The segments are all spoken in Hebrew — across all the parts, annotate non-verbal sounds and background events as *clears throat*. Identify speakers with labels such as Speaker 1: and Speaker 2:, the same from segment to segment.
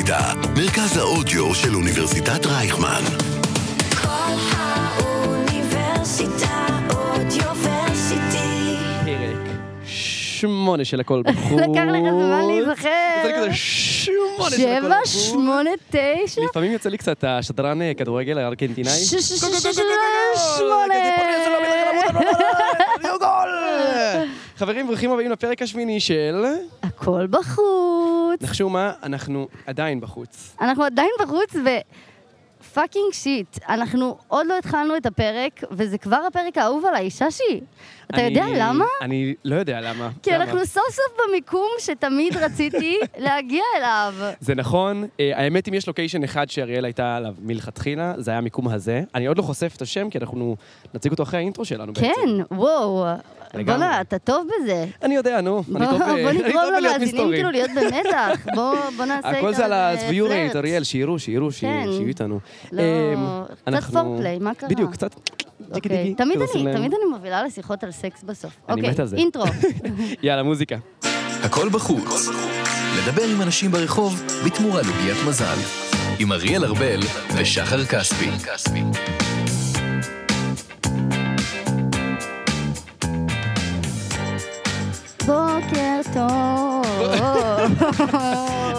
Speaker 1: ידע, מרכז האודיו של אוניברסיטת רייכמן.
Speaker 2: כל האוניברסיטה אודיוורסיטי.
Speaker 3: פרק שמונה של הכל בחוץ.
Speaker 4: לקח לך זמן להיזכר.
Speaker 3: זה לי כזה שמונה של הכל
Speaker 4: שבע,
Speaker 3: בחוץ.
Speaker 4: שמונה, תשע,
Speaker 3: לפעמים יוצא לי קצת השדרן אה, כדורגל הארגנטינאי.
Speaker 4: שש, שש, שש,
Speaker 3: גול, גול, גול,
Speaker 4: שש,
Speaker 3: גול, גול, גול.
Speaker 4: שמונה.
Speaker 3: כזה פריז, לא מלך על המות, לא, לא, לא, לא, לא, גול. חברים, ברוכים הבאים לפרק השמיני של...
Speaker 4: הכל בחוץ.
Speaker 3: נחשו מה, אנחנו עדיין בחוץ.
Speaker 4: אנחנו עדיין בחוץ ו... פאקינג שיט, אנחנו עוד לא התחלנו את הפרק, וזה כבר הפרק האהוב עליי, ששי. אתה יודע
Speaker 3: אני-
Speaker 4: למה?
Speaker 3: אני לא יודע למה.
Speaker 4: כי
Speaker 3: למה?
Speaker 4: אנחנו סוף סוף במיקום שתמיד
Speaker 3: *laughs*
Speaker 4: רציתי להגיע אליו.
Speaker 3: זה נכון, אה, האמת אם יש לוקיישן אחד שאריאל הייתה עליו מלכתחילה, זה היה המיקום הזה. אני עוד לא חושף את השם, כי אנחנו נציג אותו אחרי האינטרו שלנו בעצם.
Speaker 4: כן, וואו.
Speaker 3: לגמרי.
Speaker 4: בואנה, אתה טוב בזה.
Speaker 3: אני יודע,
Speaker 4: *laughs*
Speaker 3: נו. אני
Speaker 4: בוא
Speaker 3: טוב ב-
Speaker 4: בוא
Speaker 3: *laughs* אני טוב
Speaker 4: נגרום
Speaker 3: בלהיות
Speaker 4: למאזינים
Speaker 3: מסתורי.
Speaker 4: כאילו להיות במתח. בוא
Speaker 3: *laughs*
Speaker 4: בוא נעשה איתם
Speaker 3: הכל זה על
Speaker 4: איזה
Speaker 3: הסביורייט,
Speaker 4: פלרט.
Speaker 3: אריאל, שיראו, שיראו, שיראו,
Speaker 4: כן.
Speaker 3: שיהיו איתנו.
Speaker 4: לא,
Speaker 3: אמ,
Speaker 4: קצת
Speaker 3: אנחנו-
Speaker 4: פורפליי, מה קרה?
Speaker 3: בדיוק, קצת... דיקי
Speaker 4: אוקיי,
Speaker 3: דיקי,
Speaker 4: תמיד
Speaker 3: כזה עושים
Speaker 4: אני,
Speaker 3: להם-
Speaker 4: תמיד אני מובילה לשיחות על סקס בסוף.
Speaker 3: אני
Speaker 4: אוקיי,
Speaker 3: מת על זה. *laughs*
Speaker 4: אינטרו.
Speaker 3: יאללה, מוזיקה.
Speaker 1: הכל בחוץ. לדבר עם אנשים ברחוב בתמורה לעוגיית מזל. עם אריאל ארבל ושחר כספי.
Speaker 4: בוקר טוב.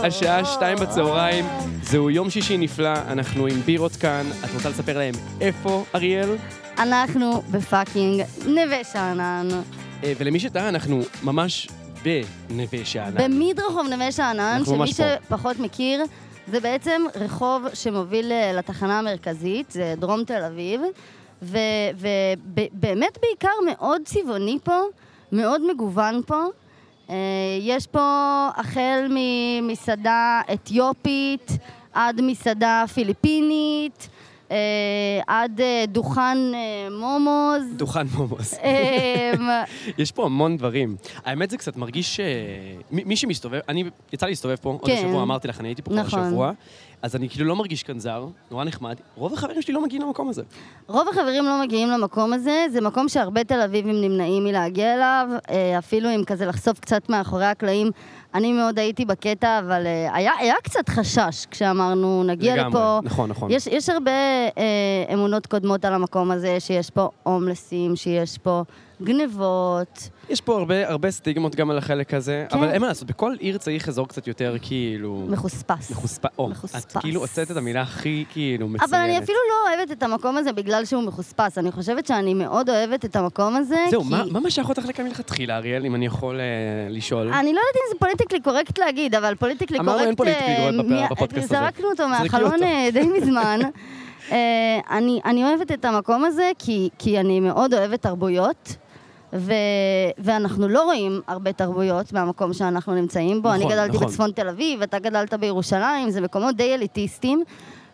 Speaker 3: השעה שתיים בצהריים, זהו יום שישי נפלא, אנחנו עם בירות כאן. את רוצה לספר להם איפה, אריאל?
Speaker 4: אנחנו בפאקינג נווה שאנן.
Speaker 3: אה, ולמי שטעה, אנחנו ממש בנווה שאנן.
Speaker 4: במדרחוב נווה שאנן,
Speaker 3: אנחנו
Speaker 4: שמי
Speaker 3: ממש פה.
Speaker 4: שפחות מכיר, זה בעצם רחוב שמוביל אה, לתחנה המרכזית, זה דרום תל אביב, ובאמת בעיקר מאוד צבעוני פה, מאוד מגוון פה. אה, יש פה החל ממסעדה אתיופית, עד מסעדה פיליפינית, אה, עד אה, דוכן אה, מומוז.
Speaker 3: דוכן מומוס.
Speaker 4: אה,
Speaker 3: *laughs* יש פה המון דברים. האמת זה קצת מרגיש ש... מי מי שמסתובב, אני, יצא לי להסתובב פה, עוד
Speaker 4: כן.
Speaker 3: השבוע אמרתי לך, אני הייתי פה כבר
Speaker 4: נכון.
Speaker 3: השבוע, אז אני כאילו לא מרגיש כאן זר, נורא נחמד, רוב החברים שלי לא מגיעים למקום הזה.
Speaker 4: רוב החברים לא מגיעים למקום הזה, זה מקום שהרבה תל אביבים נמנעים מלהגיע אליו, אה, אפילו אם כזה לחשוף קצת מאחורי הקלעים. אני מאוד הייתי בקטע, אבל אה, היה, היה קצת חשש כשאמרנו, נגיע
Speaker 3: לגמרי,
Speaker 4: לפה.
Speaker 3: נכון, נכון.
Speaker 4: יש, יש הרבה אה, אמונות קודמות על המקום הזה, שיש פה הומלסים, שיש פה גנבות.
Speaker 3: יש פה הרבה, הרבה סטיגמות גם על החלק הזה,
Speaker 4: כן.
Speaker 3: אבל אין מה לעשות, בכל עיר צריך אזור קצת יותר כאילו...
Speaker 4: מחוספס.
Speaker 3: מחוספ... או,
Speaker 4: מחוספס.
Speaker 3: את כאילו הוצאת את המילה הכי כאילו מצוינת.
Speaker 4: אבל אני אפילו לא אוהבת את המקום הזה בגלל שהוא מחוספס. אני חושבת שאני מאוד אוהבת את המקום הזה.
Speaker 3: זהו,
Speaker 4: כי...
Speaker 3: מה, מה משך אותך לכאן מלכתחילה, אריאל, אם אני יכול אה, לשאול?
Speaker 4: אני לא יודעת אם זה פוליטיקלי קורקט להגיד, אבל פוליטיקלי קורקט...
Speaker 3: אמרנו, אין פוליטיקלי
Speaker 4: אה,
Speaker 3: קורקט בפ- בפודקאסט הזה.
Speaker 4: זרקנו אותו
Speaker 3: זרקי
Speaker 4: מהחלון
Speaker 3: אותו.
Speaker 4: אה, די מזמן.
Speaker 3: *laughs*
Speaker 4: אה, אני, אני אוהבת את המקום הזה, כי, כי אני מאוד אוהבת תרבויות, ו, ואנחנו לא רואים הרבה תרבויות מהמקום שאנחנו נמצאים בו. אני
Speaker 3: נכון,
Speaker 4: גדלתי
Speaker 3: נכון.
Speaker 4: בצפון תל אביב, אתה גדלת בירושלים, זה מקומות די אליטיסטיים,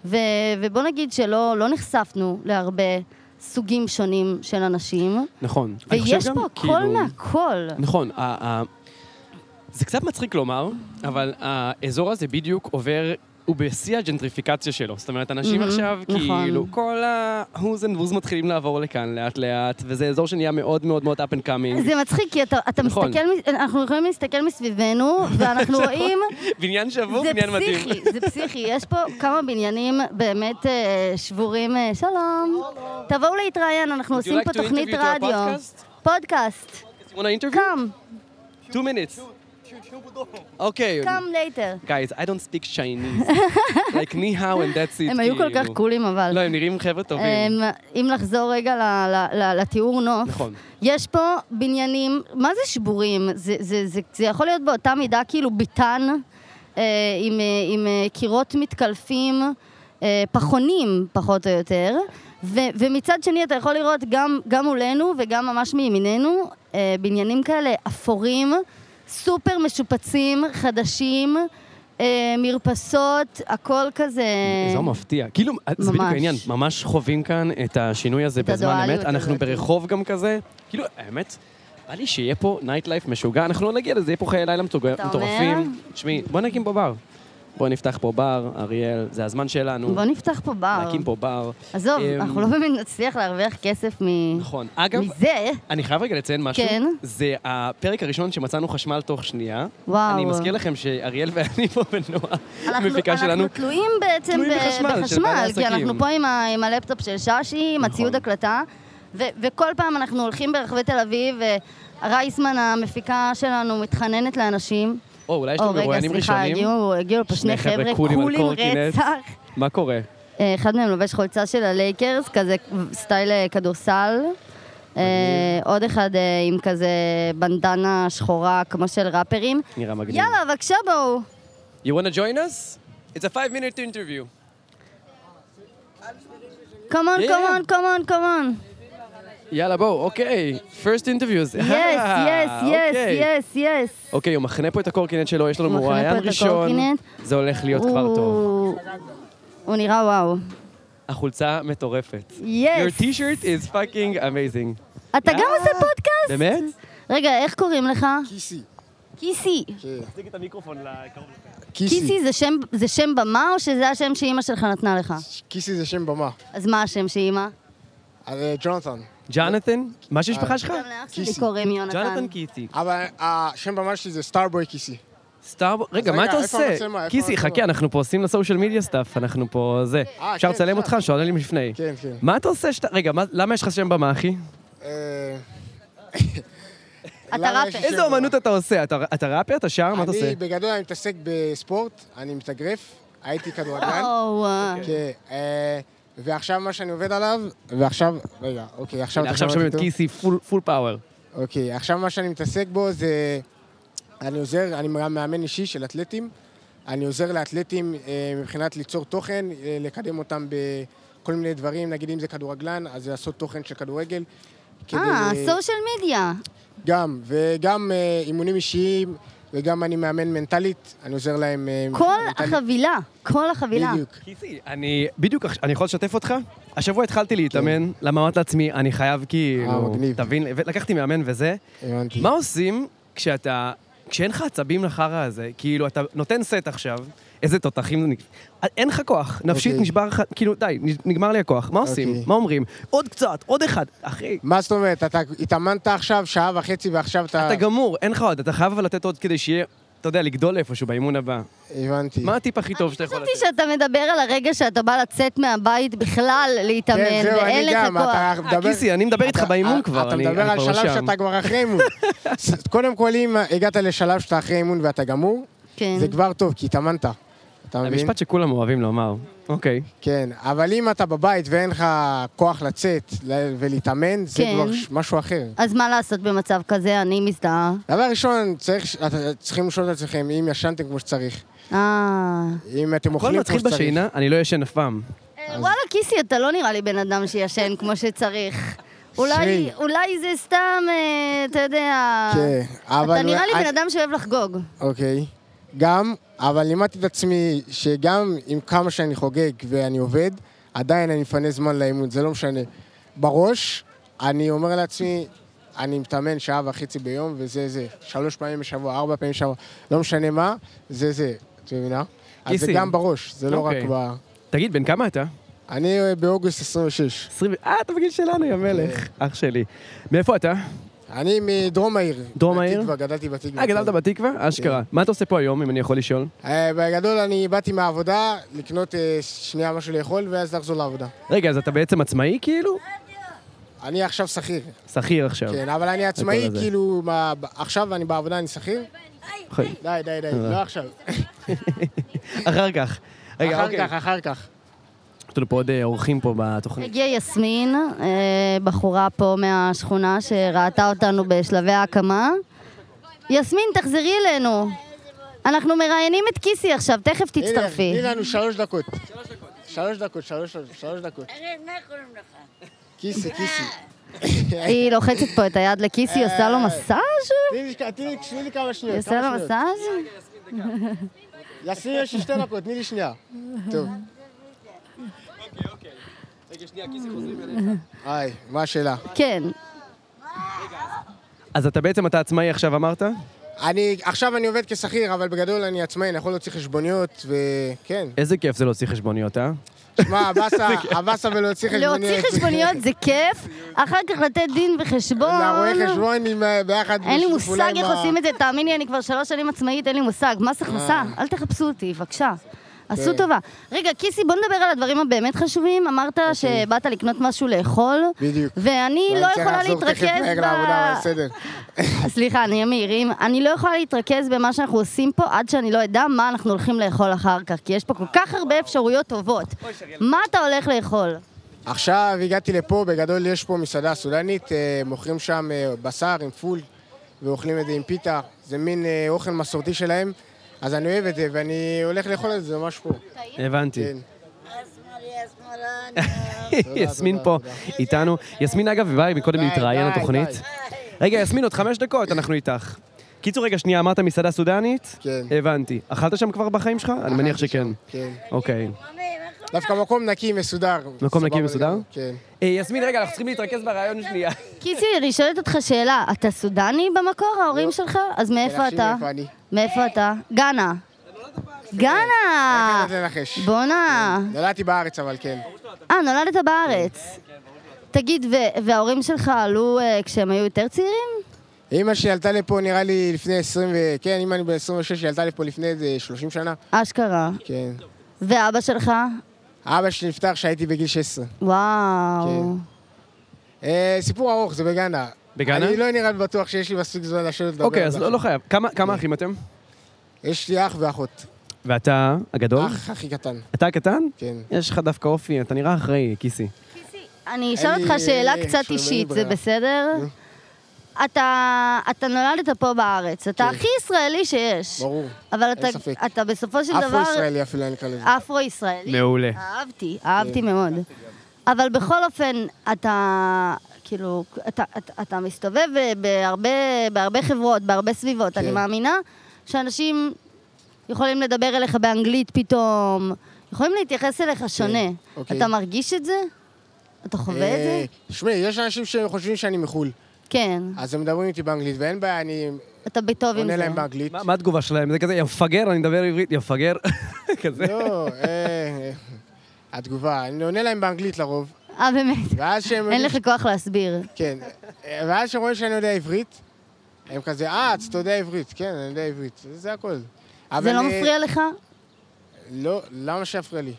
Speaker 4: ו, ובוא נגיד שלא לא נחשפנו להרבה סוגים שונים של אנשים,
Speaker 3: נכון. אני חושב
Speaker 4: ויש
Speaker 3: גם,
Speaker 4: פה הכל
Speaker 3: כאילו-
Speaker 4: מהכל.
Speaker 3: נכון, ה- ה- זה קצת מצחיק לומר, אבל האזור הזה בדיוק עובר, הוא בשיא הג'נטריפיקציה שלו. זאת אומרת, אנשים
Speaker 4: מהמם,
Speaker 3: עכשיו,
Speaker 4: נכון.
Speaker 3: כאילו, כל ההוז אנד ווז מתחילים לעבור לכאן לאט-לאט, וזה אזור שנהיה מאוד מאוד מאוד up and coming.
Speaker 4: זה מצחיק, כי אתה, אתה
Speaker 3: נכון.
Speaker 4: מסתכל, מס- אנחנו יכולים להסתכל
Speaker 3: *laughs*
Speaker 4: מסביבנו, ואנחנו רואים,
Speaker 3: בניין שבור,
Speaker 4: זה
Speaker 3: בניין מדהים.
Speaker 4: פסיכי, זה פסיכי. יש פה כמה בניינים באמת אה, שבורים. אה, שלום. תבואו להתראיין, אנחנו
Speaker 3: Would you
Speaker 4: עושים
Speaker 3: like
Speaker 4: פה
Speaker 3: to interview
Speaker 4: תוכנית
Speaker 3: to our
Speaker 4: רדיו.
Speaker 3: podcast?
Speaker 4: פודקאסט,
Speaker 3: You want to interview?
Speaker 4: come,
Speaker 3: Two minutes. אוקיי.
Speaker 4: come later.
Speaker 3: Guys, I don't speak
Speaker 4: *laughs*
Speaker 3: Chinese. like, ni hao and that's it.
Speaker 4: הם היו כל
Speaker 3: כאילו.
Speaker 4: כך קולים, אבל...
Speaker 3: לא, הם נראים חבר'ה טובים.
Speaker 4: אמ, אם לחזור רגע ל- ל- ל- לתיאור נוף,
Speaker 3: נכון.
Speaker 4: יש פה בניינים, מה זה שבורים? זה, זה, זה, זה יכול להיות באותה מידה כאילו ביתן, אה, עם, אה, עם אה, קירות מתקלפים, אה, פחונים פחות או יותר, ו, ומצד שני אתה יכול לראות גם, גם מולנו וגם ממש מימיננו, אה, בניינים כאלה אפורים, סופר משופצים, חדשים. אה, מרפסות, הכל כזה...
Speaker 3: אזור מפתיע. כאילו, זה בדיוק
Speaker 4: אה, ממש.
Speaker 3: העניין, ממש חווים כאן את השינוי הזה
Speaker 4: את
Speaker 3: בזמן
Speaker 4: הדואליות
Speaker 3: אמת. אנחנו
Speaker 4: הזאת.
Speaker 3: ברחוב גם כזה. כאילו, האמת, בא לי שיהיה פה נייט לייף משוגע, אנחנו לא נגיע לזה, יהיה פה חיי לילה מתוג-
Speaker 4: אתה
Speaker 3: מטורפים. תשמעי, בוא נקים פה בר. בואו נפתח פה בר, אריאל, זה הזמן שלנו.
Speaker 4: בוא נפתח פה בר.
Speaker 3: להקים פה בר.
Speaker 4: עזוב,
Speaker 3: אמ,
Speaker 4: אנחנו לא באמת נצליח להרוויח כסף מ-
Speaker 3: נכון. אגב,
Speaker 4: מזה.
Speaker 3: אני חייב רגע לציין משהו.
Speaker 4: כן.
Speaker 3: זה הפרק הראשון שמצאנו חשמל תוך שנייה.
Speaker 4: וואו.
Speaker 3: אני מזכיר לכם שאריאל ואני פה בנועה,
Speaker 4: אנחנו-
Speaker 3: המפיקה שלנו.
Speaker 4: אנחנו תלויים בעצם
Speaker 3: תלויים
Speaker 4: ב-
Speaker 3: בחשמל, של בעלי
Speaker 4: כי
Speaker 3: עסקים.
Speaker 4: אנחנו פה עם ה- עם הלפטופ של ששי, עם
Speaker 3: נכון.
Speaker 4: הציוד הקלטה, ו- וכל פעם אנחנו הולכים ברחבי תל אביב, ורייסמן, המפיקה שלנו, מתחננת לאנשים.
Speaker 3: או, אולי אה, יש
Speaker 4: או,
Speaker 3: לנו
Speaker 4: רגע,
Speaker 3: מרואיינים
Speaker 4: סליחה,
Speaker 3: ראשונים.
Speaker 4: הגיעו הגיעו לפה שני חבר'ה קולים רצח.
Speaker 3: מה קורה?
Speaker 4: אה, אחד מהם לובש חולצה של הלייקרס, כזה סטייל אה, כדורסל. אה, עוד אחד אה, עם כזה בנדנה שחורה, כמו של ראפרים.
Speaker 3: נראה מגניב.
Speaker 4: יאללה, בבקשה בואו.
Speaker 3: You want to join us? It's a five minute interview.
Speaker 4: קומון,
Speaker 3: Yeah.
Speaker 4: קומון, קומון,
Speaker 3: *laughs*
Speaker 4: קומון.
Speaker 3: יאללה, בואו, אוקיי. First interviews. *laughs*
Speaker 4: יס, יס, יס,
Speaker 3: אוקיי.
Speaker 4: יס, יס.
Speaker 3: אוקיי, הוא מחנה פה את הקורקינט שלו, יש לנו
Speaker 4: הוא מחנה
Speaker 3: מרואיין
Speaker 4: פה את
Speaker 3: ראשון.
Speaker 4: הקורקינט.
Speaker 3: זה הולך להיות כבר טוב.
Speaker 4: הוא נראה וואו.
Speaker 3: החולצה מטורפת. Your
Speaker 4: יס.
Speaker 3: t-shirt is fucking amazing.
Speaker 4: אתה גם
Speaker 3: יאללה.
Speaker 4: עושה פודקאסט?
Speaker 3: באמת?
Speaker 4: רגע, איך קוראים לך?
Speaker 2: כיסי.
Speaker 4: כיסי.
Speaker 3: תחזיק את המיקרופון לקרוב.
Speaker 4: כיסי זה שם- זה שם במה או שזה השם שאימא שלך נתנה לך?
Speaker 2: כיסי זה שם במה.
Speaker 4: אז מה השם שאימא?
Speaker 2: אז אה, ג'ונתן.
Speaker 3: ג'ונתן? מה שם המשפחה שלך?
Speaker 4: גם לאח שלי
Speaker 2: כיסי.
Speaker 4: קוראים יונתן.
Speaker 3: ג'ונתן קיצי.
Speaker 2: אבל השם במה שלי זה סטארבוי כיסי.
Speaker 3: סטאר... רגע,
Speaker 2: רגע,
Speaker 3: מה אתה
Speaker 2: איפה
Speaker 3: עושה?
Speaker 2: המצלמה? איפה
Speaker 3: קיסי,
Speaker 2: המצלמה?
Speaker 3: חכה, אנחנו פה עושים לסושיאל מדיה סטאפ, אנחנו פה זה.
Speaker 2: אה,
Speaker 3: אפשר
Speaker 2: כן,
Speaker 3: לצלם
Speaker 2: אפשר.
Speaker 3: אותך? שואלים לפני.
Speaker 2: כן, כן.
Speaker 3: מה אתה עושה שאתה... רגע, מה- למה יש לך שם במה, אחי?
Speaker 2: אה,
Speaker 4: אתה
Speaker 2: למה
Speaker 4: ראפר.
Speaker 2: יש לי שם
Speaker 3: איזה
Speaker 2: במה?
Speaker 3: אומנות אתה עושה? אתה- אתה ראפר? אתה שר? מה אתה עושה?
Speaker 2: אני בגדול אני מתעסק בספורט, אני מתאגרף, הייתי כדורגלן.
Speaker 4: וואו,
Speaker 2: כן, אה, ועכשיו מה שאני עובד עליו, ועכשיו, רגע, אוקיי, עכשיו
Speaker 3: הנה,
Speaker 2: אתה
Speaker 3: עכשיו
Speaker 2: שומע
Speaker 3: שומעים את
Speaker 2: אותו?
Speaker 3: קיסי פול- פול פאוור.
Speaker 2: אוקיי, עכשיו מה שאני מתעסק בו זה... אני עוזר, אני גם מאמן אישי של אתלטים. אני עוזר לאתלטים אה, מבחינת ליצור תוכן, אה, לקדם אותם בכל מיני דברים, נגיד אם זה כדורגלן, אז זה לעשות תוכן של כדורגל. אוקיי, כדי-
Speaker 4: אה, סושיאל מדיה.
Speaker 2: גם, וגם אה, אימונים אישיים, וגם אני מאמן מנטלית, אני עוזר להם... אה,
Speaker 4: כל
Speaker 2: מנטלית.
Speaker 4: החבילה, כל החבילה.
Speaker 2: בדיוק.
Speaker 3: קיסי, אני בדיוק, עכש- אני יכול לשתף אותך? השבוע התחלתי להתאמן, למה אמרתי לעצמי, אני חייב כאילו,
Speaker 2: כן. אה, מגניב. אה, כן.
Speaker 3: תבין, לקחתי מאמן וזה.
Speaker 2: הבנתי.
Speaker 3: מה עושים כשאתה, כשאין לך עצבים לחרא הזה? כאילו, אתה נותן סט עכשיו, איזה תותחים זה נק- אין לך כוח, נפשית
Speaker 2: אוקיי.
Speaker 3: נשבר לך, כאילו, די, נ- נגמר לי הכוח. מה עושים?
Speaker 2: אוקיי. אה.
Speaker 3: מה אומרים? עוד קצת, עוד אחד. אחי,
Speaker 2: מה זאת אומרת? אתה התאמנת עכשיו שעה וחצי ועכשיו אתה...
Speaker 3: אתה גמור, אין לך עוד, אתה חייב אבל לתת עוד כדי שיהיה, אתה יודע, לגדול איפשהו באימון הבא.
Speaker 2: הבנתי.
Speaker 3: מה הטיפ הכי טוב שאתה יכול
Speaker 4: חשבתי
Speaker 3: לתת?
Speaker 4: שאתה מדבר על הרגע שאתה בא לצאת מהבית בכלל להתאמן,
Speaker 2: כן, זהו,
Speaker 4: ואין
Speaker 2: אני
Speaker 4: לך
Speaker 2: גם,
Speaker 4: כוח.
Speaker 2: אתה
Speaker 3: אה,
Speaker 2: מדבר...
Speaker 3: קיסי, אני מדבר איתך באימון כבר,
Speaker 2: אה, אתה
Speaker 3: אני
Speaker 2: מדבר
Speaker 3: אני
Speaker 2: על
Speaker 3: כבר לא
Speaker 2: שלב
Speaker 3: שם.
Speaker 2: שאתה כבר אחרי
Speaker 3: *laughs*
Speaker 2: אימון. ס- קודם כל, אם הגעת לשלב שאתה אחרי אימון ואתה גמור,
Speaker 4: כן.
Speaker 2: זה כבר טוב, כי התאמנת. אתה
Speaker 3: זה
Speaker 2: מבין?
Speaker 3: אה, משפט שכולם אוהבים לומר. אוקיי.
Speaker 2: כן, אבל אם אתה בבית ואין לך כוח לצאת ל- ולהתאמן, זה
Speaker 4: כן.
Speaker 2: כבר ש- משהו אחר.
Speaker 4: אז מה לעשות במצב כזה? אני מזדהה.
Speaker 2: דבר ראשון, צריך ש- אתה- צריכים לשאול את עצמכם אם ישנתם כמו שצריך,
Speaker 4: אה...
Speaker 2: אם אתם
Speaker 3: הכל
Speaker 2: אוכלים כמו
Speaker 3: מתחיל
Speaker 2: שצריך.
Speaker 3: בשינה, אני לא ישן אף פעם.
Speaker 4: אה, וואלה, כיסי, אתה לא נראה לי בן אדם שישן כמו
Speaker 2: *laughs*
Speaker 4: שצריך. אולי,
Speaker 2: שרי.
Speaker 4: אולי זה סתם, אה, אתה יודע...
Speaker 2: כן, אבל...
Speaker 4: אתה נראה לי
Speaker 2: אני-
Speaker 4: בן אדם שאוהב לחגוג.
Speaker 2: אוקיי. גם, אבל לימדתי את עצמי שגם עם כמה שאני חוגג ואני עובד, עדיין אני מפנה זמן לאימון, זה לא משנה. בראש, אני אומר לעצמי, אני מתאמן שעה וחצי ביום, וזה זה. שלוש פעמים בשבוע, ארבע פעמים בשבוע, לא משנה מה, זה זה. את מבינה? אז זה
Speaker 3: גיסי.
Speaker 2: גם בראש, זה לא רק
Speaker 3: אוקיי.
Speaker 2: ב...
Speaker 3: תגיד, בן כמה אתה?
Speaker 2: אני אה, באוגוסט 26.
Speaker 3: 20... אה, אתה בגיל שלנו, יא מלך. אח שלי. מאיפה אתה?
Speaker 2: אני מדרום העיר.
Speaker 3: דרום העיר?
Speaker 2: בתקווה, גדלתי בתקווה.
Speaker 3: אה, גדלת
Speaker 2: כן.
Speaker 3: בתקווה? אשכרה. מה אתה עושה פה היום, אם אני יכול לשאול?
Speaker 2: אה, בגדול, אני באתי מהעבודה לקנות אה, שנייה משהו לאכול, ואז לחזור לעבודה.
Speaker 3: רגע, אז אתה בעצם עצמאי כאילו?
Speaker 2: אני עכשיו שכיר,
Speaker 3: שכיר עכשיו.
Speaker 2: כן, אבל אני עצמאי,
Speaker 3: הזה.
Speaker 2: כאילו, מה- ב- עכשיו אני בעבודה, אני שכיר. די, די, די,
Speaker 3: אה.
Speaker 2: לא עכשיו.
Speaker 3: *laughs* אחר כך. רגע,
Speaker 2: אחר
Speaker 3: אוקיי.
Speaker 2: כך, אחר כך.
Speaker 3: יש לנו פה עוד אה, אורחים פה בתוכנית.
Speaker 4: הגיעה יסמין, אה, בחורה פה מהשכונה שראתה אותנו בשלבי ההקמה. יסמין, תחזרי אלינו. אנחנו מראיינים את כיסי עכשיו, תכף
Speaker 2: הנה,
Speaker 4: תצטרפי.
Speaker 2: תני לנו שלוש דקות. שלוש דקות, שלוש שלוש דקות.
Speaker 5: אריאל, מה קוראים לך?
Speaker 2: כיסי, כיסי.
Speaker 4: היא לוחצת פה את היד לכיסי, עושה
Speaker 2: אה,
Speaker 4: לו מסאז'?
Speaker 2: תני לי- תני לי- תני לי כמה
Speaker 4: היא
Speaker 2: שניות.
Speaker 4: עושה לו
Speaker 2: כמה שניות.
Speaker 4: מסאז'?
Speaker 2: יסמין, יש לי שתי דקות, תני לי שנייה. טוב.
Speaker 5: אוקיי,
Speaker 2: היי, מה השאלה?
Speaker 4: כן.
Speaker 3: אז אתה בעצם, אתה עצמאי עכשיו אמרת?
Speaker 2: אני, עכשיו אני עובד כשכיר, אבל בגדול אני עצמאי, אני יכול להוציא חשבוניות, כן. וכן.
Speaker 3: איזה כיף זה להוציא חשבוניות, אה?
Speaker 2: שמע, הבאסה, הבאסה ולהוציא חשבוניות.
Speaker 4: להוציא חשבוניות זה כיף, אחר כך לתת דין וחשבון.
Speaker 2: לרואה חשבון עם ה- ביחד...
Speaker 4: אין לי
Speaker 2: בשיתוף
Speaker 4: מושג
Speaker 2: פעולה עם
Speaker 4: איך
Speaker 2: ה- אה.
Speaker 4: עושים את זה, תאמין לי, אני כבר שלוש שנים עצמאית, אין לי מושג. מס הכנסה, אל תחפשו אותי, בבקשה. עשו
Speaker 2: כן.
Speaker 4: טובה. רגע, כיסי, בוא נדבר על הדברים הבאמת חשובים. אמרת שבאת לקנות משהו לאכול,
Speaker 2: אוקיי. בדיוק.
Speaker 4: ואני
Speaker 2: ואני
Speaker 4: לא
Speaker 2: צריך
Speaker 4: יכולה
Speaker 2: לחזור תכף
Speaker 4: להתרכז
Speaker 2: מהר
Speaker 4: ב...
Speaker 2: לעבודה, אבל בסדר.
Speaker 4: *laughs* סליחה, נהיה מהירים. אני לא יכולה להתרכז במה שאנחנו עושים פה עד שאני לא אדע מה אנחנו הולכים לאכול אחר כך, כי יש פה כל כך הרבה אפשרויות טובות. מה אתה הולך לאכול?
Speaker 2: עכשיו הגעתי לפה, בגדול יש פה מסעדה סודנית, אה, מוכרים שם אה, בשר עם פול, ואוכלים את זה עם פיתה. זה מין אה, אוכל מסורתי שלהם, אז אני אוהב את זה, ואני הולך לאכול את זה ממש פה.
Speaker 3: הבנתי.
Speaker 2: כן.
Speaker 3: יסמין פה איתנו. יסמין, אגב, באה מקודם
Speaker 2: די,
Speaker 3: להתראיין
Speaker 2: די,
Speaker 3: לתוכנית.
Speaker 2: די.
Speaker 3: רגע, יסמין, עוד חמש דקות, אנחנו איתך. קיצור, רגע, שנייה, אמרת מסעדה סודנית?
Speaker 2: כן.
Speaker 3: הבנתי. אכלת שם כבר בחיים שלך? אני מניח שכן.
Speaker 2: כן.
Speaker 3: אוקיי.
Speaker 2: דווקא מקום נקי, מסודר.
Speaker 3: מקום נקי
Speaker 2: סבבה
Speaker 3: ומסודר?
Speaker 2: לגמרי, כן.
Speaker 3: אה, יסמין, רגע, אנחנו צריכים להתרכז ברעיון שנייה.
Speaker 4: כיסי, אני שואלת אותך שאלה, אתה סודני במקור, ההורים שלך? אז מאיפה
Speaker 2: תנחשי
Speaker 4: אתה?
Speaker 2: לא. מאיפה אני.
Speaker 4: מאיפה אתה? גאנה. גאנה! אה,
Speaker 2: איך אתה תנחש?
Speaker 4: בואנה.
Speaker 2: כן, נולדתי בארץ, אבל כן.
Speaker 4: אה, נולדת בארץ. תגיד, ו- וההורים שלך עלו אה, כשהם היו יותר צעירים?
Speaker 2: אימא שלי עלתה לפה נראה לי לפני 20 ו... כן, אימא אני ב-26, היא עלתה לפה לפני איזה 30 שנה.
Speaker 4: אשכרה.
Speaker 2: כן.
Speaker 4: ואבא שלך?
Speaker 2: אבא שלי נפטר כשהייתי בגיל 16.
Speaker 4: וואו.
Speaker 2: כן. אה, סיפור ארוך, זה בגאנה.
Speaker 3: בגאנה?
Speaker 2: אני לא נראה לי בטוח שיש לי מספיק זמן לשבת לדבר.
Speaker 3: אוקיי, אז
Speaker 2: על
Speaker 3: לא
Speaker 2: זה.
Speaker 3: לא חייב. כמה- כמה
Speaker 2: כן.
Speaker 3: אחים אתם?
Speaker 2: יש לי אח ואחות.
Speaker 3: ואתה הגדול?
Speaker 2: אח הכי קטן,
Speaker 3: אתה הקטן?
Speaker 2: כן.
Speaker 3: יש לך דווקא אופי, אתה נראה אחראי, כיסי.
Speaker 4: אני אשאל
Speaker 2: לי-
Speaker 4: אותך שאלה
Speaker 2: אין לי
Speaker 4: קצת
Speaker 2: שום- אין לי
Speaker 4: אישית, זה
Speaker 2: ברירה.
Speaker 4: בסדר? אתה, אתה נולדת פה בארץ, אתה הכי ישראלי שיש.
Speaker 2: כן. ברור.
Speaker 4: אבל
Speaker 2: אין
Speaker 4: אתה,
Speaker 2: ספק. לא
Speaker 4: אתה בסופו של דבר...
Speaker 2: אפרו-ישראלי אפילו אני נקרא לזה.
Speaker 4: אפרו-ישראלי.
Speaker 3: מעולה.
Speaker 4: אהבתי, אהבתי מאוד. אבל בכל אופן, אתה, כאילו, אתה, אתה, אתה מסתובב בהרבה, בהרבה חברות, בהרבה סביבות.
Speaker 2: כן.
Speaker 4: אני מאמינה שאנשים יכולים לדבר אליך באנגלית פתאום, יכולים להתייחס אליך שונה.
Speaker 2: אוקיי.
Speaker 4: אתה מרגיש את זה? אתה חווה את
Speaker 2: אה,
Speaker 4: זה?
Speaker 2: תשמעי, יש אנשים שחושבים שאני מחו"ל,
Speaker 4: כן.
Speaker 2: אז הם מדברים איתי באנגלית, ואין בעיה, אני
Speaker 4: אתה בטוב עם
Speaker 2: עונה
Speaker 4: זה.
Speaker 2: להם באנגלית.
Speaker 3: מה מה התגובה שלהם? זה כזה, יא מפגר, אני מדבר עברית, יא מפגר. *laughs* כזה.
Speaker 2: לא, אה, אה, התגובה, אני עונה להם באנגלית לרוב,
Speaker 4: אה,
Speaker 2: *laughs*
Speaker 4: באמת.
Speaker 2: ואז שהם...
Speaker 4: אין לך כוח להסביר.
Speaker 2: כן, אה, ואז שהם רואים שאני יודע עברית, הם כזה, אה, אז אתה יודע עברית, כן, אני יודע עברית, זה הכל.
Speaker 4: זה
Speaker 2: אבל,
Speaker 4: לא
Speaker 2: אה,
Speaker 4: מפריע לך?
Speaker 2: לא, למה שיפריע לי?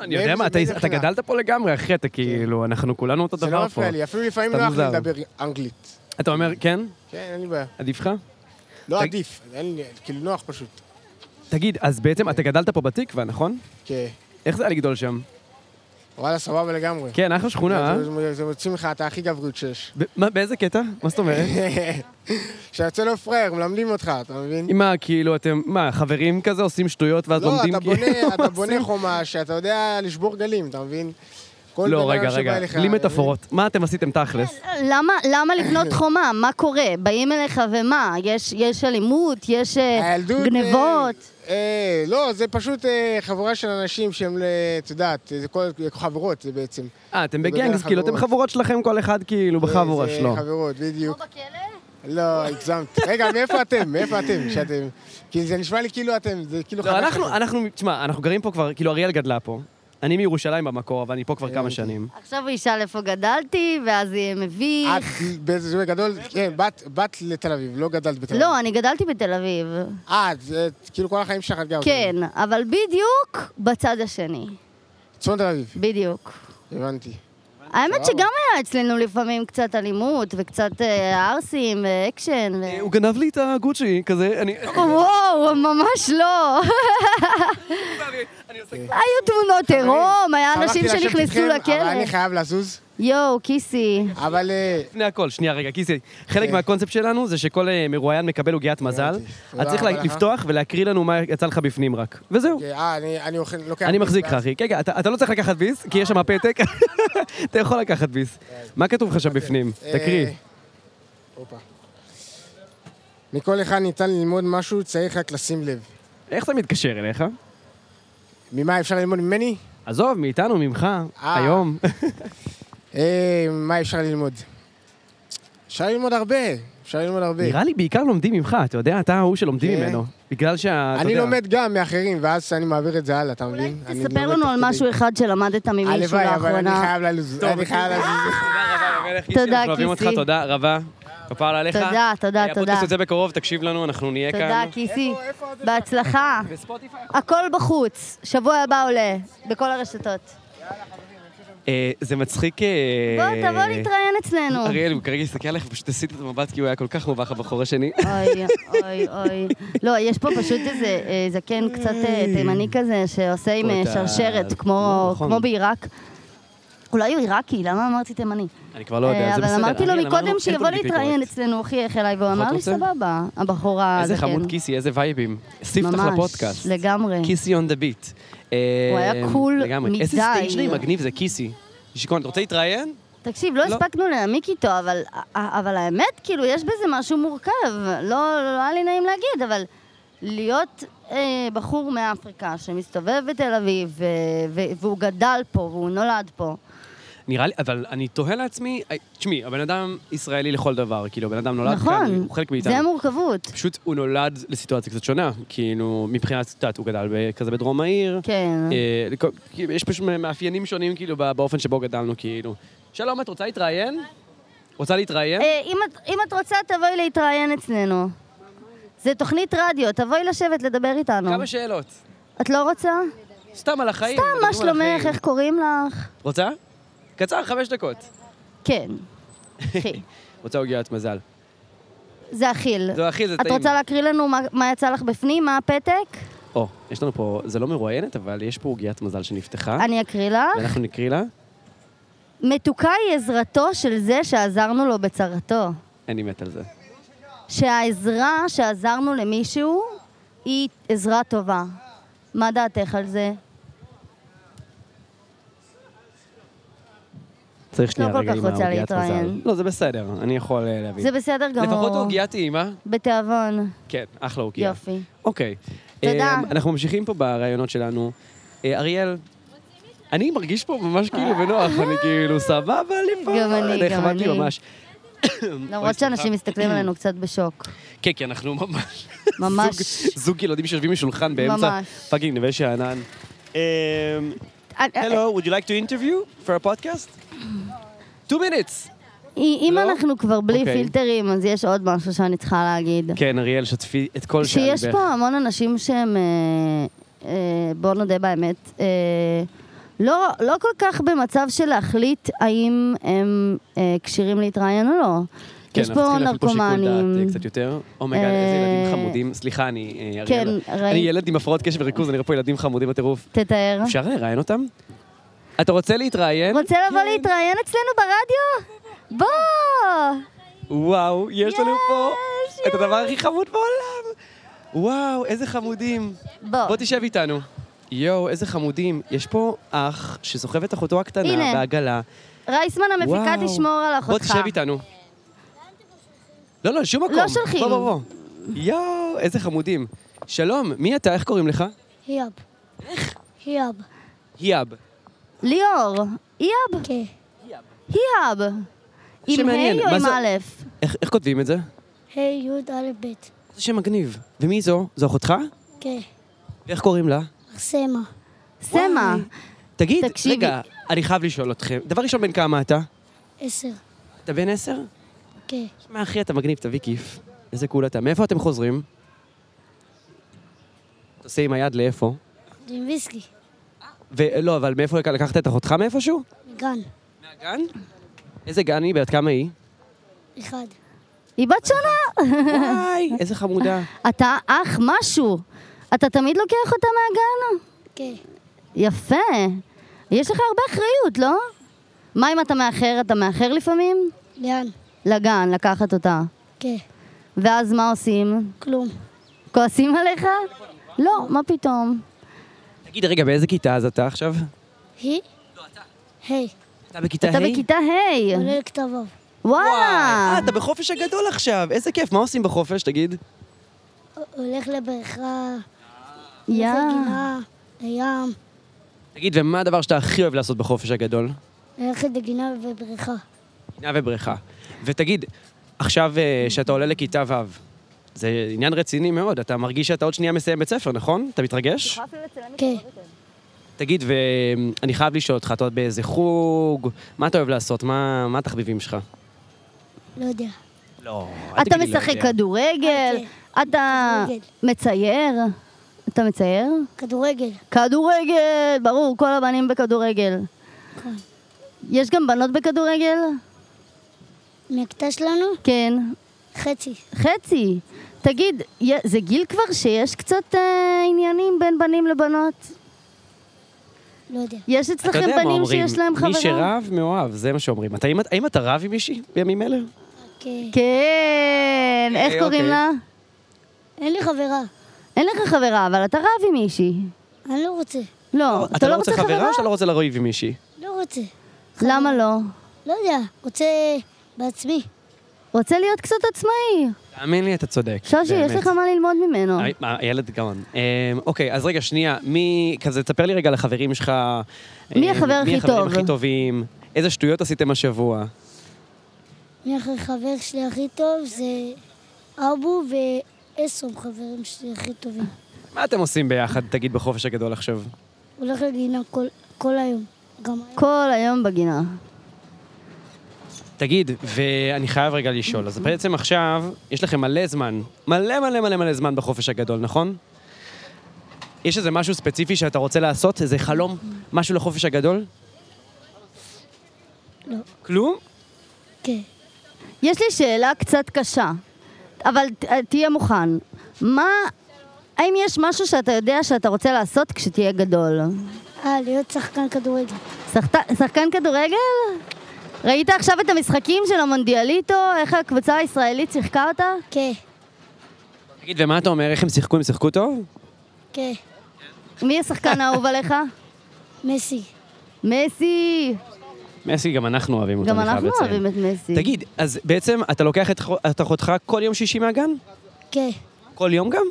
Speaker 3: אני יודע מה, אתה-
Speaker 2: מאיזה
Speaker 3: אתה
Speaker 2: בחינה?
Speaker 3: גדלת פה לגמרי, אחי, אתה כאילו, אנחנו כולנו אותו
Speaker 2: כן. זה לא
Speaker 3: דבר פה.
Speaker 2: מפריע לי, אפילו לפעמים
Speaker 3: אתה
Speaker 2: נוח לי
Speaker 3: מוזר.
Speaker 2: לדבר אנגלית.
Speaker 3: אתה אומר, כן?
Speaker 2: כן, אין לי בעיה.
Speaker 3: עדיף לך?
Speaker 2: לא
Speaker 3: תג-
Speaker 2: עדיף, אין לי, כאילו נוח פשוט.
Speaker 3: תגיד, אז בעצם אתה גדלת פה בתקווה, נכון?
Speaker 2: כן.
Speaker 3: איך זה היה לגדול שם? וואלה,
Speaker 2: סבבה לגמרי.
Speaker 3: כן, אחלה שכונה, אה?
Speaker 2: זה- זה- זה מוציא ממך, אתה הכי גבריות שיש.
Speaker 3: ב- מה, באיזה קטע? מה זאת
Speaker 2: *laughs*
Speaker 3: אומרת?
Speaker 2: כשיוצא לו פראייר, מלמדים אותך, אתה מבין?
Speaker 3: עם מה, כאילו, אתם, מה, חברים כזה עושים שטויות ואז
Speaker 2: לא,
Speaker 3: לומדים כאילו,
Speaker 2: אתה בונה, אתה
Speaker 3: מה *laughs*
Speaker 2: בונה
Speaker 3: עושים? חומה.
Speaker 2: חומה שאתה יודע לשבור גלים, אתה מבין? כל בן
Speaker 3: לא,
Speaker 2: אדם
Speaker 3: רגע,
Speaker 2: שבא
Speaker 3: רגע,
Speaker 2: אליך, אה,
Speaker 3: בלי
Speaker 2: אתה
Speaker 3: מטאפורות. מה אתם עשיתם תכלס?
Speaker 4: למה, למה
Speaker 2: *coughs*
Speaker 4: לבנות חומה? מה קורה? באים אליך ומה? יש, יש אלימות? יש אה,
Speaker 2: מבין? הילדות...
Speaker 4: גנבות?
Speaker 2: אה, אה, לא, זה פשוט אה, חבורה של אנשים שהם, אה, את יודעת, זה כל חברות, זה בעצם.
Speaker 3: אה, אתם
Speaker 2: זה
Speaker 3: בגנגס,
Speaker 2: בדרך
Speaker 3: כאילו, אתם
Speaker 2: חברות.
Speaker 3: חבורות שלכם כל אחד, כאילו, בחבורה
Speaker 2: זה
Speaker 3: שלו.
Speaker 2: חברות, בדיוק.
Speaker 4: בכלא?
Speaker 2: לא, הגזמת. רגע, מאיפה אתם? מאיפה אתם? שאתם... כי זה נשמע לי כאילו אתם, זה כאילו
Speaker 3: לא,
Speaker 2: חדש
Speaker 3: אנחנו,
Speaker 2: לכם.
Speaker 3: אנחנו, תשמע, אנחנו גרים פה כבר, כאילו, אריאל גדלה פה. אני מירושלים במקור, אבל אני פה
Speaker 2: כן,
Speaker 3: כבר
Speaker 2: אוקיי.
Speaker 3: כמה שנים.
Speaker 4: עכשיו הוא ישאל איפה גדלתי, ואז יהיה
Speaker 2: את,
Speaker 4: מביך.
Speaker 2: באיזה זמן גדול, כן, באת- באת לתל אביב, לא גדלת בתל אביב.
Speaker 4: לא, אני גדלתי בתל אביב.
Speaker 2: אה, זה כאילו כל החיים שלך את גרת. בתל
Speaker 4: כן, אבל בדיוק בצד השני.
Speaker 2: אביב. צפון תל אביב,
Speaker 4: בדיוק.
Speaker 2: הבנתי.
Speaker 4: האמת שגם היה אצלנו לפעמים קצת אלימות, וקצת אה, ערסים, ואקשן. ו-
Speaker 2: אה,
Speaker 3: הוא גנב לי את הגוצ'י, כזה, *laughs* אני...
Speaker 4: וואו, ממש לא. *laughs*
Speaker 2: כן.
Speaker 4: היו תמונות עירום, היה אנשים
Speaker 2: שמחתי לשבת
Speaker 4: שנכנסו
Speaker 2: איתכם, אבל אני
Speaker 4: לכלא.
Speaker 2: חייב לזוז,
Speaker 4: יואו, כיסי.
Speaker 2: אבל... אה,
Speaker 3: לפני הכל, שנייה רגע, כיסי, חלק
Speaker 2: כן.
Speaker 3: מהקונספט שלנו זה שכל אה, מרואיין מקבל עוגיית מזל.
Speaker 2: הבנתי.
Speaker 3: אתה
Speaker 2: תודה
Speaker 3: צריך
Speaker 2: רבה
Speaker 3: לה-
Speaker 2: לך.
Speaker 3: לפתוח ולהקריא לנו מה יצא לך בפנים רק. וזהו.
Speaker 2: כן, אה, אני- אני אוכל- לוקח...
Speaker 3: אני מחזיק לך,
Speaker 2: ואז-
Speaker 3: אחי. רגע, אתה אתה לא צריך לקחת ביס, כי יש שם פתק. *laughs* אתה יכול לקחת ביס. מה כתוב לך שם בפנים?
Speaker 2: כן. אה,
Speaker 3: תקריא.
Speaker 2: הופה. מכל אחד ניתן ללמוד משהו, צריך רק לשים לב.
Speaker 3: איך זה מתקשר אליך?
Speaker 2: ממה אפשר ללמוד ממני?
Speaker 3: עזוב, מאיתנו, ממך,
Speaker 2: אה.
Speaker 3: היום.
Speaker 2: אה, מה אפשר ללמוד? אפשר ללמוד הרבה, אפשר ללמוד הרבה.
Speaker 3: נראה לי בעיקר לומדים ממך, אתה יודע, אתה ההוא שלומדים
Speaker 2: כן.
Speaker 3: ממנו. בגלל שה... אתה
Speaker 2: אני
Speaker 3: יודע,
Speaker 2: לומד גם מאחרים, ואז אני מעביר את זה הלאה, אתה
Speaker 4: אולי
Speaker 2: מבין? אני
Speaker 4: תספר
Speaker 2: לומד
Speaker 4: לנו
Speaker 2: תוך
Speaker 4: על
Speaker 2: כדי.
Speaker 4: משהו אחד שלמדת ממישהו
Speaker 2: הלוואי, אבל אני
Speaker 4: לאחרונה.
Speaker 2: חייב לזוז.
Speaker 3: טוב,
Speaker 2: אני חייב
Speaker 3: בסדר.
Speaker 2: לזוז.
Speaker 3: תודה רבה, המלך איש,
Speaker 4: תודה,
Speaker 3: אנחנו אוהבים אותך,
Speaker 4: כיסי.
Speaker 3: תודה רבה. כפר עליך.
Speaker 4: תודה, תודה,
Speaker 3: אה,
Speaker 4: תודה.
Speaker 3: הפודקאסט יוצא בקרוב, תקשיב לנו, אנחנו נהיה כאן.
Speaker 4: תודה, כיסי. בהצלחה. הכל בחוץ. שבוע הבא עולה, בכל הרשתות.
Speaker 3: אה, זה מצחיק... אה,
Speaker 4: בוא, תבוא להתראיין אצלנו.
Speaker 3: אריאל, הוא כרגע הסתכל עליך, פשוט עשית את המבט כי הוא היה כל כך מובך הבחור השני.
Speaker 4: אוי, אוי, אוי. לא, יש פה פשוט איזה אה, זקן קצת אה, תימני כזה, שעושה עם אה,
Speaker 3: פה את ה-
Speaker 4: שרשרת, כמו
Speaker 2: לא,
Speaker 3: נכון, נכון.
Speaker 4: כמו בעיראק. אולי הוא לא עיראקי, למה אמרתי תימני?
Speaker 3: *laughs* אני כבר לא יודע,
Speaker 4: אה,
Speaker 3: זה בסדר.
Speaker 4: אבל אמרתי
Speaker 3: אריאל,
Speaker 4: לו
Speaker 3: אמרנו, אין
Speaker 4: מקודם שיבוא
Speaker 3: פוליטיקלי
Speaker 4: להתראיין
Speaker 3: קורקט.
Speaker 4: אצלנו, הוא חייך אליי, והוא
Speaker 3: פחות
Speaker 4: אמר
Speaker 3: נכון,
Speaker 4: לי,
Speaker 3: רוצה?
Speaker 4: סבבה, הבחורה הזקן.
Speaker 3: איזה חמוד כיסי, איזה וייבים. סיפתח
Speaker 4: כן. ממש,
Speaker 3: לפודקאסט.
Speaker 4: לגמרי.
Speaker 3: כיסי און דה ביט.
Speaker 4: הוא היה קול
Speaker 3: אה, איזה
Speaker 4: מדי.
Speaker 3: סטייג' שלי מגניב זה כיסי. שיכון, אתה רוצה להתראיין?
Speaker 4: תקשיב, לא
Speaker 3: לא.
Speaker 4: הספקנו להעמיק איתו, אבל, אבל האמת, כאילו, יש בזה משהו מורכב. לא, לא היה לי נעים להגיד, אבל להיות אה, בחור מאפריקה שמסתובב בתל אביב, ו, ו, והוא גדל פה, והוא נולד פה.
Speaker 3: נראה לי, אבל אני תוהה לעצמי, אה, תשמעי, הבן אדם ישראלי לכל דבר, כאילו, הבן אדם נולד
Speaker 4: נכון,
Speaker 3: כאן, הוא חלק מאיתנו.
Speaker 4: זה המורכבות.
Speaker 3: פשוט הוא נולד לסיטואציה קצת שונה, כאילו, מבחינת, את יודעת, הוא גדל ב- כזה בדרום העיר.
Speaker 4: כן.
Speaker 3: אה, לכל- כאילו, יש פשוט מאפיינים שונים, כאילו, בא- באופן שבו גדלנו, כאילו. שלום, את רוצה להתראיין? רוצה להתראיין?
Speaker 4: אה, אם, את, אם את רוצה, תבואי להתראיין אצלנו. זה תוכנית רדיו, תבואי לשבת לדבר איתנו.
Speaker 3: כמה אה, שאלות.
Speaker 4: את לא רוצה?
Speaker 3: סתם על החיים.
Speaker 4: סתם,
Speaker 3: מדברים
Speaker 4: מה
Speaker 3: על
Speaker 4: שלומך?
Speaker 3: החיים.
Speaker 4: איך קוראים לך?
Speaker 3: רוצה? קצר, חמש דקות.
Speaker 4: כן.
Speaker 3: *laughs*
Speaker 4: אחי.
Speaker 3: רוצה עוגיית מזל.
Speaker 4: זה אכיל.
Speaker 3: זו אחי, זה
Speaker 4: את
Speaker 3: טעים.
Speaker 4: רוצה להקריא לנו מה, מה יצא לך בפנים? מה הפתק?
Speaker 3: או, יש לנו פה, זה לא מרואיינת, אבל יש פה עוגיית מזל שנפתחה.
Speaker 4: אני אקריא לך.
Speaker 3: אה? ואנחנו נקריא לה.
Speaker 4: מתוקה היא עזרתו של זה שעזרנו לו בצרתו.
Speaker 3: אני מת על זה.
Speaker 4: שהעזרה שעזרנו למישהו היא עזרה טובה. מה דעתך על זה?
Speaker 3: צריך שנייה
Speaker 4: לא כל
Speaker 3: רגע
Speaker 4: כך
Speaker 3: עם
Speaker 4: רוצה
Speaker 3: העוגיית
Speaker 4: להתראיין.
Speaker 3: מזל. לא, זה בסדר, אני יכול אה, להבין.
Speaker 4: זה בסדר גמור.
Speaker 3: לפחות עוגייה טעימה.
Speaker 4: בתיאבון.
Speaker 3: כן, אחלה עוגייה.
Speaker 4: יופי.
Speaker 3: אוקיי.
Speaker 4: תודה.
Speaker 3: אמ, אנחנו ממשיכים פה ברעיונות שלנו. אה, אריאל, אני מרגיש פה ממש כאילו בנוח, אני כאילו סבבה לי פה.
Speaker 4: גם אני, גם
Speaker 3: נחמד לי
Speaker 4: אני.
Speaker 3: ממש. אוי,
Speaker 4: למרות
Speaker 3: סליחה.
Speaker 4: שאנשים
Speaker 3: *clears throat*
Speaker 4: מסתכלים עלינו קצת בשוק.
Speaker 3: כן, כי אנחנו ממש...
Speaker 4: ממש.
Speaker 3: זוג- זוג ילדים שיושבים בשולחן באמצע
Speaker 4: ממש.
Speaker 3: פאקינג נווה שאנן. אמ,
Speaker 4: אה,
Speaker 3: Hello, would you like to interview for a podcast? Two minutes.
Speaker 4: אה, אם
Speaker 3: לא?
Speaker 4: אנחנו כבר בלי
Speaker 3: אוקיי.
Speaker 4: פילטרים, אז יש עוד משהו שאני צריכה להגיד.
Speaker 3: כן, אריאל, שתפי את כל שעל
Speaker 4: שיש
Speaker 3: ליבך.
Speaker 4: פה המון אנשים שהם, אה, אה, בואו נודה באמת, אה, לא, לא כל כך במצב של להחליט האם הם אה, כשירים להתראיין או לא.
Speaker 3: כן,
Speaker 4: יש
Speaker 3: אנחנו
Speaker 4: פה
Speaker 3: צריכים להפעיל פה שיקול דעת
Speaker 4: נרקומנים.
Speaker 3: אה, קצת יותר. אומייגאד, איזה ילדים
Speaker 4: אה,
Speaker 3: חמודים. סליחה, אני אה,
Speaker 4: כן,
Speaker 3: אריאל. אני
Speaker 4: ראי-
Speaker 3: ילד עם הפרעות קשב וריכוז, אני רואה פה ילדים חמודים בטירוף.
Speaker 4: תתאר.
Speaker 3: אפשר כן. לראיין אותם? אתה רוצה להתראיין?
Speaker 4: רוצה לבוא להתראיין אצלנו ברדיו? בוא!
Speaker 3: וואו, יש לנו פה
Speaker 4: יש,
Speaker 3: את הדבר הכי חמוד בעולם. וואו, איזה חמודים.
Speaker 4: בוא.
Speaker 3: בוא תשב איתנו. יואו, איזה חמודים. יש פה אח שסוחב את אחותו הקטנה
Speaker 4: הנה.
Speaker 3: בעגלה.
Speaker 4: רייסמן המפיקה
Speaker 3: וואו.
Speaker 4: תשמור על אחותך.
Speaker 3: בוא תשב איתנו. לא, לא, שום מקום.
Speaker 4: לא שולחים.
Speaker 3: בוא, בוא, בוא. יואו, איזה חמודים. שלום, מי אתה? איך קוראים לך?
Speaker 5: היאב. איך? היאב.
Speaker 3: היאב.
Speaker 4: ליאור, איאב,
Speaker 5: כן.
Speaker 4: היאב. עם ה'
Speaker 3: שמעניין,
Speaker 4: או
Speaker 3: מה
Speaker 4: עם
Speaker 3: זה-
Speaker 4: א'?
Speaker 3: איך, איך כותבים את זה?
Speaker 5: היי יוד א' ב'.
Speaker 3: זה שם מגניב. ומי זו? זו אחותך?
Speaker 5: כן.
Speaker 3: איך קוראים לה?
Speaker 5: ארסמה.
Speaker 4: סמה.
Speaker 3: תגיד,
Speaker 4: תקשיבי.
Speaker 3: רגע, אני חייב לשאול אתכם. דבר ראשון, בן כמה אתה?
Speaker 5: עשר.
Speaker 3: אתה בן עשר?
Speaker 5: כן.
Speaker 3: שמע, אחי, אתה מגניב, תביא כיף. איזה קול אתה. מאיפה אתם חוזרים? אתה עושה עם היד לאיפה?
Speaker 5: דימביסקי.
Speaker 3: ולא, אבל מאיפה לק- לקחת את אחותך מאיפשהו?
Speaker 5: מגן.
Speaker 3: מהגן? איזה גן היא? בת כמה היא?
Speaker 5: אחד.
Speaker 4: היא בת שונה.
Speaker 3: וואי, איזה חמודה.
Speaker 4: אתה אח משהו. אתה תמיד לוקח אותה מהגן?
Speaker 5: כן.
Speaker 4: יפה. יש לך הרבה אחריות, לא? מה אם אתה מאחר? אתה מאחר לפעמים?
Speaker 5: לאן?
Speaker 4: לגן, לקחת אותה.
Speaker 5: כן.
Speaker 4: ואז מה עושים?
Speaker 5: כלום.
Speaker 4: כועסים עליך? לא, מה פתאום.
Speaker 3: תגיד, רגע, באיזה כיתה אז אתה עכשיו?
Speaker 5: היא? היי.
Speaker 3: אתה בכיתה ה'?
Speaker 4: אתה בכיתה ה'.
Speaker 5: עולה לכתב ו'.
Speaker 3: וואי, אה,
Speaker 4: וואלה!
Speaker 3: אתה בחופש הגדול עכשיו, איזה כיף, מה עושים בחופש, תגיד?
Speaker 5: הולך לבריכה.
Speaker 4: יא.
Speaker 5: הולך לגינה. לים.
Speaker 3: תגיד, ומה הדבר שאתה הכי אוהב לעשות בחופש הגדול?
Speaker 5: הולכת לגינה ובריכה.
Speaker 3: גינה ובריכה. ותגיד, עכשיו, אה, שאתה עולה לכיתה ו', זה עניין רציני מאוד, אתה מרגיש שאתה עוד שנייה מסיים בית ספר, נכון? אתה מתרגש?
Speaker 5: כן.
Speaker 3: תגיד, ואני חייב לשאול אותך, אתה עוד באיזה חוג? מה אתה אוהב לעשות? מה מה התחביבים שלך?
Speaker 5: לא יודע.
Speaker 3: לא,
Speaker 4: אתה משחק כדורגל, אתה
Speaker 5: כדורגל.
Speaker 4: מצייר, אתה מצייר?
Speaker 5: כדורגל.
Speaker 4: כדורגל, ברור, כל הבנים בכדורגל.
Speaker 3: כן.
Speaker 5: נכון.
Speaker 4: יש גם בנות בכדורגל?
Speaker 5: מהכיתה שלנו?
Speaker 4: כן.
Speaker 5: חצי.
Speaker 4: חצי. תגיד, י- זה גיל כבר שיש קצת אה, עניינים בין בנים לבנות?
Speaker 5: לא יודע.
Speaker 4: יש אצלכם בנים שיש להם חברה?
Speaker 3: מי שרב מאוהב, זה מה שאומרים. אתה- האם- האם אתה רב עם מישהי בימים אלה?
Speaker 5: כן.
Speaker 4: כן, איך
Speaker 3: אה,
Speaker 4: קוראים
Speaker 3: אוקיי.
Speaker 4: לה?
Speaker 5: אין לי חברה.
Speaker 4: אין לך חברה, אבל אתה רב עם מישהי.
Speaker 5: אני לא רוצה.
Speaker 4: לא, אתה לא רוצה חברה?
Speaker 3: או שאתה לא רוצה לריב עם מישהי?
Speaker 5: לא רוצה.
Speaker 4: למה לא?
Speaker 5: לא יודע. רוצה בעצמי.
Speaker 4: רוצה להיות קצת עצמאי.
Speaker 3: תאמין לי, אתה צודק.
Speaker 4: שושי, יש
Speaker 3: באמת.
Speaker 4: לך מה ללמוד ממנו.
Speaker 3: הי- מה, אה, הילד גאון. אמ, אוקיי, אז רגע, שנייה, מי... כזה, תספר לי רגע על החברים שלך.
Speaker 4: מי
Speaker 3: אמ,
Speaker 4: החבר
Speaker 3: מי
Speaker 4: הכי
Speaker 3: החברים
Speaker 4: טוב?
Speaker 3: הכי טובים? איזה שטויות עשיתם השבוע?
Speaker 5: מי החבר שלי הכי טוב זה אבו ואסום חברים שלי הכי טובים.
Speaker 3: מה אתם עושים ביחד, תגיד, בחופש הגדול עכשיו?
Speaker 5: הולך לגינה כל, כל היום. גם היום.
Speaker 4: כל היום בגינה.
Speaker 3: תגיד, ואני חייב רגע לשאול, אז בעצם עכשיו, יש לכם מלא זמן, מלא מלא מלא מלא זמן בחופש הגדול, נכון? יש איזה משהו ספציפי שאתה רוצה לעשות? איזה חלום? משהו לחופש הגדול?
Speaker 5: לא.
Speaker 3: כלום?
Speaker 5: כן.
Speaker 4: יש לי שאלה קצת קשה, אבל ת- אה, תהיה מוכן. מה... האם יש משהו שאתה יודע שאתה רוצה לעשות כשתהיה גדול?
Speaker 5: אה, להיות שחקן כדורגל.
Speaker 4: שחת- שחקן כדורגל? ראית עכשיו את המשחקים של המונדיאליטו? איך הקבוצה הישראלית שיחקה אותה?
Speaker 5: כן.
Speaker 3: תגיד, ומה אתה אומר? איך הם שיחקו? הם שיחקו טוב?
Speaker 5: כן.
Speaker 4: מי השחקן
Speaker 3: *laughs*
Speaker 4: האהוב עליך?
Speaker 5: מסי.
Speaker 4: מסי!
Speaker 3: מסי, גם אנחנו אוהבים אותו,
Speaker 4: גם
Speaker 3: אני חייב
Speaker 4: אנחנו
Speaker 3: לציין.
Speaker 4: אוהבים את מסי.
Speaker 3: תגיד, אז בעצם אתה לוקח את ח- את אחותך כל יום שישי מהגן?
Speaker 5: כן.
Speaker 3: כל יום גם?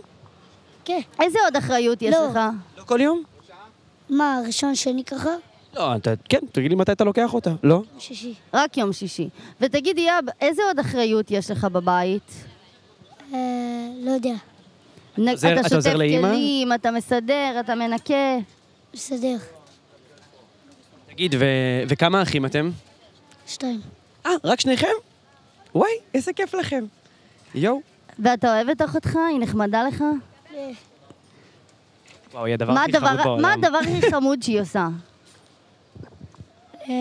Speaker 5: כן.
Speaker 4: איזה עוד אחריות יש
Speaker 5: לא.
Speaker 4: לך?
Speaker 3: לא כל יום?
Speaker 5: מה, הראשון, שני ככה?
Speaker 3: לא, אתה, כן, תגיד לי מתי אתה לוקח אותה. לא?
Speaker 5: שישי.
Speaker 4: רק יום שישי. ותגיד, יאב, איזה עוד אחריות יש לך בבית?
Speaker 5: אה, לא יודע.
Speaker 4: נ-
Speaker 3: עוזר- אתה עוזר לאמא?
Speaker 4: אתה שוטף כלים, אתה מסדר, אתה מנקה.
Speaker 5: בסדר.
Speaker 3: תגיד, ו... וכמה אחים אתם?
Speaker 5: שתיים.
Speaker 3: אה, רק שניכם? וואי, איזה כיף לכם. יואו.
Speaker 4: ואתה אוהב את אחותך? היא נחמדה לך?
Speaker 5: כן.
Speaker 3: וואו, היא הדבר
Speaker 4: מה
Speaker 3: הכי חמוד
Speaker 4: הדבר,
Speaker 3: בעולם.
Speaker 4: מה הדבר הכי חמוד שהיא עושה?
Speaker 5: אה,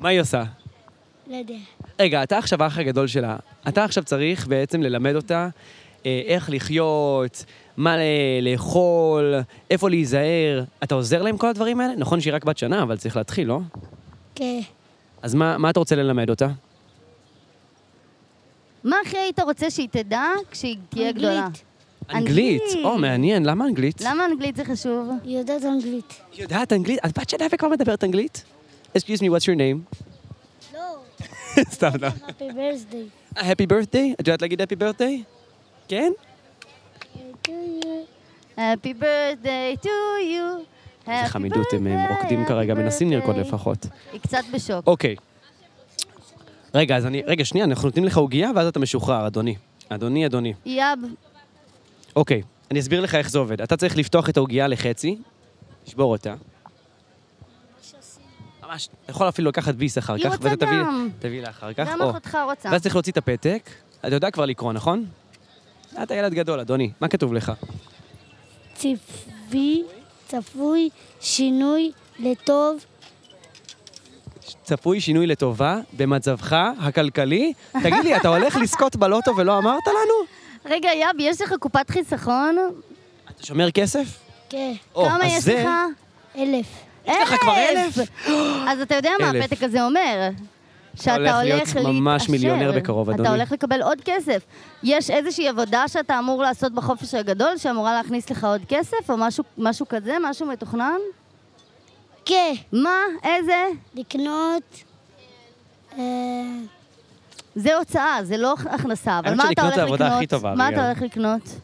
Speaker 3: מה היא עושה?
Speaker 5: לא יודע.
Speaker 3: רגע, אתה עכשיו האח הגדול שלה. אתה עכשיו צריך בעצם ללמד אותה אה, איך לחיות, מה ל- לאכול, איפה להיזהר. אתה עוזר להם כל הדברים האלה? נכון שהיא רק בת שנה, אבל צריך להתחיל, לא?
Speaker 5: כן.
Speaker 3: אז מה, מה אתה רוצה ללמד אותה?
Speaker 4: מה הכי היית רוצה שהיא תדע כשהיא תהיה
Speaker 5: אנגלית.
Speaker 4: גדולה?
Speaker 3: אנגלית.
Speaker 4: אנגלית.
Speaker 3: או, מעניין, למה אנגלית?
Speaker 4: למה אנגלית זה חשוב?
Speaker 5: היא יודעת אנגלית.
Speaker 3: היא יודעת אנגלית? את בת שנה וכבר מדברת אנגלית? Excuse me, what's your name?
Speaker 5: לא.
Speaker 3: *laughs* סתם, לא.
Speaker 5: Happy birthday.
Speaker 3: Uh, happy birthday? את יודעת להגיד happy birthday? כן?
Speaker 4: Happy birthday to you.
Speaker 3: איזה
Speaker 4: Happy
Speaker 3: חמידות, הם
Speaker 4: birthday,
Speaker 3: הם רוקדים כרגע,
Speaker 4: happy
Speaker 3: מנסים לרקוד
Speaker 4: birthday.
Speaker 3: לפחות.
Speaker 4: היא קצת בשוק.
Speaker 3: אוקיי. רגע, אז אני... רגע, שנייה, אנחנו נותנים לך עוגייה ואז אתה משוחרר, אדוני. אדוני, אדוני.
Speaker 4: יאב,
Speaker 3: אוקיי, אני אסביר לך איך זה עובד. אתה צריך לפתוח את העוגייה לחצי, לשבור אותה. ממש, אתה יכול אפילו לקחת ביס אחר
Speaker 4: היא
Speaker 3: כך,
Speaker 4: רוצה
Speaker 3: ואתה תביא-
Speaker 4: גם.
Speaker 3: תביא לה אחר כך.
Speaker 4: גם
Speaker 3: או.
Speaker 4: אחותך רוצה.
Speaker 3: ואז צריך להוציא את הפתק. אתה יודע כבר לקרוא, נכון? אתה ילד גדול, אדוני. מה כתוב לך?
Speaker 5: צפוי, צפוי, שינוי, לטוב,
Speaker 3: צפוי שינוי לטובה במצבך
Speaker 4: *laughs*
Speaker 3: הכלכלי. תגיד לי, אתה הולך לזכות בלוטו ולא אמרת לנו?
Speaker 4: רגע, יאב, יש לך קופת חיסכון?
Speaker 3: אתה שומר כסף?
Speaker 5: כן,
Speaker 3: או,
Speaker 4: כמה
Speaker 3: אז
Speaker 4: יש
Speaker 3: זה-
Speaker 4: לך?
Speaker 5: אלף.
Speaker 4: יש
Speaker 3: לך כבר אלף?
Speaker 4: אז אתה יודע מה
Speaker 3: אלף.
Speaker 4: הפתק הזה אומר.
Speaker 3: הולך
Speaker 4: שאתה הולך
Speaker 3: להיות
Speaker 4: להתעשר.
Speaker 3: ממש מיליונר בקרוב, אדוני.
Speaker 4: אתה הולך לקבל עוד כסף. יש איזושהי עבודה שאתה אמור לעשות בחופש הגדול, שאמורה להכניס לך עוד כסף, או משהו, משהו כזה, משהו מתוכנן?
Speaker 5: כן,
Speaker 4: מה? איזה?
Speaker 5: לקנות, אה,
Speaker 4: זה הוצאה, זה לא הכנסה, אבל
Speaker 3: האמת
Speaker 4: מה אתה
Speaker 3: שלקנות
Speaker 4: הולך
Speaker 3: זה
Speaker 4: לקנות?
Speaker 3: העבודה הכי טובה,
Speaker 4: מה
Speaker 3: אביגיל.
Speaker 4: אתה הולך לקנות?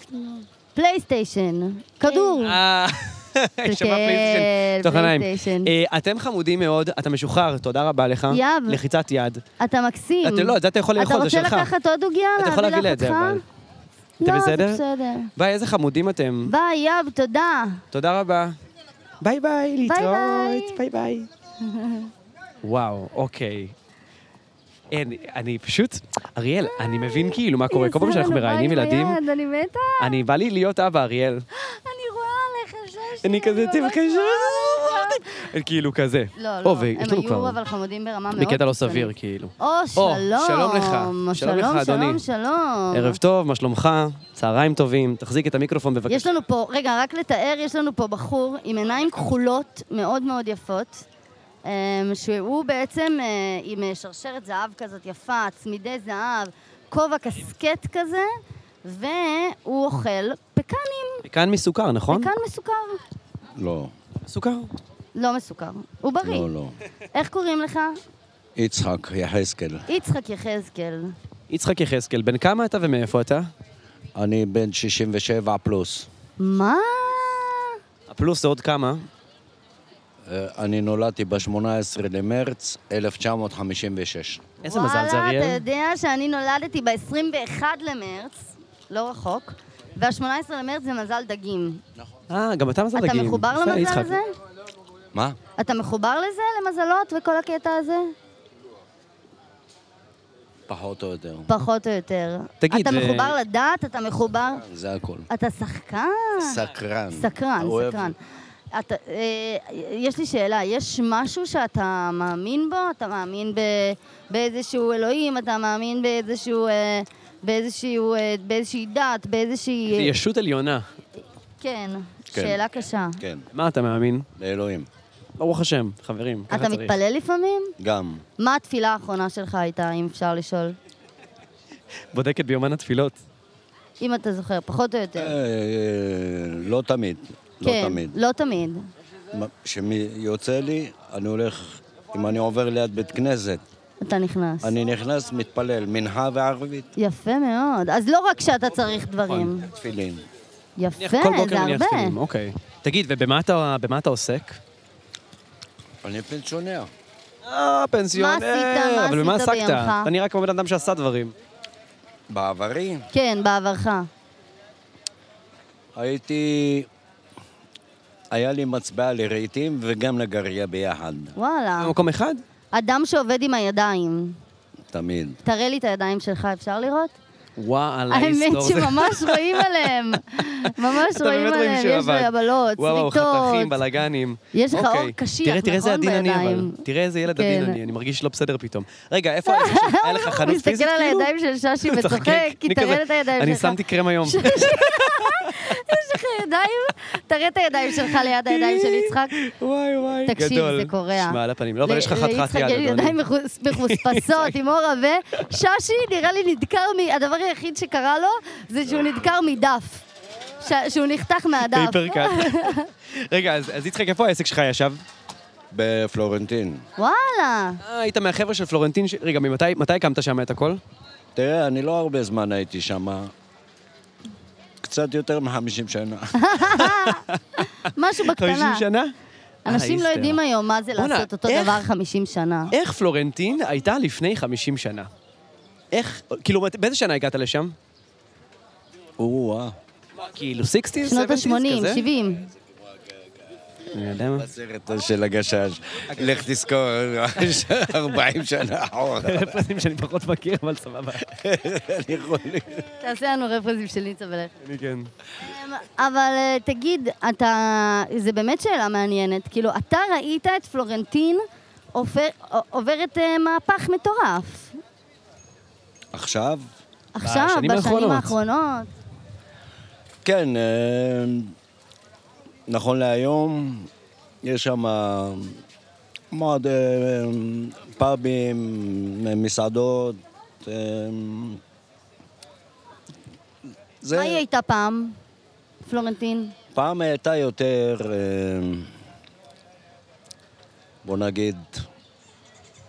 Speaker 5: לקנות,
Speaker 4: פלייסטיישן, כדור,
Speaker 3: אה, *laughs* שמע פלייסטיישן.
Speaker 4: כן,
Speaker 3: תוך עיניים.
Speaker 4: פלייסטיישן.
Speaker 3: אה, אתם חמודים מאוד, אתה משוחרר, תודה רבה לך.
Speaker 4: יאב.
Speaker 3: לחיצת יד.
Speaker 4: אתה מקסים.
Speaker 3: אתה לא, את זה אתה יכול לאכול, זה שלך.
Speaker 4: אתה רוצה לקחת עוד עוגיה?
Speaker 3: אתה יכול
Speaker 4: להביא
Speaker 3: להביא
Speaker 4: לך
Speaker 3: לי את זה,
Speaker 4: אותך?
Speaker 3: אבל. אתה
Speaker 4: לא, זה
Speaker 3: בסדר?
Speaker 4: בסדר.
Speaker 3: ביי, איזה חמודים אתם.
Speaker 4: ביי, יאב, תודה.
Speaker 3: תודה רבה. ביי ביי,
Speaker 4: ביי.
Speaker 3: להתראות. ביי ביי. וואו, אוקיי. אין, אני פשוט, אריאל, אני מבין כאילו מה קורה. כל פעם שאנחנו מראיינים ילדים,
Speaker 4: אני מתה,
Speaker 3: אני בא לי להיות אבא, אריאל.
Speaker 4: אני רואה עליך שיש
Speaker 3: אני כזה, תבקשו. כאילו כזה.
Speaker 4: לא,
Speaker 3: או,
Speaker 4: לא,
Speaker 3: ויש
Speaker 4: הם
Speaker 3: לנו
Speaker 4: היו
Speaker 3: כבר-
Speaker 4: אבל חמודים ברמה מאוד...
Speaker 3: בקטע לא
Speaker 4: קיצונית.
Speaker 3: סביר, כאילו.
Speaker 4: או, שלום.
Speaker 3: שלום לך. שלום לך,
Speaker 4: שלום,
Speaker 3: אדוני.
Speaker 4: שלום.
Speaker 3: ערב טוב, מה שלומך? צהריים טובים, תחזיק את המיקרופון בבקשה.
Speaker 4: יש לנו פה, רגע, רק לתאר, יש לנו פה בחור עם עיניים כחולות מאוד מאוד יפות, אמ, שהוא בעצם אה, עם אה, שרשרת זהב כזאת יפה, צמידי זהב, כובע קסקט כזה, והוא אוכל פקנים,
Speaker 3: כאן מסוכר, נכון?
Speaker 4: פקן מסוכר.
Speaker 6: לא,
Speaker 3: מסוכר.
Speaker 4: לא מסוכר, הוא בריא.
Speaker 6: לא, לא.
Speaker 4: איך קוראים לך?
Speaker 6: יצחק יחזקאל.
Speaker 4: יצחק יחזקאל.
Speaker 3: יצחק יחזקאל, בן כמה אתה ומאיפה אתה?
Speaker 6: אני בן 67 פלוס.
Speaker 4: מה?
Speaker 3: הפלוס זה עוד כמה.
Speaker 6: אה, אני נולדתי ב-18 למרץ 1956.
Speaker 3: איזה מזל זה,
Speaker 4: וואלה, אתה
Speaker 3: אריאל.
Speaker 4: יודע שאני נולדתי ב-21 למרץ, לא רחוק, וה-18 למרץ זה מזל דגים.
Speaker 3: אה, גם אתה מזל
Speaker 4: אתה
Speaker 3: דגים.
Speaker 4: מחובר
Speaker 3: יפה,
Speaker 4: למזל
Speaker 3: יצחק.
Speaker 4: הזה?
Speaker 6: מה?
Speaker 4: אתה מחובר לזה, למזלות וכל הקטע הזה?
Speaker 6: פחות או יותר.
Speaker 4: פחות או יותר.
Speaker 3: תגיד, אה,
Speaker 4: אתה
Speaker 3: זה-
Speaker 4: מחובר לדת, אתה מחובר...
Speaker 6: זה הכל.
Speaker 4: אתה שחקן.
Speaker 6: סקרן.
Speaker 4: אה. סקרן,
Speaker 6: אוהב.
Speaker 4: סקרן. אתה, אה, יש לי שאלה, יש משהו שאתה מאמין בו? אתה מאמין ב, באיזשהו אלוהים? אתה מאמין באיזשהו... אה, באיזשהו... אה, באיזושהי דת? באיזושהי...
Speaker 3: זה ישות עליונה.
Speaker 4: כן,
Speaker 6: כן.
Speaker 4: שאלה קשה.
Speaker 6: כן,
Speaker 3: מה אתה מאמין?
Speaker 6: לאלוהים.
Speaker 3: ברוך השם, חברים, ככה
Speaker 4: אתה
Speaker 3: צריך.
Speaker 4: מתפלל לפעמים?
Speaker 6: גם.
Speaker 4: מה התפילה האחרונה שלך הייתה, אם אפשר לשאול?
Speaker 3: בודקת ביומן התפילות.
Speaker 4: אם אתה זוכר, פחות או יותר.
Speaker 3: אה,
Speaker 6: אה, לא תמיד. לא
Speaker 4: כן,
Speaker 6: תמיד.
Speaker 4: לא תמיד.
Speaker 6: כשיוצא לי, אני הולך... אם אני עובר ליד בית כנסת,
Speaker 4: אתה נכנס.
Speaker 6: אני נכנס, מתפלל, מנחה וערבית,
Speaker 4: יפה מאוד. אז לא רק שאתה צריך דברים.
Speaker 6: תפילין.
Speaker 4: יפה,
Speaker 3: נכון. כל בוקר
Speaker 4: זה
Speaker 3: מניח
Speaker 4: הרבה.
Speaker 3: תפילין, אוקיי. תגיד, ובמה אתה, במה אתה עוסק?
Speaker 6: אני פנסיונר.
Speaker 3: אה, פנסיונר.
Speaker 4: מה עשית? מה
Speaker 3: אבל במה
Speaker 4: עשית
Speaker 3: עסקת?
Speaker 4: ביומך?
Speaker 3: אתה נראה כמו בן אדם שעשה דברים.
Speaker 6: בעברי
Speaker 4: כן, בעברך.
Speaker 6: הייתי... היה לי מצבעה לרהיטים וגם לגריה ביחד,
Speaker 4: וואלה.
Speaker 3: במקום אחד?
Speaker 4: אדם שעובד עם הידיים.
Speaker 6: תמיד.
Speaker 4: תראה לי את הידיים שלך, אפשר לראות?
Speaker 3: וואלה,
Speaker 4: האמת
Speaker 3: היסטור. זה-
Speaker 4: שממש
Speaker 3: *laughs*
Speaker 4: רואים עליהם. ממש
Speaker 3: אתה
Speaker 4: רואים
Speaker 3: באמת רואים
Speaker 4: עליהם.
Speaker 3: שהוא
Speaker 4: יש לו
Speaker 3: עבד.
Speaker 4: יבלות,
Speaker 3: וואו, חתכים,
Speaker 4: שריטות.
Speaker 3: בלאגנים.
Speaker 4: יש לך
Speaker 3: אוקיי.
Speaker 4: אור קשיח,
Speaker 3: תראה, תראה איזה
Speaker 4: נכון,
Speaker 3: עדין אני, אבל.
Speaker 4: בידיים?
Speaker 3: תראה איזה ילד
Speaker 4: כן.
Speaker 3: עדין אני, אני מרגיש לא בסדר פתאום. רגע,
Speaker 4: *laughs*
Speaker 3: איפה היה לך- היה לך
Speaker 4: הוא
Speaker 3: חנות פיזית?
Speaker 4: מסתכל על
Speaker 3: כאילו?
Speaker 4: הידיים של
Speaker 3: *laughs*
Speaker 4: ששי
Speaker 3: הוא
Speaker 4: וצוחק,
Speaker 3: צוחק.
Speaker 4: כי
Speaker 3: אני
Speaker 4: תראה
Speaker 3: כזה,
Speaker 4: את הידיים
Speaker 3: אני
Speaker 4: שלך. *laughs*
Speaker 3: שמתי קרם היום.
Speaker 4: יש לך ידיים? תראה את הידיים שלך ליד הידיים של יצחק.
Speaker 3: *laughs* וואי וואי, גדול.
Speaker 4: תקשיב, זה קורע.
Speaker 3: שמע, על הפנים. לא, אבל יש לך חתיכת
Speaker 4: ליצחק
Speaker 3: יד,
Speaker 4: יש ידיים
Speaker 3: אדוני.
Speaker 4: מחוס- מחוספסות עם אור עבה. ששי נראה לי נדקר מ... הדבר היחיד שקרה לו זה שהוא נדקר מדף. ש- שהוא נחתך מהדף.
Speaker 3: פייפר
Speaker 4: *laughs*
Speaker 3: קאט. רגע, אז אז יצחק, איפה העסק שלך ישב?
Speaker 6: בפלורנטין.
Speaker 4: וואלה.
Speaker 3: אה, היית מהחבר'ה של פלורנטין, ש- רגע, ממתי מתי הקמת שם את הכל?
Speaker 6: תראה, אני לא הרבה זמן הייתי שם, קצת יותר מ-50 שנה.
Speaker 4: משהו
Speaker 3: 50
Speaker 4: בקטנה.
Speaker 3: שנה?
Speaker 4: אנשים לא
Speaker 3: אה,
Speaker 4: יודעים
Speaker 3: היסטר.
Speaker 4: היום מה זה
Speaker 3: בואנה,
Speaker 4: לעשות אותו
Speaker 3: איך-
Speaker 4: דבר 50 שנה.
Speaker 3: איך פלורנטין הייתה לפני 50 שנה? איך, כאילו, מת- באיזה שנה הגעת לשם?
Speaker 6: או-אה.
Speaker 3: כאילו 60's, 70's
Speaker 4: שנות ה-80,
Speaker 3: כזה?
Speaker 4: 70.
Speaker 3: אני יודע מה.
Speaker 6: בסרט של הגשש, לך תזכור, *laughs* 40 שנה אחורה.
Speaker 3: רפרסים שאני פחות מכיר, אבל סבבה.
Speaker 6: אני יכול...
Speaker 4: תעשה לנו רפרזים של ניצה ולך.
Speaker 3: אני כן.
Speaker 4: אבל אה, תגיד, אתה... זה באמת שאלה מעניינת. כאילו, אתה ראית את פלורנטין עובר- עוברת אה, מהפך מטורף.
Speaker 6: עכשיו?
Speaker 4: עכשיו,
Speaker 3: בשנים האחרונות.
Speaker 4: בשנים האחרונות.
Speaker 6: כן, אה, נכון להיום יש שם אה, מאוד אה, פאבים, מסעדות. אה,
Speaker 4: מה
Speaker 6: זה
Speaker 4: היא הייתה פעם? פלורנטין.
Speaker 6: פעם הייתה יותר, אה, בוא נגיד,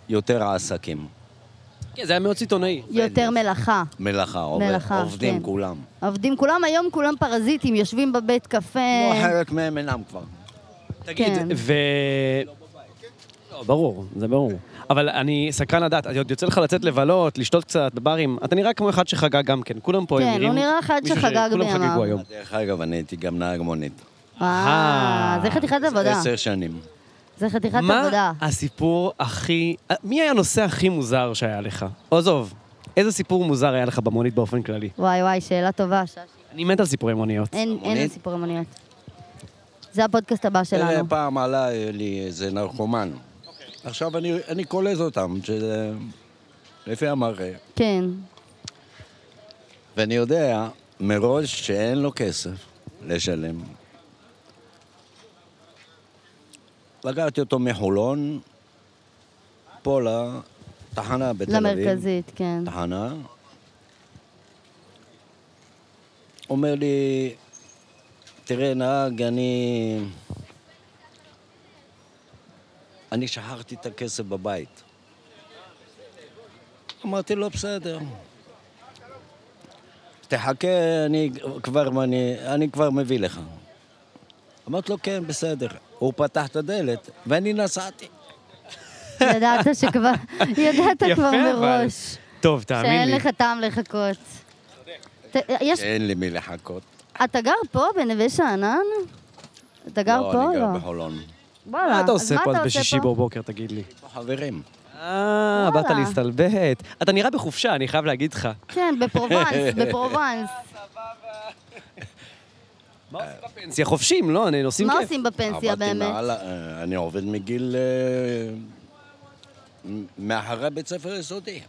Speaker 6: יותר עסקים.
Speaker 3: כן, זה היה מאוד סיטונאי.
Speaker 4: יותר מלאכה.
Speaker 6: מלאכה, עובד-
Speaker 4: מלאכה,
Speaker 6: עובדים
Speaker 4: כן.
Speaker 6: כולם.
Speaker 4: עובדים כולם היום, כולם פרזיטים, יושבים בבית קפה.
Speaker 6: כמו חלק מהם אינם כבר.
Speaker 3: תגיד,
Speaker 4: כן.
Speaker 3: ו... לא, ברור, זה ברור. אבל אני סקרן לדעת, עוד יוצא לך לצאת לבלות, לשתות קצת בברים, אתה נראה כמו אחד שחגג גם כן, כולם פה
Speaker 4: כן,
Speaker 3: הם נראים...
Speaker 4: הוא נראה אחד
Speaker 3: מישהו
Speaker 4: שחגג
Speaker 3: שכולם
Speaker 4: בימיו.
Speaker 3: חגגו היום.
Speaker 6: דרך אגב, אני הייתי גם נהג מונית.
Speaker 4: אה, זה חתיכת עבודה.
Speaker 6: עשר שנים.
Speaker 4: זה חתיכת
Speaker 3: מה
Speaker 4: עבודה.
Speaker 3: הסיפור הכי... מי היה הנושא הכי מוזר שהיה לך? עזוב, איזה סיפור מוזר היה לך במונית באופן כללי?
Speaker 4: וואי וואי, שאלה טובה, ששי.
Speaker 3: אני מת על סיפורי מוניות.
Speaker 4: אין
Speaker 6: המונית?
Speaker 4: אין סיפורי מוניות. זה הפודקאסט הבא
Speaker 6: אה,
Speaker 4: שלנו.
Speaker 6: פעם עלה לי איזה נרקומן. עכשיו אני- אני קולז אותם, שזה... לפי המראה.
Speaker 4: כן.
Speaker 6: ואני יודע מראש שאין לו כסף לשלם. לקחתי אותו מחולון, פה לתחנה בתל אביב.
Speaker 4: למרכזית, כן.
Speaker 6: תחנה. אומר לי, תראה נהג, אני... אני שכחתי את הכסף בבית. אמרתי לו, בסדר. תחכה, אני כבר, אני, אני כבר מביא לך. אמרתי לו, כן, בסדר. הוא פתח את הדלת, ואני נסעתי.
Speaker 4: ידעת שכבר, ידעת כבר
Speaker 3: יפה, אבל.
Speaker 4: מראש.
Speaker 3: טוב, תאמין
Speaker 4: שאין
Speaker 3: לי.
Speaker 4: לך טעם לחכות. ת- יש-
Speaker 6: אין לי מי לחכות.
Speaker 4: אתה גר פה, בנווה שאנן? אתה גר
Speaker 6: לא,
Speaker 4: פה?
Speaker 6: אני גר
Speaker 4: לא.
Speaker 6: בחולון.
Speaker 4: וואלה.
Speaker 3: מה אתה
Speaker 4: אז
Speaker 3: עושה פה
Speaker 4: אתה
Speaker 3: אז
Speaker 4: עושה
Speaker 3: בשישי
Speaker 4: פה?
Speaker 3: בבוקר, תגיד לי?
Speaker 6: חברים.
Speaker 3: אה, באת
Speaker 4: וואלה.
Speaker 3: להסתלבט. אתה נראה בחופשה, אני חייב להגיד לך.
Speaker 4: כן,
Speaker 3: *laughs*
Speaker 4: בפרובנס, בפרובנס.
Speaker 3: מה עושים בפנסיה? חופשים, לא? אני- נוסעים
Speaker 4: מה
Speaker 3: כיף.
Speaker 4: עושים בפנסיה
Speaker 6: עבדתי
Speaker 4: באמת?
Speaker 6: מעל, אה, אני עובד מגיל... אה, מ- מאחרי בית ספר יסודי.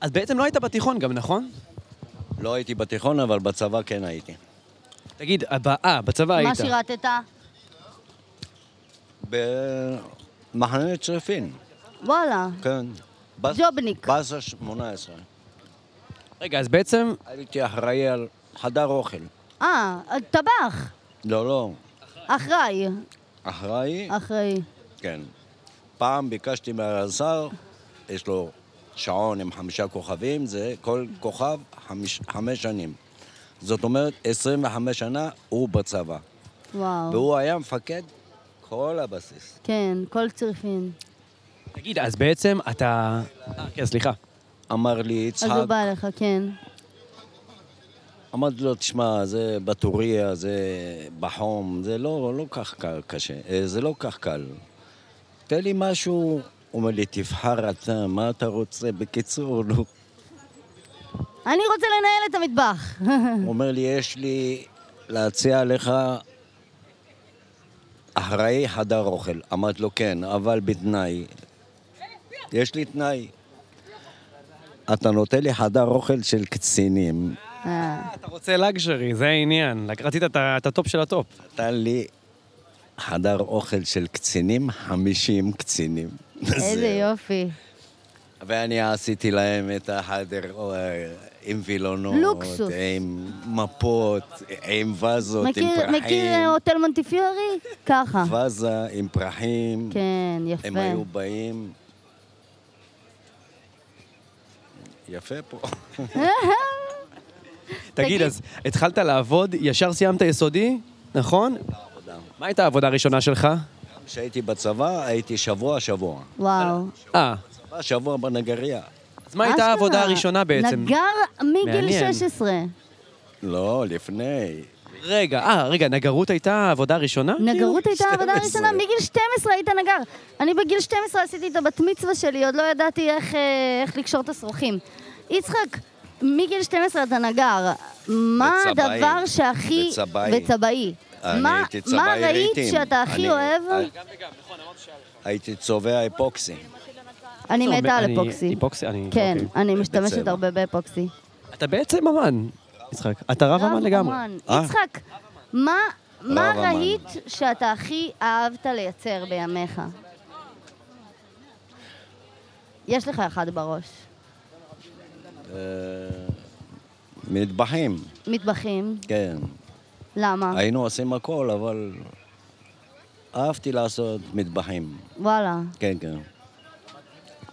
Speaker 3: אז בעצם לא היית בתיכון גם, נכון?
Speaker 6: לא הייתי בתיכון, אבל בצבא כן הייתי.
Speaker 3: תגיד, הבא- אה, בצבא היית.
Speaker 4: מה שירתת?
Speaker 6: במחנה צריפין,
Speaker 4: וואלה.
Speaker 6: כן. בס-
Speaker 4: ג'ובניק.
Speaker 6: באסה 18.
Speaker 3: רגע, אז בעצם...
Speaker 6: הייתי אחראי על חדר אוכל.
Speaker 4: אה, טבח.
Speaker 6: לא, לא.
Speaker 4: אחראי.
Speaker 6: אחראי,
Speaker 4: אחראי.
Speaker 6: כן. פעם ביקשתי מהשר, יש לו שעון עם חמישה כוכבים, זה כל כוכב חמש, חמש שנים. זאת אומרת, 25 שנה הוא בצבא.
Speaker 4: וואו.
Speaker 6: והוא היה מפקד כל הבסיס.
Speaker 4: כן, כל צריפין.
Speaker 3: תגיד, אז בעצם אתה... אה, כן, סליחה.
Speaker 6: אמר לי
Speaker 4: אז הוא
Speaker 6: יצחק,
Speaker 4: בא אליך, כן.
Speaker 6: אמרתי לו, תשמע, זה בטוריה, זה בחום, זה לא, לא כך קל, קשה, אה, זה לא כך קל. תן לי משהו, הוא אומר לי, תבחר אתה, מה אתה רוצה? בקיצור, נו.
Speaker 4: אני רוצה לנהל את המטבח. *laughs*
Speaker 6: הוא אומר לי, יש לי להציע לך אחראי חדר אוכל. אמרתי לו, כן, אבל בתנאי. יש לי תנאי. אתה נותן לי חדר אוכל של קצינים.
Speaker 4: אה,
Speaker 3: אתה רוצה לגשרי, זה העניין. לק- רצית את ה- את הטופ של הטופ.
Speaker 6: נתן לי חדר אוכל של קצינים, 50 קצינים.
Speaker 4: איזה
Speaker 6: זהו.
Speaker 4: יופי.
Speaker 6: ואני עשיתי להם את החדר אה, עם וילונות,
Speaker 4: לוקסוס.
Speaker 6: עם מפות, עם וזות, עם
Speaker 4: מכיר-
Speaker 6: פרחים.
Speaker 4: מכיר אה, הוטל מונטיפיורי? ככה.
Speaker 6: וזה עם פרחים.
Speaker 4: כן, יפה.
Speaker 6: הם היו באים... יפה פה.
Speaker 3: תגיד, אז התחלת לעבוד, ישר סיימת יסודי, נכון? מה הייתה העבודה הראשונה שלך?
Speaker 6: כשהייתי בצבא, הייתי שבוע-שבוע.
Speaker 4: וואו.
Speaker 3: אה,
Speaker 6: שבוע, שבוע בנגריה.
Speaker 3: אז מה הייתה העבודה
Speaker 4: אשכרה.
Speaker 3: הראשונה בעצם?
Speaker 4: נגר מגיל
Speaker 3: מעניין.
Speaker 4: 16.
Speaker 6: לא, לפני.
Speaker 3: רגע, אה, רגע, נגרות הייתה העבודה הראשונה?
Speaker 4: נגרות הייתה העבודה
Speaker 6: 12.
Speaker 4: הראשונה, מגיל 12 היית נגר. אני בגיל 12 עשיתי את הבת מצווה שלי, עוד לא ידעתי איך, אה, איך לקשור את השרוכים. יצחק, מגיל 12 אתה נגר. מה
Speaker 6: וצבעי.
Speaker 4: הדבר שהכי...
Speaker 6: וצבעי.
Speaker 4: וצבעי.
Speaker 6: אני
Speaker 4: מה-
Speaker 6: הייתי צבעי
Speaker 4: מה ראית
Speaker 6: רהיטים.
Speaker 4: שאתה הכי
Speaker 6: אני- אה,
Speaker 4: אוהב?
Speaker 6: נכון, הייתי צובע אפוקסי.
Speaker 4: אני
Speaker 3: לא,
Speaker 4: מתה על
Speaker 3: אני-
Speaker 4: אפוקסי.
Speaker 3: אפוקסי, אני-
Speaker 4: כן,
Speaker 3: אוקיי.
Speaker 4: אני משתמשת
Speaker 6: בצבע.
Speaker 4: הרבה באפוקסי.
Speaker 3: אתה בעצם אמן, יצחק. אתה רב אמן לגמרי.
Speaker 4: אמן.
Speaker 6: אה?
Speaker 4: יצחק, מה מה
Speaker 6: רב אמן.
Speaker 4: ראית שאתה הכי אהבת לייצר בימיך? יש לך אחד בראש.
Speaker 6: אה, מטבחים,
Speaker 4: מטבחים,
Speaker 6: כן.
Speaker 4: למה?
Speaker 6: היינו עושים הכל, אבל אהבתי לעשות מטבחים.
Speaker 4: וואלה.
Speaker 6: כן, כן.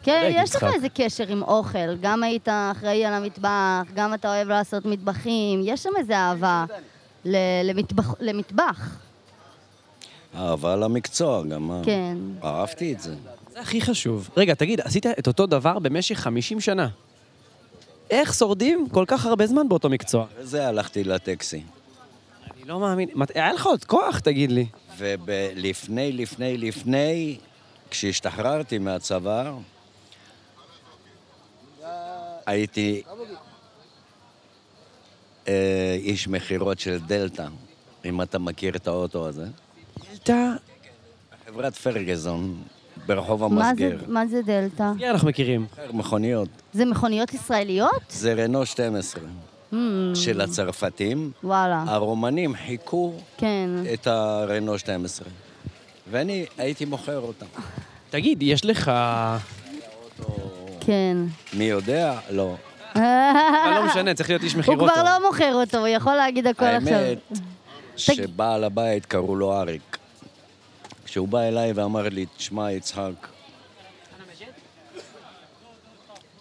Speaker 4: כן,
Speaker 3: צודק,
Speaker 4: יש לך
Speaker 3: יצחק.
Speaker 4: איזה קשר עם אוכל. גם היית אחראי על המטבח, גם אתה אוהב לעשות מטבחים, יש שם איזה אהבה ל- למטבח. למטבח.
Speaker 6: אהבה למקצוע גם, אה?
Speaker 4: כן.
Speaker 6: אהבתי את זה.
Speaker 3: זה הכי חשוב. רגע, תגיד, עשית את אותו דבר במשך 50 שנה. איך שורדים כל כך הרבה זמן באותו מקצוע?
Speaker 6: וזה הלכתי לטקסי.
Speaker 3: אני לא מאמין. מת- היה לך עוד כוח, תגיד לי.
Speaker 6: ולפני, לפני, לפני, כשהשתחררתי מהצבא, הייתי אה, איש מכירות של דלתא, אם אתה מכיר את האוטו הזה.
Speaker 3: דלתא,
Speaker 6: חברת פרגזון, ברחוב
Speaker 3: לא
Speaker 4: מה זה-
Speaker 6: המסגר.
Speaker 4: מה זה דלתא?
Speaker 3: כן, אנחנו מכירים.
Speaker 6: מכוניות.
Speaker 4: זה מכוניות ישראליות?
Speaker 6: זה רנו 12
Speaker 4: Hmm,
Speaker 6: של הצרפתים.
Speaker 4: וואלה.
Speaker 3: אה.
Speaker 6: הרומנים חיכו
Speaker 4: כן.
Speaker 6: את הרנו 12, ואני הייתי מוכר אותם.
Speaker 3: תגיד, יש לך...
Speaker 4: כן.
Speaker 6: מי יודע? לא.
Speaker 3: אבל לא משנה, צריך להיות איש
Speaker 4: הוא
Speaker 3: מכירות.
Speaker 4: כבר
Speaker 3: טוב.
Speaker 4: לא מוכר אותו, הוא יכול להגיד הכל עכשיו.
Speaker 6: האמת, שבעל הבית קראו לו אריק. כשהוא בא אליי ואמר לי, תשמע, יצחק,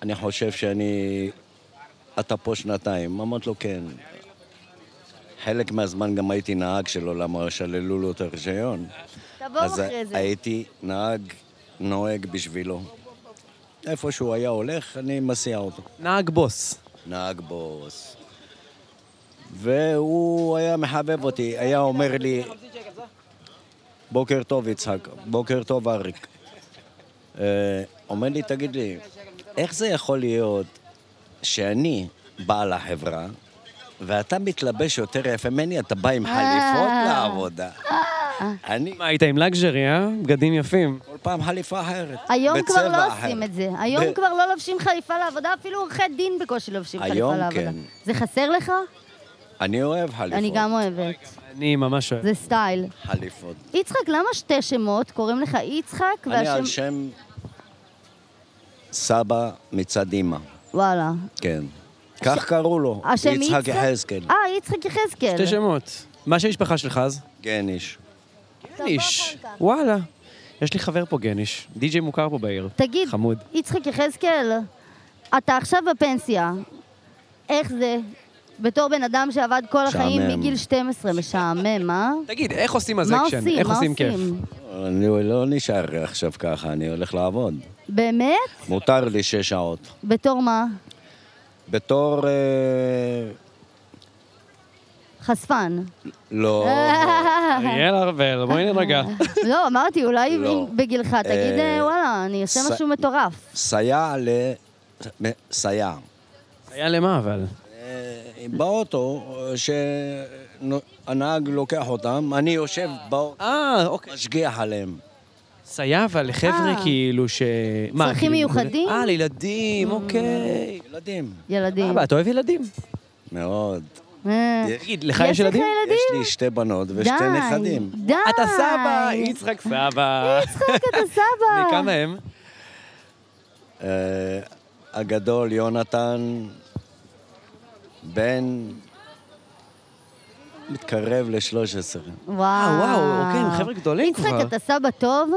Speaker 6: אני חושב שאני... אתה פה שנתיים. אמרתי לו, כן. חלק מהזמן גם הייתי נהג שלו, למה שללו לו את הרישיון.
Speaker 4: תבואו
Speaker 6: אז
Speaker 4: אחרי זה.
Speaker 6: הייתי נהג, נוהג בשבילו. איפה שהוא היה הולך, אני מסיע אותו.
Speaker 3: נהג בוס.
Speaker 6: נהג בוס. והוא היה מחבב אותי, היה אומר לי, בוקר טוב יצחק, בוקר טוב אריק. אה, אומר לי, תגיד לי, איך זה יכול להיות שאני בעל החברה, ואתה מתלבש יותר יפה ממני, אתה בא עם חליפות
Speaker 4: אה.
Speaker 6: לעבודה? אני
Speaker 3: מה, היית עם לגז'רי, אה? בגדים יפים.
Speaker 6: כל פעם חליפה אחרת.
Speaker 4: היום
Speaker 6: בצבע
Speaker 4: כבר לא
Speaker 6: אחר.
Speaker 4: עושים את זה. היום
Speaker 6: ב-
Speaker 4: כבר לא לובשים חליפה לעבודה, אפילו עורכי דין בקושי לובשים
Speaker 6: היום
Speaker 4: חליפה לעבודה.
Speaker 6: כן.
Speaker 4: זה חסר לך?
Speaker 6: אני אוהב חליפות.
Speaker 4: אני גם אוהבת.
Speaker 3: אני ממש אוהב.
Speaker 4: זה סטייל.
Speaker 6: חליפות.
Speaker 4: יצחק, למה שתי שמות? קוראים לך יצחק
Speaker 6: אני על
Speaker 4: והשם...
Speaker 6: שם סבא מצד אימא,
Speaker 4: וואלה.
Speaker 6: כן. כך קראו לו,
Speaker 4: השם יצחק?
Speaker 6: יצחק יחזקאל.
Speaker 4: אה, יצחק יחזקאל.
Speaker 3: שתי שמות. מה שם המשפחה שלך אז?
Speaker 6: גניש.
Speaker 3: גניש.
Speaker 4: אחר כך.
Speaker 3: וואלה. יש לי חבר פה גניש. די.ג'יי מוכר פה בעיר.
Speaker 4: תגיד,
Speaker 3: חמוד.
Speaker 4: יצחק יחזקאל, אתה עכשיו בפנסיה. איך זה? בתור בן אדם שעבד כל החיים
Speaker 6: משעמם.
Speaker 4: מגיל 12, משעמם, אה?
Speaker 3: תגיד, איך עושים
Speaker 4: מה
Speaker 3: הזקשן?
Speaker 4: עושים?
Speaker 3: איך
Speaker 4: מה
Speaker 3: עושים כיף?
Speaker 4: עושים?
Speaker 6: אני לא נשאר עכשיו ככה, אני הולך לעבוד.
Speaker 4: באמת?
Speaker 6: מותר לי שש שעות.
Speaker 4: בתור מה?
Speaker 6: בתור... אה,
Speaker 4: חשפן.
Speaker 6: לא.
Speaker 4: אה.
Speaker 3: אריאל ארבל, בואי נרגע.
Speaker 4: *laughs* לא, אמרתי, אולי
Speaker 6: לא.
Speaker 4: אם בגילך תגיד,
Speaker 6: אה,
Speaker 4: "אה, וואלה, אני אעשה
Speaker 6: ס-
Speaker 4: משהו מטורף.
Speaker 6: סייע ל... סייע.
Speaker 3: היה למה אבל?
Speaker 6: אה, באוטו, אה, שהנהג לוקח אותם, אני יושב באוטו,
Speaker 3: אה, אוקיי.
Speaker 6: משגיח עליהם.
Speaker 3: סייע אבל לחבר'ה
Speaker 4: אה.
Speaker 3: כאילו ש... מה,
Speaker 4: צרכים
Speaker 3: כאילו-
Speaker 4: מיוחדים?
Speaker 3: אה, לילדים, אוקיי.
Speaker 6: ילדים.
Speaker 4: ילדים.
Speaker 3: אבא, אתה אוהב ילדים?
Speaker 6: מאוד.
Speaker 4: אה,
Speaker 3: תגיד, לך
Speaker 4: יש
Speaker 3: יש
Speaker 4: לך
Speaker 3: ילדים?
Speaker 4: ילדים?
Speaker 6: יש לי שתי בנות
Speaker 4: די,
Speaker 6: ושתי נכדים.
Speaker 4: די.
Speaker 3: אתה סבא, יצחק סבא.
Speaker 4: יצחק,
Speaker 3: *laughs*
Speaker 4: אתה סבא.
Speaker 3: מכמה הם?
Speaker 6: אה, הגדול, יונתן, בן, מתקרב ל-13.
Speaker 4: וואו.
Speaker 3: אה, וואו, אוקיי, הם חבר'ה גדולים כבר.
Speaker 4: יצחק, אתה סבא טוב?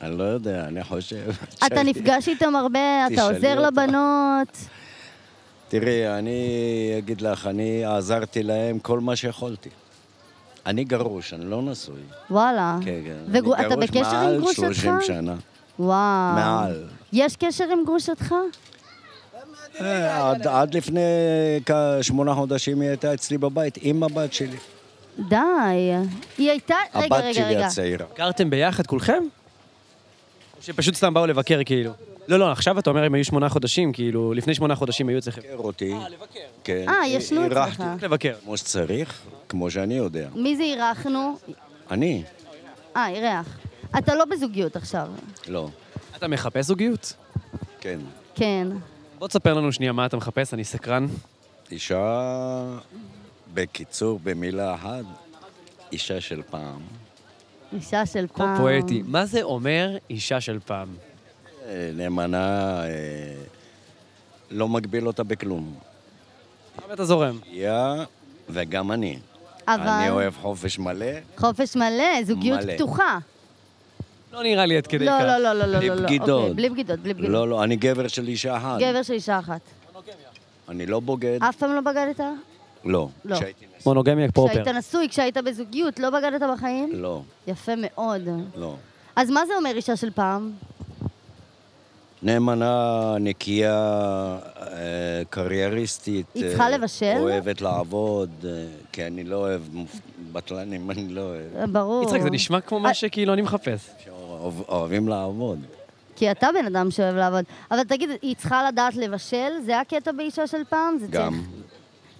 Speaker 6: אני לא יודע, אני חושב.
Speaker 4: אתה נפגש איתם הרבה, אתה
Speaker 6: תשאלי
Speaker 4: עוזר
Speaker 6: אותה.
Speaker 4: לבנות.
Speaker 6: תראי, אני אגיד לך, אני עזרתי להם כל מה שיכולתי. אני גרוש, אני לא נשוי.
Speaker 4: וואלה.
Speaker 6: כן, כן. אני
Speaker 4: ואתה
Speaker 6: גרוש
Speaker 4: בקשר עם גרושתך?
Speaker 6: מעל 30 שנה.
Speaker 4: וואו.
Speaker 6: מעל.
Speaker 4: יש קשר עם גרושתך?
Speaker 6: אה, עד- עד לפני כשמונה חודשים היא הייתה אצלי בבית, עם הבת שלי.
Speaker 4: די. היא הייתה... רגע,
Speaker 6: הבת
Speaker 4: רגע,
Speaker 6: שלי
Speaker 4: רגע.
Speaker 6: הצעירה.
Speaker 3: גרתם ביחד כולכם? או שפשוט סתם באו לבקר כאילו? לא, לא, עכשיו אתה אומר הם היו שמונה חודשים, כאילו, לפני שמונה חודשים היו אצלכם.
Speaker 6: לבקר אותי. אה, לבקר. כן.
Speaker 4: אה, ישנו
Speaker 6: אירחתי
Speaker 4: אצלך.
Speaker 3: רק לבקר.
Speaker 6: כמו שצריך, כמו שאני יודע.
Speaker 4: מי זה אירחנו?
Speaker 6: אני?
Speaker 4: אה, אירח. אתה לא בזוגיות עכשיו.
Speaker 6: לא.
Speaker 3: אתה מחפש זוגיות?
Speaker 6: כן.
Speaker 4: כן.
Speaker 3: בוא תספר לנו שנייה מה אתה מחפש, אני סקרן.
Speaker 6: אישה, בקיצור, במילה אחת, אישה של פעם.
Speaker 4: אישה של
Speaker 3: כה
Speaker 4: פעם.
Speaker 3: פואטי. מה זה אומר אישה של פעם?
Speaker 6: אה, נאמנה, אה, לא מגביל אותה בכלום.
Speaker 3: כמה אתה זורם?
Speaker 6: יא, וגם אני.
Speaker 4: אבל- לא,
Speaker 6: אני אוהב חופש מלא.
Speaker 4: חופש מלא, זוגיות
Speaker 6: מלא.
Speaker 4: פתוחה.
Speaker 3: לא נראה לי עד כדי כך.
Speaker 4: לא, לא, לא, לא, לא,
Speaker 6: בלי
Speaker 4: לא, לא.
Speaker 6: בגידות.
Speaker 4: אוקיי, בלי בגידות, בלי בגידות.
Speaker 6: לא, כן. לא, אני גבר של אישה אחת.
Speaker 4: גבר של אישה אחת.
Speaker 6: אני לא בוגד.
Speaker 4: אף פעם לא בגדת?
Speaker 6: לא.
Speaker 4: לא.
Speaker 6: כשהייתי נשוי.
Speaker 3: מונוגמיה פרופר.
Speaker 4: כשהיית נשוי, כשהיית בזוגיות, לא בגדת בחיים?
Speaker 6: לא,
Speaker 4: יפה מאוד.
Speaker 6: לא.
Speaker 4: אז מה זה אומר אישה של פעם?
Speaker 6: נאמנה, נקייה, אה, קרייריסטית.
Speaker 4: היא
Speaker 6: אה,
Speaker 4: צריכה לבשל?
Speaker 6: אוהבת לעבוד, אה, כי אני לא אוהב מופ- בטלנים, אני לא אוהב.
Speaker 4: ברור.
Speaker 3: יצחק, זה נשמע
Speaker 4: אה,
Speaker 3: כמו מה שכאילו אני מחפש.
Speaker 6: שאוהב- אוהבים לעבוד.
Speaker 4: כי אתה בן אדם שאוהב לעבוד. אבל תגיד, היא צריכה לדעת לבשל? זה הקטע באישה של פעם? זה
Speaker 6: גם.
Speaker 4: צריך.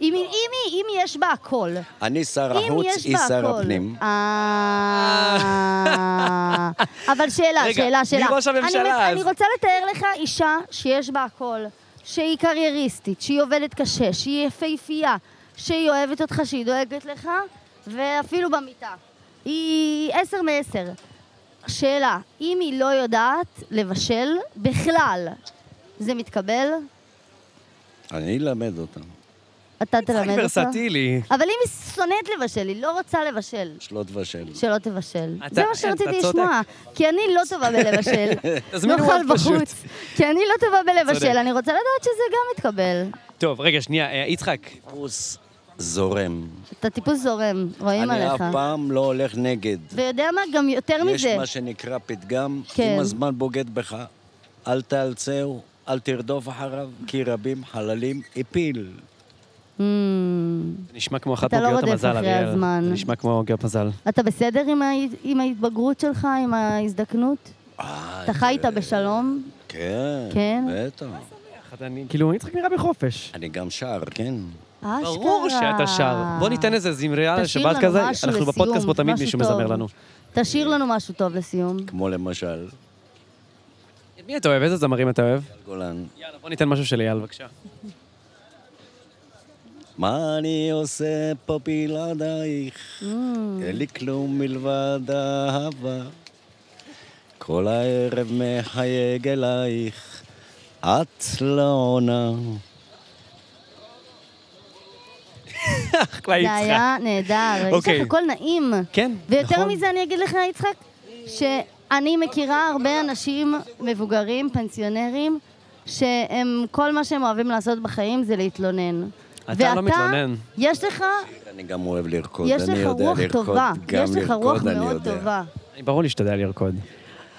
Speaker 4: אם היא- אם היא- אם יש בה הכל.
Speaker 6: אני שר
Speaker 4: אם
Speaker 6: החוץ,
Speaker 4: יש
Speaker 6: היא
Speaker 4: בה
Speaker 6: שר
Speaker 4: הכל.
Speaker 6: הפנים.
Speaker 4: אה... אבל שאלה,
Speaker 3: רגע,
Speaker 4: שאלה,
Speaker 3: מי
Speaker 4: שאלה.
Speaker 3: ראש הממשלה
Speaker 4: אני מ-
Speaker 3: אז?
Speaker 4: אני רוצה לתאר לך אישה שיש בה הכל, שהיא קרייריסטית, שהיא עובדת קשה, שהיא יפהפייה, שהיא אוהבת אותך, שהיא דואגת לך, ואפילו במיטה. היא עשר מעשר. שאלה, אם היא לא יודעת לבשל בכלל, זה מתקבל?
Speaker 6: אני אלמד אותם.
Speaker 4: אתה תלמד אותה?
Speaker 3: ורסטילי.
Speaker 4: אבל אם היא שונאת לבשל, היא לא רוצה לבשל.
Speaker 6: שלא תבשל.
Speaker 4: שלא תבשל.
Speaker 3: אתה-
Speaker 4: זה מה
Speaker 3: אתה
Speaker 4: שרציתי
Speaker 3: צודק.
Speaker 4: לשמוע, כי אני לא טובה בלבשל.
Speaker 3: *laughs* תזמינו
Speaker 4: נאכל
Speaker 3: עוד פשוט.
Speaker 4: בחוץ. כי אני לא טובה
Speaker 3: צודק.
Speaker 4: בלבשל, אני רוצה לדעת שזה גם מתקבל.
Speaker 3: טוב, רגע, שנייה, אה, יצחק.
Speaker 6: טיפוס זורם.
Speaker 4: אתה טיפוס זורם, רואים
Speaker 6: אני
Speaker 4: עליך.
Speaker 6: אף פעם לא הולך נגד.
Speaker 4: ויודע מה, גם יותר
Speaker 6: יש
Speaker 4: מזה.
Speaker 6: מה שנקרא פתגם,
Speaker 4: כן.
Speaker 6: אם הזמן בוגד בך, אל תאלצהו, אל תרדוף אחריו, כי רבים חללים הפיל.
Speaker 4: אמ,
Speaker 3: זה נשמע כמו אחת
Speaker 4: אתה לא
Speaker 3: מוגיות
Speaker 4: רודף
Speaker 3: המזל,
Speaker 4: אחרי
Speaker 3: אריאל.
Speaker 4: הזמן.
Speaker 3: זה נשמע כמו מוגיות מזל.
Speaker 4: אתה בסדר עם ההת- עם ההתבגרות שלך, עם ההזדקנות?
Speaker 6: אה,
Speaker 4: אתה חי איתה בשלום?
Speaker 6: כן,
Speaker 4: כן?
Speaker 6: בטח.
Speaker 3: כאילו, יצחק נראה בחופש.
Speaker 6: אני גם שר, כן.
Speaker 4: אשכרה.
Speaker 3: ברור שאתה שר. בוא ניתן איזה זמרייה
Speaker 4: תשאיר
Speaker 3: לשבת
Speaker 4: לנו
Speaker 3: כזה,
Speaker 4: משהו
Speaker 3: אנחנו
Speaker 4: לסיום,
Speaker 3: בפודקאסט פה תמיד
Speaker 4: משהו
Speaker 3: מישהו
Speaker 4: טוב.
Speaker 3: מזמר לנו.
Speaker 4: תשאיר לנו משהו טוב לסיום.
Speaker 6: כמו למשל,
Speaker 3: את מי אתה אוהב? איזה זמרים אתה אוהב?
Speaker 6: אייל גולן.
Speaker 3: יאללה, בוא ניתן משהו של אייל, בבקשה.
Speaker 6: מה אני עושה פה
Speaker 4: Mm.
Speaker 6: בלעדייך? אין לי כלום מלבד אהבה. כל הערב מחייג אלייך, את לא עונה.
Speaker 3: אחלה
Speaker 4: זה
Speaker 3: יצחק.
Speaker 4: היה נהדר. יש
Speaker 3: אוקיי.
Speaker 4: לך הכל נעים.
Speaker 3: כן,
Speaker 4: ויותר
Speaker 3: נכון.
Speaker 4: מזה אני אגיד לך, יצחק, שאני מכירה הרבה אנשים מבוגרים, פנסיונרים, שהם, כל מה שהם אוהבים לעשות בחיים זה להתלונן.
Speaker 3: אתה לא מתלונן.
Speaker 4: יש לך,
Speaker 6: אני גם אוהב לרקוד,
Speaker 4: יש
Speaker 6: אני
Speaker 4: לך
Speaker 6: יודע
Speaker 4: רוח
Speaker 6: לרקוד,
Speaker 4: טובה.
Speaker 6: גם
Speaker 4: יש לך
Speaker 6: לרקוד
Speaker 4: רוח
Speaker 6: אני
Speaker 4: מאוד
Speaker 6: יודע.
Speaker 4: טובה.
Speaker 3: ברור לי שאתה יודע לרקוד.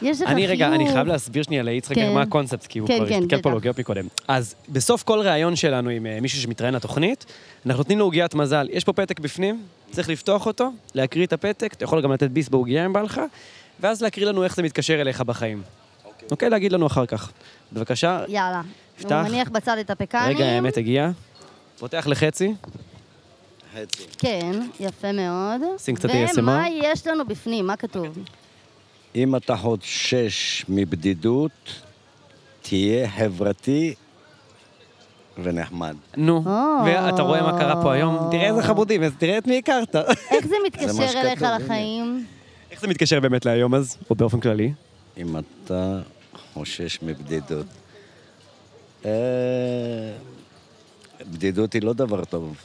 Speaker 4: יש לך חיוך.
Speaker 3: אני רגע, אני חייב להסביר שנייה ליצחק
Speaker 4: כן.
Speaker 3: מה הקונספט, כי הוא
Speaker 4: כן,
Speaker 3: כבר
Speaker 4: כן,
Speaker 3: הסתכל פה על
Speaker 4: בטח.
Speaker 3: עוגיות מקודם. אז בסוף כל ראיון שלנו עם אה, מישהו שמתראיין לתוכנית, אנחנו נותנים לו עוגיית מזל. יש פה פתק בפנים, צריך לפתוח אותו, להקריא את הפתק, אתה יכול גם לתת ביס בעוגייה אם בא לך, ואז להקריא לנו איך זה מתקשר אליך בחיים. אוקיי, להגיד לנו אחר כך. בבקשה,
Speaker 4: יאללה.
Speaker 3: פתח.
Speaker 4: הוא מניח בצד את הפקנים.
Speaker 3: רגע האמת הגיע. פותח לחצי,
Speaker 6: חצי.
Speaker 4: כן, יפה מאוד.
Speaker 3: שים קצת
Speaker 4: ומה
Speaker 3: ASMR.
Speaker 4: יש לנו בפנים? מה
Speaker 3: *laughs*
Speaker 4: כתוב?
Speaker 6: אם אתה חושש מבדידות, תהיה חברתי ונחמד.
Speaker 3: נו,
Speaker 4: או.
Speaker 3: ואתה רואה מה קרה פה היום, תראה איזה חמודים, אז תראה את מי הכרת. *laughs*
Speaker 4: איך זה
Speaker 6: זה מה
Speaker 4: מתקשר
Speaker 6: שכתוב,
Speaker 4: אליך
Speaker 6: הנה.
Speaker 4: לחיים?
Speaker 3: איך זה מתקשר באמת להיום אז, או באופן כללי?
Speaker 6: אם אתה חושש מבדידות. אה, בדידות היא לא דבר טוב,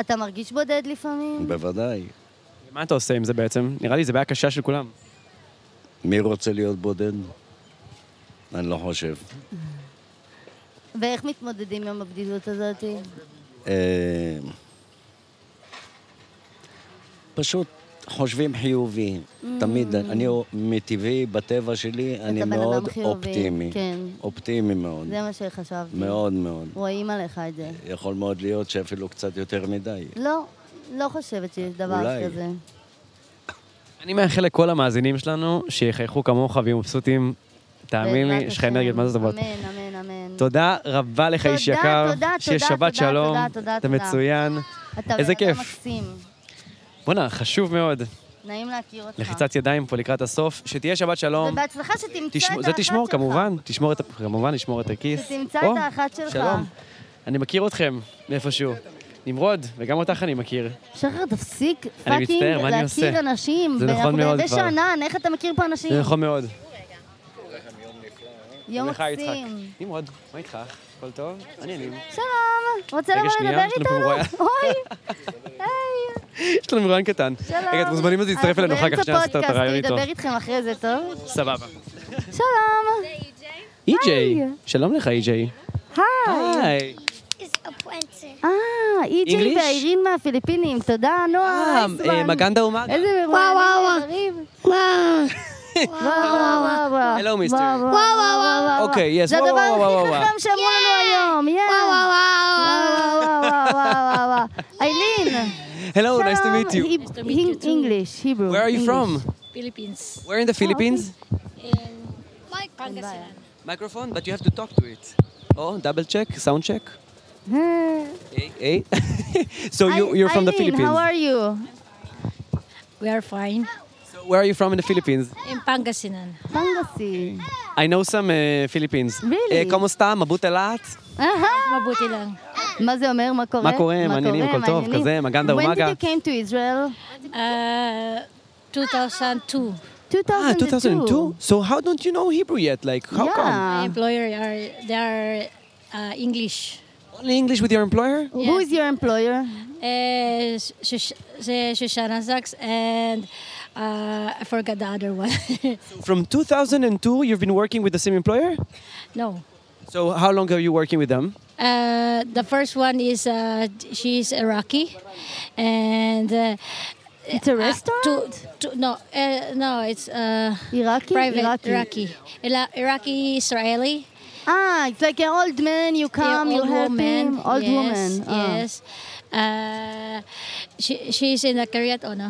Speaker 4: אתה מרגיש בודד לפעמים?
Speaker 6: בוודאי.
Speaker 3: מה אתה עושה עם זה בעצם? נראה לי זה בעיה קשה של כולם.
Speaker 6: מי רוצה להיות בודד? אני לא חושב.
Speaker 4: ואיך מתמודדים עם הבדידות הזאת?
Speaker 6: אה, פשוט חושבים חיובי. תמיד, אני מטבעי, בטבע שלי, אני
Speaker 4: Mm. בן אדם
Speaker 6: מאוד
Speaker 4: חיובי,
Speaker 6: אופטימי.
Speaker 4: כן.
Speaker 6: אופטימי מאוד.
Speaker 4: זה מה שחשבתי.
Speaker 6: מאוד מאוד.
Speaker 4: רואים עליך את זה.
Speaker 6: יכול מאוד להיות שאפילו קצת יותר מדי.
Speaker 4: לא, לא חושבת שיש דבר
Speaker 6: אולי.
Speaker 4: כזה.
Speaker 3: אני מאחל לכל המאזינים שלנו שיחייכו כמוך ויהיו מבסוטים. תאמין לי,
Speaker 4: בעזרת
Speaker 3: יש לך אנרגיות
Speaker 4: השם.
Speaker 3: מה זה טובות.
Speaker 4: אמן, אמן, אמן.
Speaker 3: תודה רבה לך, איש
Speaker 4: תודה,
Speaker 3: יקר.
Speaker 4: תודה,
Speaker 3: שיהיה
Speaker 4: תודה,
Speaker 3: שבת
Speaker 4: תודה,
Speaker 3: שלום.
Speaker 4: תודה, תודה,
Speaker 3: אתה
Speaker 4: תודה.
Speaker 3: מצוין.
Speaker 4: אתה
Speaker 3: איזה
Speaker 4: בן אדם
Speaker 3: כיף.
Speaker 4: מקסים.
Speaker 3: בואנה, חשוב מאוד.
Speaker 4: אה. נעים להכיר אותך.
Speaker 3: לחיצת ידיים פה לקראת הסוף. שתהיה שבת שלום.
Speaker 4: ובהצלחה שתמצא
Speaker 3: תשמור-
Speaker 4: את
Speaker 3: זה
Speaker 4: האחת
Speaker 3: תשמור,
Speaker 4: שלך.
Speaker 3: כמובן. תשמור את ה... כמובן, לשמור את הכיס.
Speaker 4: שתמצא
Speaker 3: או,
Speaker 4: את האחת שלך.
Speaker 3: שלום. אני מכיר אתכם מאיפשהו. נמרוד, וגם אותך אני מכיר.
Speaker 4: שחר, תפסיק
Speaker 3: אני
Speaker 4: פאקינג
Speaker 3: מצטער, מה אני
Speaker 4: להכיר
Speaker 3: עושה?
Speaker 4: אנשים.
Speaker 3: זה נכון
Speaker 4: ואנחנו
Speaker 3: מאוד
Speaker 4: בנווה
Speaker 3: כבר.
Speaker 4: שאנן, איך אתה מכיר פה אנשים?
Speaker 3: זה נכון מאוד.
Speaker 4: יום
Speaker 3: לך, יצחק.
Speaker 4: מקסים.
Speaker 3: נמרוד, מה איתך? הכל טוב? מעניינים.
Speaker 4: שלום, רוצה
Speaker 3: רגע,
Speaker 4: לבוא
Speaker 3: שנייה,
Speaker 4: לדבר
Speaker 3: יש לנו פה *laughs*
Speaker 4: איתנו?
Speaker 3: מרואיין.
Speaker 4: אוי, היי.
Speaker 3: יש לנו מראיין קטן. רגע, אתם מוזמנים אז להצטרף אלינו אחר כך, שנייה לעשות את הרעיון
Speaker 4: אנחנו
Speaker 3: איתו.
Speaker 4: באמצע פודקאסט, נדבר איתכם אחרי זה, טוב?
Speaker 3: סבבה.
Speaker 4: שלום.
Speaker 3: אי.ג'יי,
Speaker 4: היי.
Speaker 3: E שלום לך E אי.ג'יי.
Speaker 4: היי.
Speaker 3: היי.
Speaker 4: אה, אי.ג'יי
Speaker 3: English?
Speaker 4: והאירין מהפיליפינים, תודה, נועה.
Speaker 3: אה, אה,
Speaker 4: אייסמן.
Speaker 3: מגנדה אומן.
Speaker 4: איזה
Speaker 5: וואו,
Speaker 4: מרואיינים וואו וואו וואו
Speaker 3: Hello, mister.
Speaker 4: וואו וואו וואו
Speaker 3: אוקיי, yes,
Speaker 4: זה
Speaker 3: וואו,
Speaker 4: הדבר
Speaker 3: וואו, וואו,
Speaker 4: הכי
Speaker 3: וואו.
Speaker 4: חכם שאמרו לנו היום, יא. וואו וואו וואו וואו וואו איילין.
Speaker 3: Hello, nice to meet you.
Speaker 4: Nice to
Speaker 7: meet you too.
Speaker 4: English, Hebrew.
Speaker 3: Where are you from?
Speaker 4: English.
Speaker 7: Philippines.
Speaker 3: Where in the Philippines?
Speaker 7: In Pangasinan.
Speaker 3: Microphone, but you have to talk to it. Oh, double check, sound check. Hey, hey. *laughs* so you, you're from the
Speaker 4: Eileen,
Speaker 3: Philippines.
Speaker 4: how are you?
Speaker 7: We are fine.
Speaker 3: So where are you from in the Philippines?
Speaker 7: In Pangasinan.
Speaker 4: Bangasi.
Speaker 3: I know some uh, Philippines.
Speaker 4: Really?
Speaker 3: Uh, como sta? Mabuti lahat?
Speaker 7: Mabuti lang.
Speaker 4: מה זה אומר? מה קורה?
Speaker 3: מה קורה? מעניינים, הכל טוב,
Speaker 4: מעניינים.
Speaker 3: כזה, מגנדה
Speaker 4: When
Speaker 3: ומגה. אה,
Speaker 4: did you came to Israel?
Speaker 7: Uh, 2002.
Speaker 3: Ah,
Speaker 4: 2002.
Speaker 3: 2002? So how don't you know Hebrew yet? Like, how come?
Speaker 4: Yeah.
Speaker 7: My employer are they are uh, English.
Speaker 3: Only English with your employer?
Speaker 4: Who is your employer?
Speaker 7: Uh, Sush- the Shoshana Sachs and uh, I forgot the other one. *laughs*
Speaker 3: From 2002, you've been working with the same employer?
Speaker 7: no.
Speaker 3: So how long are you working with them?
Speaker 7: Uh, the first one is uh, she's Iraqi, and uh,
Speaker 4: It's a
Speaker 7: uh,
Speaker 4: restaurant?
Speaker 7: to, to, no, uh, no, it's uh,
Speaker 4: Iraqi?
Speaker 7: private
Speaker 4: Iraqi.
Speaker 7: Iraqi, Ila- Iraqi Israeli.
Speaker 4: Ah, it's like an old man, you come,
Speaker 7: Yeah,
Speaker 4: you
Speaker 7: old
Speaker 4: help
Speaker 7: woman.
Speaker 4: him. Old
Speaker 7: yes,
Speaker 4: woman. ah.
Speaker 7: Yes. Uh, she, she's in the oh, Kiryat Ono.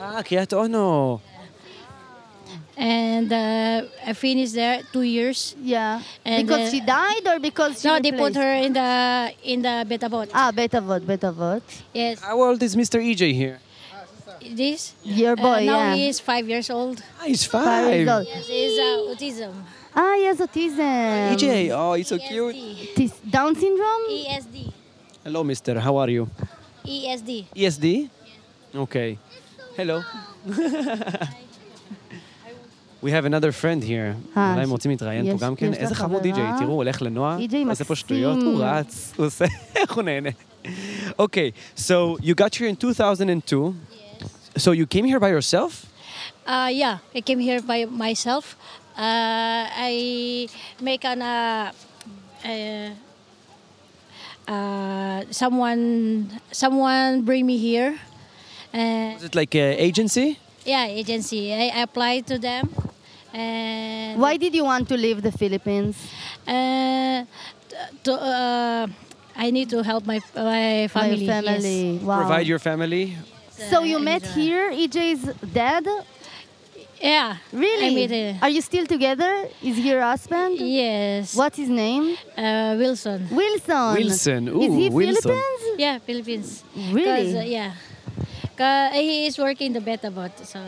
Speaker 3: Ah, Kriyat Ono.
Speaker 7: And uh, I finished there two years.
Speaker 4: Yeah.
Speaker 7: And
Speaker 4: because
Speaker 7: then-
Speaker 4: she died or because she
Speaker 7: No, they put
Speaker 4: replaced?
Speaker 7: her in the in the Betabot.
Speaker 4: Ah, bet avot, bet avot.
Speaker 7: Yes.
Speaker 3: How old is Mr. EJ here?
Speaker 7: This.
Speaker 4: Your
Speaker 7: Uh,
Speaker 4: boy,
Speaker 7: now
Speaker 4: Oh, yeah.
Speaker 7: he is five years old.
Speaker 3: Ah, he's
Speaker 4: Five
Speaker 3: five.
Speaker 4: years old.
Speaker 7: Yes, he is uh, autism.
Speaker 4: Ah, he has autism.
Speaker 3: EJ, oh, he's so cute.
Speaker 7: ESD.
Speaker 4: Tis- Down
Speaker 7: E
Speaker 4: syndrome?
Speaker 7: ESD.
Speaker 3: Hello, mister. How are you?
Speaker 7: E ESD.
Speaker 3: E ESD? Okay. Hello. *laughs* We have another friend here.
Speaker 4: אה,
Speaker 3: אולי הם
Speaker 4: ש-
Speaker 3: רוצים להתראיין פה
Speaker 4: יש-
Speaker 3: גם כן.
Speaker 4: יש לה
Speaker 3: איזה חמוד
Speaker 4: חברה.
Speaker 3: די.ג'יי, תראו, הוא הולך לנועה,
Speaker 4: EJ
Speaker 3: הוא עושה פה
Speaker 4: מקסים.
Speaker 3: שטויות, הוא רץ, *laughs* הוא עושה, איך הוא נהנה. אוקיי, so you got here in 2002. So you came here by yourself?
Speaker 7: Uh, yeah, I came here by myself. Uh, I make an uh, uh, uh, someone someone bring me here. Uh,
Speaker 3: Is it like an agency?
Speaker 7: yeah, agency. I, I applied to them. And
Speaker 4: Why did you want to leave the Philippines?
Speaker 7: Uh, to, uh, I need to help my my family.
Speaker 4: My
Speaker 7: yes.
Speaker 4: family. Wow.
Speaker 3: Provide your family?
Speaker 4: so
Speaker 7: uh,
Speaker 4: you met
Speaker 7: Israel.
Speaker 4: here EJ's dad?
Speaker 7: Yeah.
Speaker 4: Really?
Speaker 7: I meet her.
Speaker 4: Are you still together? Is he your husband?
Speaker 7: Yes.
Speaker 4: What's his name?
Speaker 7: Uh, Wilson.
Speaker 4: Wilson.
Speaker 3: Wilson.
Speaker 4: Is he
Speaker 3: Ooh, Wilson.
Speaker 4: Philippines?
Speaker 7: Yeah, Philippines.
Speaker 4: Really?
Speaker 7: 'Cause, uh, yeah. 'Cause he is working the Betabot. So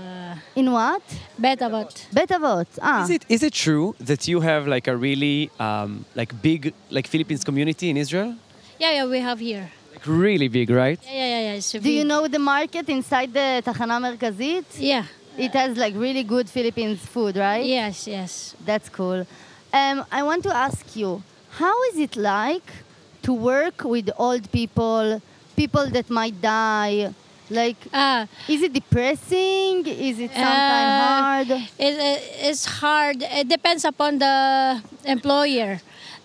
Speaker 4: In what?
Speaker 7: Betabot.
Speaker 4: Betavot. Ah.
Speaker 3: Is it is it true that you have like a really um, like big like Philippines community in Israel?
Speaker 7: Yeah, yeah, we have here.
Speaker 3: Like really big, right?
Speaker 7: Yeah, yeah, yeah. yeah. It's
Speaker 4: Do you know the market inside the Tachana Merkazit?
Speaker 7: Yeah.
Speaker 4: It has like really good Philippines food, right?
Speaker 7: Yes, yes.
Speaker 4: That's cool. Um, I want to ask you, how is it like to work with old people, people that might die? Like,
Speaker 7: Ah,
Speaker 4: is it depressing? Is it sometimes
Speaker 7: uh,
Speaker 4: hard?
Speaker 7: It, it, it's hard. It depends upon the employer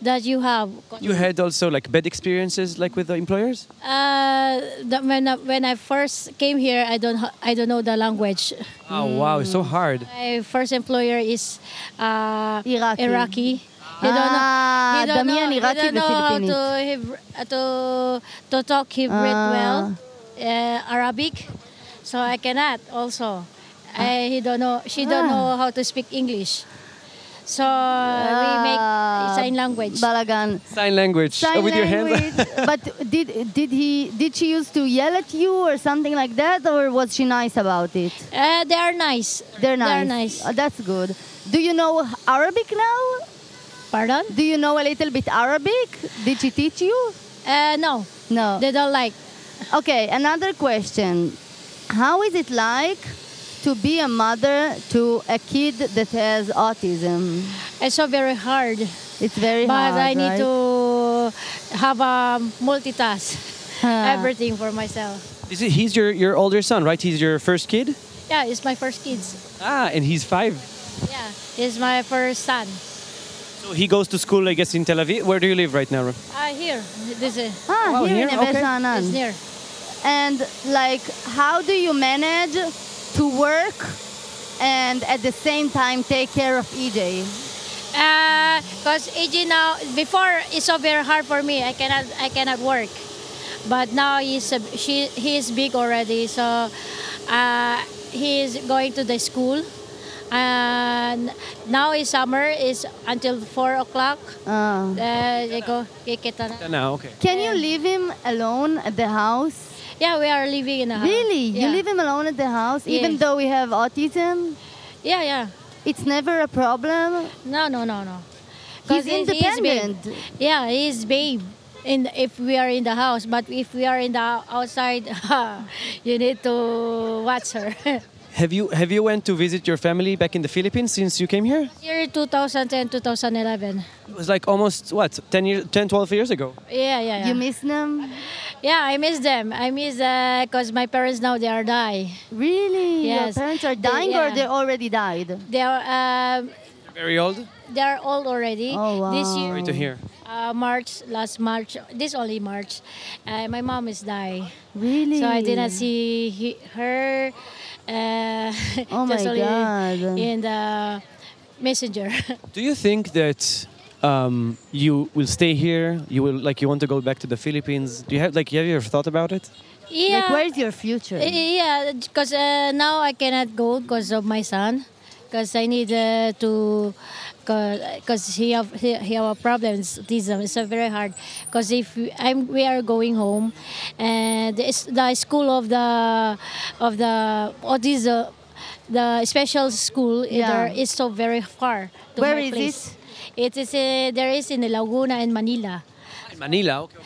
Speaker 7: that you have.
Speaker 3: You had also like bad experiences like with the employers?
Speaker 7: Uh, the, when I, when I first came here, I don't ha- I don't know the language.
Speaker 3: Oh wow, it's so
Speaker 4: Mm.
Speaker 3: hard.
Speaker 7: My first employer is uh,
Speaker 4: Iraqi.
Speaker 7: Iraqi. He don't know.
Speaker 4: Ah,
Speaker 7: he don't
Speaker 4: Damian
Speaker 7: know,
Speaker 4: Iraqi
Speaker 7: he don't know how
Speaker 4: ופילפינית.
Speaker 7: to, Hebr- uh, to, to talk Hebrew
Speaker 4: Ah.
Speaker 7: well, uh, Arabic, so I cannot also. I, he don't know. She don't
Speaker 4: Ah.
Speaker 7: know how to speak English, so we
Speaker 4: Ah.
Speaker 7: make sign language.
Speaker 4: Uh, Balagan.
Speaker 3: Sign language.
Speaker 4: Sign
Speaker 3: Oh, with your hands.
Speaker 4: language.
Speaker 3: *laughs*
Speaker 4: but did did he did she used to yell at you or something like that, or was she nice about it?
Speaker 7: Uh, they are nice.
Speaker 4: They're nice.
Speaker 7: They're nice.
Speaker 4: Oh, that's good. Do you know Arabic now?
Speaker 7: Pardon?
Speaker 4: Do you know a little bit Arabic? Did she teach you?
Speaker 7: Uh, no,
Speaker 4: No.
Speaker 7: they don't like.
Speaker 4: Okay, another question. How is it like to be a mother to a kid that has autism?
Speaker 7: It's so very hard.
Speaker 4: It's very
Speaker 7: but
Speaker 4: hard.
Speaker 7: I need
Speaker 4: right?
Speaker 7: to have a multitask
Speaker 4: Ah.
Speaker 7: everything for myself.
Speaker 3: This is, he's your, your older son, right? He's your first kid?
Speaker 7: Yeah, he's my first kids.
Speaker 3: Ah, and he's five.
Speaker 7: Yeah, he's my first son.
Speaker 3: So he goes to school, I guess, in Tel Aviv. Where do you live right now?
Speaker 7: Ah, here, this is
Speaker 4: Ah,
Speaker 3: Wow,
Speaker 4: here
Speaker 3: here?
Speaker 4: in Neve
Speaker 3: Okay.
Speaker 4: Sha'anan.
Speaker 7: it's near.
Speaker 4: And like, how do you manage to work and at the same time take care of E Ah. EJ?
Speaker 7: Uh, because AJ now before it's so very hard for me. I cannot I cannot work, but now he's a, she he is big already. So uh, he is going to the school, and now is summer is until four o'clock.
Speaker 4: Uh,
Speaker 7: Uh, they go kikita na.
Speaker 3: Now, okay.
Speaker 4: can you leave him alone at the house?
Speaker 7: Yeah, we are living in a house.
Speaker 4: Really?
Speaker 7: Uh, Yeah.
Speaker 4: You leave him alone at the house, even
Speaker 7: Yes.
Speaker 4: though we have autism?
Speaker 7: Yeah, yeah.
Speaker 4: It's never a problem.
Speaker 7: No, no, no, no.
Speaker 4: He's
Speaker 7: 'Cause he- he is big.
Speaker 4: independent.
Speaker 7: Yeah, he's babe. In if we are in the house, but if we are in the outside, *laughs* you need to watch her. *laughs*
Speaker 3: Have you have you went to visit your family back in the Philippines since you came here?
Speaker 7: Year 2010, 2011.
Speaker 3: It was like almost what 10 years, 10, 12 years ago.
Speaker 7: Yeah, yeah, yeah.
Speaker 4: You miss them?
Speaker 7: yeah, I miss them. I miss because my parents now they are die.
Speaker 4: Really?
Speaker 7: Yes.
Speaker 4: Your parents are
Speaker 7: They-
Speaker 4: dying or
Speaker 7: yeah.
Speaker 4: they already died?
Speaker 7: They are um,
Speaker 3: Very old.
Speaker 7: they are old already.
Speaker 4: Oh,
Speaker 7: This
Speaker 4: wow.
Speaker 3: Sorry
Speaker 7: year,
Speaker 3: to hear.
Speaker 7: uh, March last March, this only March, uh, my mom is die.
Speaker 4: Really?
Speaker 7: So I didn't see he, her. Uh, *laughs*
Speaker 4: Oh
Speaker 7: just
Speaker 4: my
Speaker 7: only
Speaker 4: God.
Speaker 7: In the messenger. *laughs*
Speaker 3: Do you think that um, you will stay here? You will like you want to go back to the Philippines? Do you have like have you ever thought about it?
Speaker 7: yeah.
Speaker 4: Like, where's your future?
Speaker 7: Eh, Yeah, because uh, now I cannot go because of my son. Because I need uh, to, because he have he, he have a problem. It's autism. It's uh, very hard. Because if we- I'm we are going home, and it's the school of the of the autism, the special school
Speaker 4: Yeah.
Speaker 7: there is so very far. To
Speaker 4: Where
Speaker 7: my
Speaker 4: is
Speaker 7: place. it? It is uh, there is in Laguna in Manila.
Speaker 3: In Manila. Okay.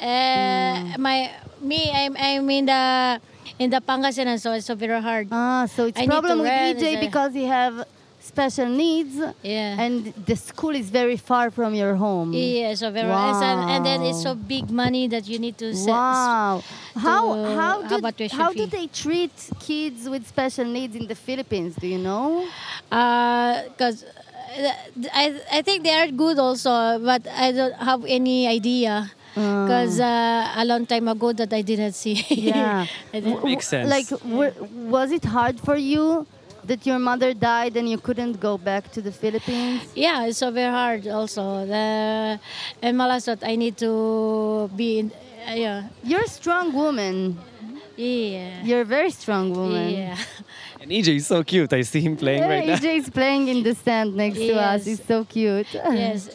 Speaker 7: Uh, my me I'm I'm in the in the Pangasinan so it's so very hard.
Speaker 4: Ah, so it's
Speaker 7: I need to
Speaker 4: problem with
Speaker 7: rent,
Speaker 4: EJ
Speaker 7: uh,
Speaker 4: because he have special needs
Speaker 7: yeah.
Speaker 4: and the school is very far from your home.
Speaker 7: yeah, so very and, so- and then it's so
Speaker 4: Wow.
Speaker 7: big money that you need to set.
Speaker 4: Wow. How
Speaker 7: to
Speaker 4: how
Speaker 7: have
Speaker 4: do
Speaker 7: a tuition
Speaker 4: how do
Speaker 7: fee.
Speaker 4: they treat kids with special needs in the Philippines? Do you know?
Speaker 7: because uh, I I think they are good also, but I don't have any idea
Speaker 4: Ah.
Speaker 7: because uh, a long time ago that I didn't see. *laughs*
Speaker 4: Yeah.
Speaker 7: I didn't-
Speaker 3: Makes sense.
Speaker 4: Like, were, was it hard for you that your mother died and you couldn't go back to the Philippines?
Speaker 7: Yeah, it's so very hard also. The, and malasot, I need to be in. Uh, yeah,
Speaker 4: You're a strong woman.
Speaker 7: yeah,
Speaker 4: You're a very strong woman.
Speaker 7: yeah.
Speaker 3: And EJ is so cute. I see him playing right
Speaker 4: *laughs*
Speaker 3: now. *laughs*
Speaker 4: Yeah, EJ is playing in the sand next to us.
Speaker 7: Yes.
Speaker 4: He's so cute.
Speaker 7: *laughs* yes,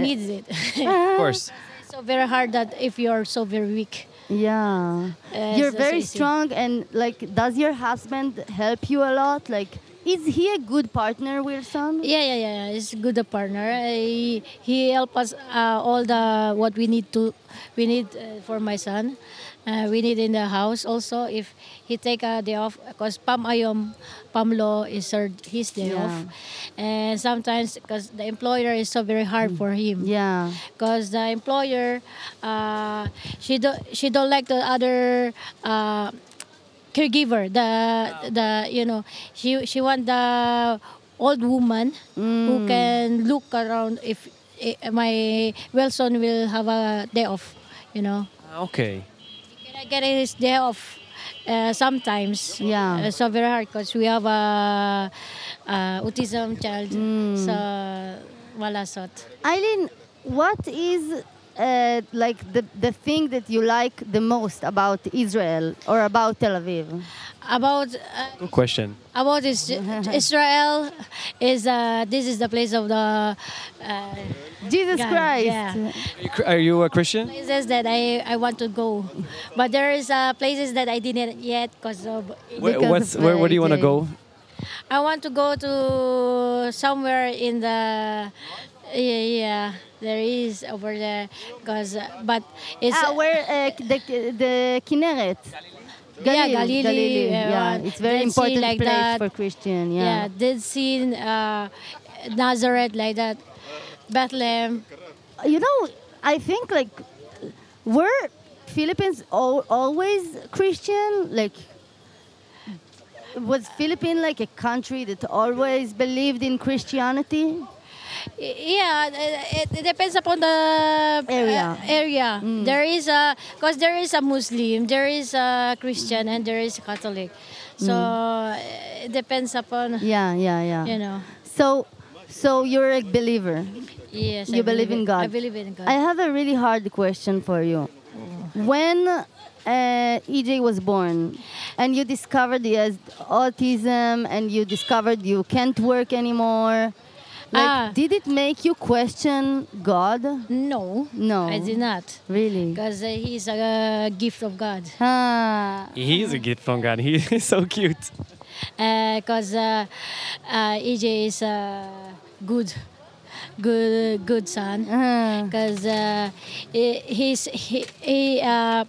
Speaker 4: the-
Speaker 7: needed it. *laughs*
Speaker 3: Of course.
Speaker 7: It's so very hard that if you are so very weak.
Speaker 4: Yeah.
Speaker 7: Uh,
Speaker 4: You're
Speaker 7: so- so
Speaker 4: very
Speaker 7: easy.
Speaker 4: strong and like does your husband help you a lot? Like is he a good partner, Wilson?
Speaker 7: Yeah, yeah, yeah. yeah. It's good a partner. I, he help us uh, all the what we need to, we need uh, for my son. Uh, we need in the house also if he take a day off because pam ayom pamlo is her, his day
Speaker 4: Yeah.
Speaker 7: off, and sometimes because the employer is so very hard for him
Speaker 4: Yeah.
Speaker 7: because the employer uh, she do she don't like the other uh, caregiver the the you know she she want the old woman who can look around if eh, my Wilson will have a day off you know
Speaker 3: Uh, Okay.
Speaker 7: can I get his day off uh, sometimes
Speaker 4: Yeah.
Speaker 7: Uh, so very hard because we have a, a autism child so wala sot
Speaker 4: Eileen, what is uh, like the, the thing that you like the most about Israel or about Tel Aviv?
Speaker 7: about uh,
Speaker 3: Good question.
Speaker 7: about is Israel is uh, this is the place of the uh,
Speaker 4: Jesus
Speaker 7: God,
Speaker 4: Christ. Ah,
Speaker 7: yeah.
Speaker 3: Are you, cr- are you a Christian?
Speaker 7: places that I, I want to go, but there is uh, places that I didn't yet because of
Speaker 3: Where,
Speaker 4: Because
Speaker 3: what's
Speaker 4: of
Speaker 3: where, where do you want to
Speaker 4: AJ.
Speaker 3: go?
Speaker 7: I want to go to somewhere in the yeah, yeah there is over there because but it's
Speaker 4: Ah, where uh, the, the Kinneret.
Speaker 7: Yeah,
Speaker 4: Galil,
Speaker 7: Galilee,
Speaker 4: Galilee,
Speaker 7: yeah,
Speaker 4: yeah,
Speaker 7: right.
Speaker 4: it's very
Speaker 7: Dead Sea
Speaker 4: important
Speaker 7: like
Speaker 4: place
Speaker 7: that.
Speaker 4: for Christian.
Speaker 7: yeah
Speaker 4: Yeah.
Speaker 7: did see uh, Nazareth like that Bethlehem
Speaker 4: You know, I think like we're Philippines al- always Christian? Like, was Philippines like a country that always believed in Christianity?
Speaker 7: Yeah, it, it depends upon the
Speaker 4: Area. Mm.
Speaker 7: uh, area. There is a because there is a Muslim, there is a Christian, and there is a Catholic. So uh, it depends upon
Speaker 4: Yeah, yeah, Mm. yeah.
Speaker 7: you know.
Speaker 4: So, so you're a believer.
Speaker 7: Yes,
Speaker 4: You believe in God.
Speaker 7: I believe in God.
Speaker 4: I have a really hard question for you. When uh, EJ was born, and you discovered he has autism, and you discovered you can't work anymore, like,
Speaker 7: Ah.
Speaker 4: did it make you question God?
Speaker 7: no,
Speaker 4: No.
Speaker 7: I did not
Speaker 4: Really?
Speaker 7: because uh, he is a uh, gift of God.
Speaker 4: Ah.
Speaker 3: He's a gift from *laughs* God. He's so cute.
Speaker 7: because uh, uh, EJ is a good, good, good son.
Speaker 4: ah.
Speaker 7: Because uh, he, he's he, he uh,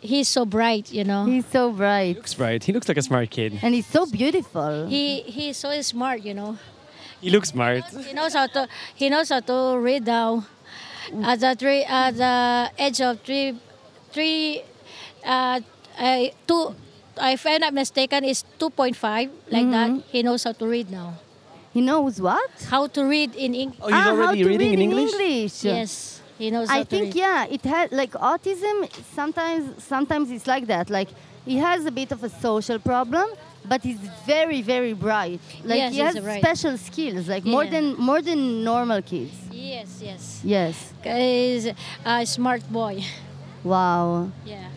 Speaker 7: he's so bright, you know.
Speaker 4: He's so bright,
Speaker 3: Looks bright. He looks like a smart kid.
Speaker 4: and he's so beautiful.
Speaker 7: He he's so smart, you know.
Speaker 3: He looks smart.
Speaker 4: Oh,
Speaker 7: He knows how to he knows how to read now. At the three at the age of three, three, uh, I, two. If I'm not mistaken, it's 2.5 like
Speaker 4: Mm-hmm.
Speaker 7: that. He knows how to read now.
Speaker 4: he knows what?
Speaker 7: How to read in English?
Speaker 3: Oh, he's
Speaker 4: Ah,
Speaker 3: already
Speaker 4: how to
Speaker 3: reading
Speaker 4: read
Speaker 3: in English?
Speaker 7: Yes, he knows. how
Speaker 4: I
Speaker 7: to
Speaker 4: think
Speaker 7: read.
Speaker 4: yeah, it has like autism. Sometimes sometimes it's like that. Like he has a bit of a social problem, but he's very very bright. Like
Speaker 7: Yes,
Speaker 4: he
Speaker 7: he's
Speaker 4: has
Speaker 7: bright.
Speaker 4: special skills, like more
Speaker 7: Yeah.
Speaker 4: than more than normal kids.
Speaker 7: Yes, yes.
Speaker 4: Yes.
Speaker 7: He's a smart boy. *laughs*
Speaker 4: Wow.
Speaker 7: Yeah.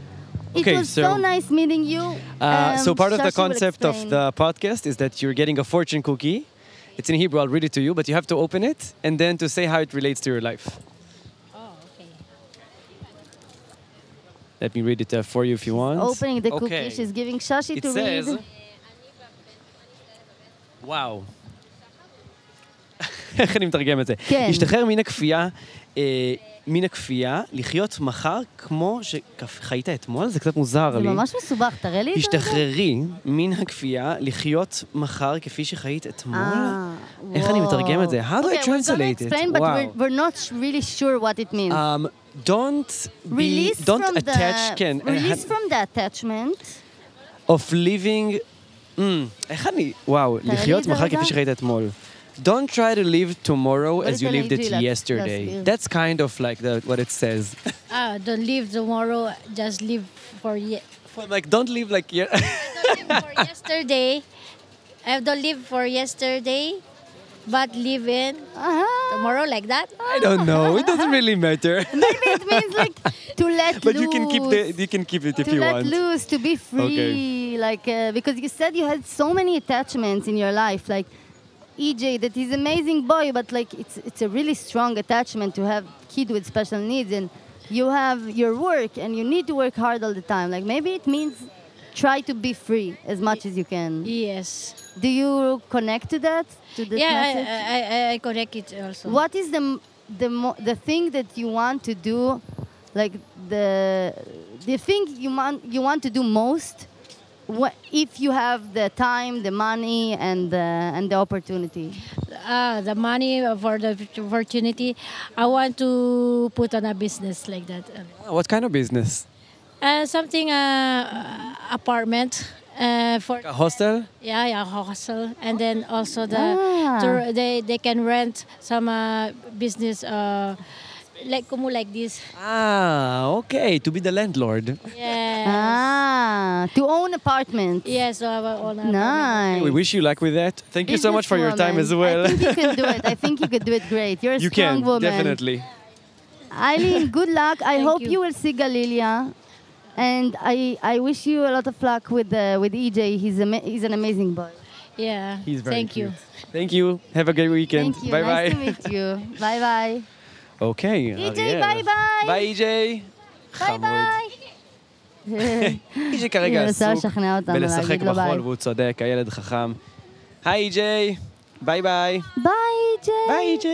Speaker 4: it
Speaker 3: Okay,
Speaker 4: was so,
Speaker 3: so-
Speaker 4: nice meeting you.
Speaker 3: Uh, so
Speaker 4: Um,
Speaker 3: part of the
Speaker 4: Shashi will
Speaker 3: concept of
Speaker 4: explain.
Speaker 3: the podcast is that you're getting a fortune cookie. It's in Hebrew. I'll read it to you, but you have to open it and then to say how it relates to your life.
Speaker 7: Oh, okay.
Speaker 3: Let me read it uh, for you if you want.
Speaker 4: opening the
Speaker 3: Okay.
Speaker 4: cookie, she's giving Shashi
Speaker 3: It
Speaker 4: to
Speaker 3: says,
Speaker 4: read. *laughs*
Speaker 3: וואו. איך אני מתרגם את זה?
Speaker 4: כן.
Speaker 3: השתחרר מן הכפייה, אה, מן הכפייה, לחיות מחר כמו שחיית אתמול? זה קצת מוזר
Speaker 4: זה
Speaker 3: לי.
Speaker 4: ממש מסובך, תראה לי את זה.
Speaker 3: השתחררי מן הכפייה לחיות מחר כפי שחיית אתמול?
Speaker 4: Ah,
Speaker 3: איך אני
Speaker 4: whoa.
Speaker 3: מתרגם את זה? How do I
Speaker 4: okay, we're gonna
Speaker 3: translate it?
Speaker 4: explain, but
Speaker 3: Wow.
Speaker 4: we're, we're not sh- really sure what it means.
Speaker 3: Um, don't be,
Speaker 4: release
Speaker 3: don't
Speaker 4: from
Speaker 3: attach, uh,
Speaker 4: the
Speaker 3: כן,
Speaker 4: release from the attachment.
Speaker 3: of living, mm, איך אני, וואו,
Speaker 4: לי את
Speaker 3: לחיות
Speaker 4: זה
Speaker 3: מחר
Speaker 4: רגע.
Speaker 3: כפי שראית אתמול. Don't try to live tomorrow
Speaker 4: בוא
Speaker 3: as you
Speaker 4: ניתן
Speaker 3: lived it
Speaker 4: לאיג'י לה-
Speaker 3: yesterday.
Speaker 4: להסביר.
Speaker 3: That's kind of like the, what it
Speaker 4: *laughs*
Speaker 3: says.
Speaker 7: Ah, don't live tomorrow. Just live for ye- for,
Speaker 3: like, don't live like, yeah.
Speaker 7: don't live for yesterday. I don't live for yesterday, but live in
Speaker 4: Uh-huh.
Speaker 7: tomorrow like that.
Speaker 3: *laughs* I don't know. It doesn't really matter.
Speaker 4: It means
Speaker 3: *laughs*
Speaker 4: like to *laughs* let
Speaker 3: but
Speaker 4: loose.
Speaker 3: you can keep the, you can keep it if
Speaker 4: to
Speaker 3: you
Speaker 4: let
Speaker 3: want.
Speaker 4: loose, to be free, like uh, because you said you had so many attachments in your life, like EJ, that he's amazing boy, but like it's it's a really strong attachment to have kid with special needs, and you have your work, and you need to work hard all the time. Like maybe it means try to be free as much as you can.
Speaker 7: Yes.
Speaker 4: Do you connect to that? To this
Speaker 7: yeah,
Speaker 4: message?
Speaker 7: I, I, I, I correct it also.
Speaker 4: What is the m- the mo- the thing that you want to do, like the the thing you want you want to do most, wha- if you have the time, the money, and the and the opportunity?
Speaker 7: Ah, the money for the opportunity. I want to put on a business like that.
Speaker 3: What kind of business?
Speaker 7: Uh, something uh, apartment uh, for
Speaker 3: A hostel?
Speaker 7: Yeah, yeah, hostel, and then also the
Speaker 4: Ah.
Speaker 7: to- they they can rent some uh, business uh, like kumu like this.
Speaker 3: Ah, okay. To be the landlord.
Speaker 7: Yeah.
Speaker 4: Ah, to own apartment.
Speaker 7: Yeah, so I will own apartment.
Speaker 4: Nice.
Speaker 3: We wish you luck with that. Thank you so much for your time
Speaker 4: Businesswoman.
Speaker 3: as well.
Speaker 4: I think
Speaker 3: *laughs*
Speaker 4: you can do it. I think you could do it great. You're a
Speaker 3: you
Speaker 4: strong
Speaker 3: can,
Speaker 4: woman.
Speaker 3: definitely.
Speaker 6: *laughs*
Speaker 4: Eileen, good luck. I hope you.
Speaker 7: you.
Speaker 4: will see Galilia. And I, I wish you a lot of luck with, uh, with EJ. He's, ama- he's an amazing boy.
Speaker 7: Yeah.
Speaker 3: He's very
Speaker 7: Thank you.
Speaker 3: cute. Thank you. Have a great weekend.
Speaker 4: Thank you.
Speaker 3: Bye
Speaker 4: nice
Speaker 3: bye.
Speaker 4: to
Speaker 3: *laughs*
Speaker 4: meet
Speaker 6: *laughs*
Speaker 4: you. E Bye bye.
Speaker 3: Okay.
Speaker 6: Oh,
Speaker 4: EJ,
Speaker 3: אריאל.
Speaker 4: ביי ביי.
Speaker 3: ביי EJ.
Speaker 4: ביי
Speaker 3: חמוד.
Speaker 4: ביי.
Speaker 3: EJ כרגע
Speaker 4: אני מנסה
Speaker 3: עסוק
Speaker 4: לשכנע אותנו
Speaker 3: בלשחק
Speaker 4: להגיד לו ביי.
Speaker 3: בחול והוא צודק, הילד חכם. היי EJ. ביי ביי.
Speaker 4: ביי, EJ.
Speaker 3: ביי EJ.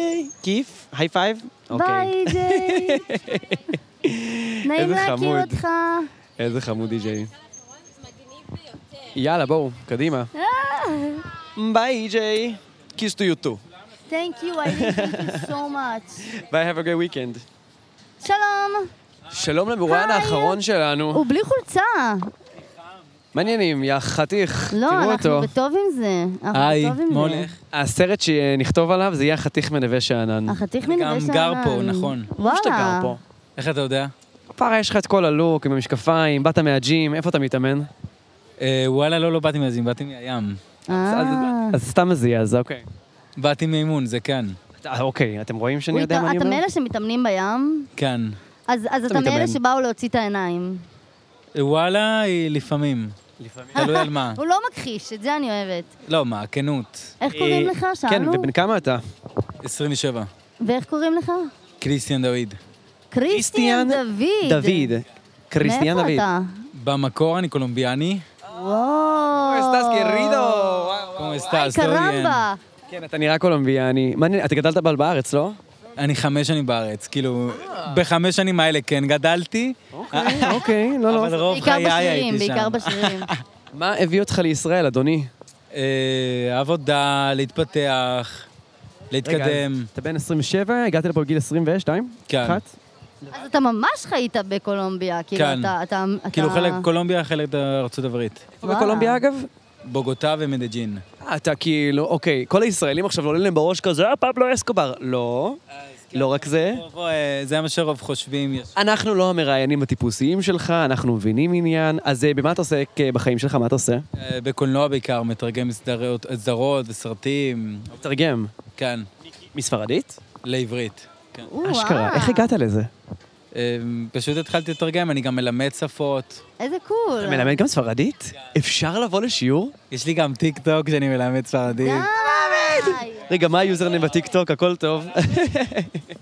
Speaker 3: כיף. היי פייב. אוקיי.
Speaker 4: ביי, EJ. *laughs* נעים
Speaker 3: איזה
Speaker 4: להכיר
Speaker 3: חמוד.
Speaker 4: אותך.
Speaker 3: איזה חמוד EJ. יאללה, בואו, קדימה.
Speaker 4: אה.
Speaker 3: ביי EJ. Kiss to you too.
Speaker 6: *laughs*
Speaker 4: Thank you, Eileen. Thank you so much.
Speaker 3: Bye, have a great weekend.
Speaker 4: שלום.
Speaker 3: שלום למרואיין האחרון שלנו.
Speaker 6: Oh.
Speaker 4: הוא בלי חולצה.
Speaker 3: מעניינים, יא חתיך,
Speaker 4: לא,
Speaker 3: תראו
Speaker 4: אנחנו
Speaker 3: אותו.
Speaker 4: בטוב עם זה. אנחנו
Speaker 6: היי,
Speaker 4: בטוב עם
Speaker 6: מה
Speaker 4: זה.
Speaker 6: הולך?
Speaker 3: הסרט שנכתוב עליו זה יהיה החתיך מנווה שאנן.
Speaker 4: החתיך
Speaker 6: אני
Speaker 4: מנווה שאנן.
Speaker 6: גם גר פה, נכון.
Speaker 4: וואלה.
Speaker 3: איפה שאתה גר פה?
Speaker 6: איך אתה יודע?
Speaker 3: פרה, יש לך את כל הלוק, עם המשקפיים, באת מהג'ים, איפה אתה מתאמן?
Speaker 6: אה, וואלה, לא, לא באתי מהזים, באתי מהים.
Speaker 4: אה.
Speaker 3: אז- אז סתם מזיע, אז אוקיי.
Speaker 6: באתי מאימון, זה כאן.
Speaker 3: אה, אוקיי, אתם רואים שאני
Speaker 4: הוא
Speaker 3: יודע
Speaker 4: איתה-
Speaker 3: מה אני
Speaker 4: אתה
Speaker 3: אומר?
Speaker 4: מאלה שמתאמנים בים?
Speaker 6: כאן.
Speaker 4: אז אז אתה
Speaker 3: מתאמן.
Speaker 4: מאלה שבאו להוציא את העיניים.
Speaker 6: אה, וואלה, היא לפעמים. לפעמים. תלוי על מה.
Speaker 4: הוא לא מכחיש, את זה אני אוהבת.
Speaker 6: לא, מה, כנות.
Speaker 4: איך קוראים
Speaker 3: אה,
Speaker 4: לך?
Speaker 3: כן,
Speaker 4: שאלנו.
Speaker 3: ובן כמה אתה?
Speaker 6: 27.
Speaker 4: ואיך קוראים לך?
Speaker 6: קריסטיאן דוד.
Speaker 4: כריסטיאן דוד.
Speaker 3: דוד. קריסטיאן
Speaker 4: מאיפה
Speaker 3: דוד.
Speaker 4: אתה?
Speaker 6: במקור אני קולומביאני.
Speaker 4: וואו.
Speaker 6: כמו אסטס, לא עניין.
Speaker 4: קרמבה.
Speaker 3: כן, אתה נראה קולומביאני. מעניין, אתה גדלת בל בארץ, לא?
Speaker 4: אה,
Speaker 6: אני חמש שנים בארץ, כאילו, בחמש שנים האלה כן גדלתי,
Speaker 4: אה.
Speaker 3: אוקיי, לא,
Speaker 6: אבל
Speaker 3: לא.
Speaker 6: רוב
Speaker 4: בעיקר
Speaker 6: חיי
Speaker 4: בשירים,
Speaker 6: הייתי שם.
Speaker 4: בעיקר
Speaker 3: *laughs*
Speaker 4: בשירים.
Speaker 3: מה הביא אותך לישראל, אדוני?
Speaker 6: אה, עבודה, להתפתח,
Speaker 3: רגע,
Speaker 6: להתקדם.
Speaker 3: אז אתה בן 27, הגעת לפה בגיל 22?
Speaker 6: כן.
Speaker 3: אחת?
Speaker 4: אז אתה ממש חיית בקולומביה, כאילו
Speaker 6: כן.
Speaker 4: אתה... אתה- אתה-
Speaker 6: כאילו חלק קולומביה, חלק ארצות הברית.
Speaker 3: איפה
Speaker 4: וואלה.
Speaker 3: בקולומביה, אגב?
Speaker 6: בוגוטה ומדג'ין.
Speaker 3: אה, אתה כאילו, אוקיי, כל הישראלים עכשיו עולים להם בראש כזה, אה, פבלו אסקובר. לא,
Speaker 4: כן.
Speaker 3: לא רק זה.
Speaker 6: בוא, בוא, אה, זה מה שרוב חושבים. יש-
Speaker 3: אנחנו לא המראיינים הטיפוסיים שלך, אנחנו מבינים עניין. אז אה, במה אתה עוסק אה, בחיים שלך? מה אתה עושה?
Speaker 6: אה, בקולנוע בעיקר, מתרגם סדרות- סדרות וסרטים,
Speaker 3: תרגם.
Speaker 6: כן,
Speaker 3: מספרדית?
Speaker 6: לעברית. כן.
Speaker 4: וואו,
Speaker 3: אשכרה. איך הגעת לזה?
Speaker 6: אה, פשוט התחלתי לתרגם, אני גם מלמד שפות.
Speaker 4: איזה קול.
Speaker 3: אתה מלמד גם ספרדית? אפשר לבוא לשיעור?
Speaker 6: יש לי גם טיק טוק שאני מלמד ספרדית.
Speaker 4: די.
Speaker 3: רגע, מה היוזרנם בטיקטוק? הכל טוב.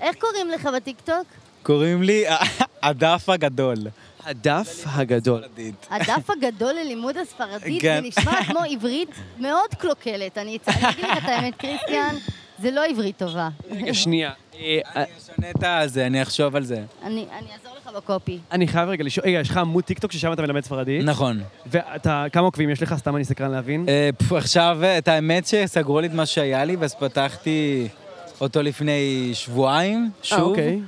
Speaker 4: איך קוראים לך בטיקטוק?
Speaker 6: קוראים לי *laughs* הדף הגדול.
Speaker 3: הדף הגדול.
Speaker 4: הדף הגדול ללימוד הספרדית, זה
Speaker 6: כן.
Speaker 4: נשמע
Speaker 6: *laughs*
Speaker 4: כמו עברית מאוד קלוקלת. אני אצ- אני אגיד לך את האמת, קריסטיאן, זה לא עברית טובה.
Speaker 3: רגע, שנייה. אה, אה,
Speaker 6: אני אשנה את הזה, אני אחשוב על זה.
Speaker 4: אני אני אעזור לך בקופי.
Speaker 3: אני חייב רגע לשאול, רגע, יש לך עמוד טיקטוק ששם אתה מלמד ספרדית?
Speaker 6: נכון.
Speaker 3: ואתה, כמה עוקבים יש לך? סתם אני סקרן להבין.
Speaker 6: אה, פפ, עכשיו, אה, את האמת שסגרו לי את מה שהיה לי, ואז פתחתי אותו לפני שבועיים, שוב.
Speaker 3: אוקיי.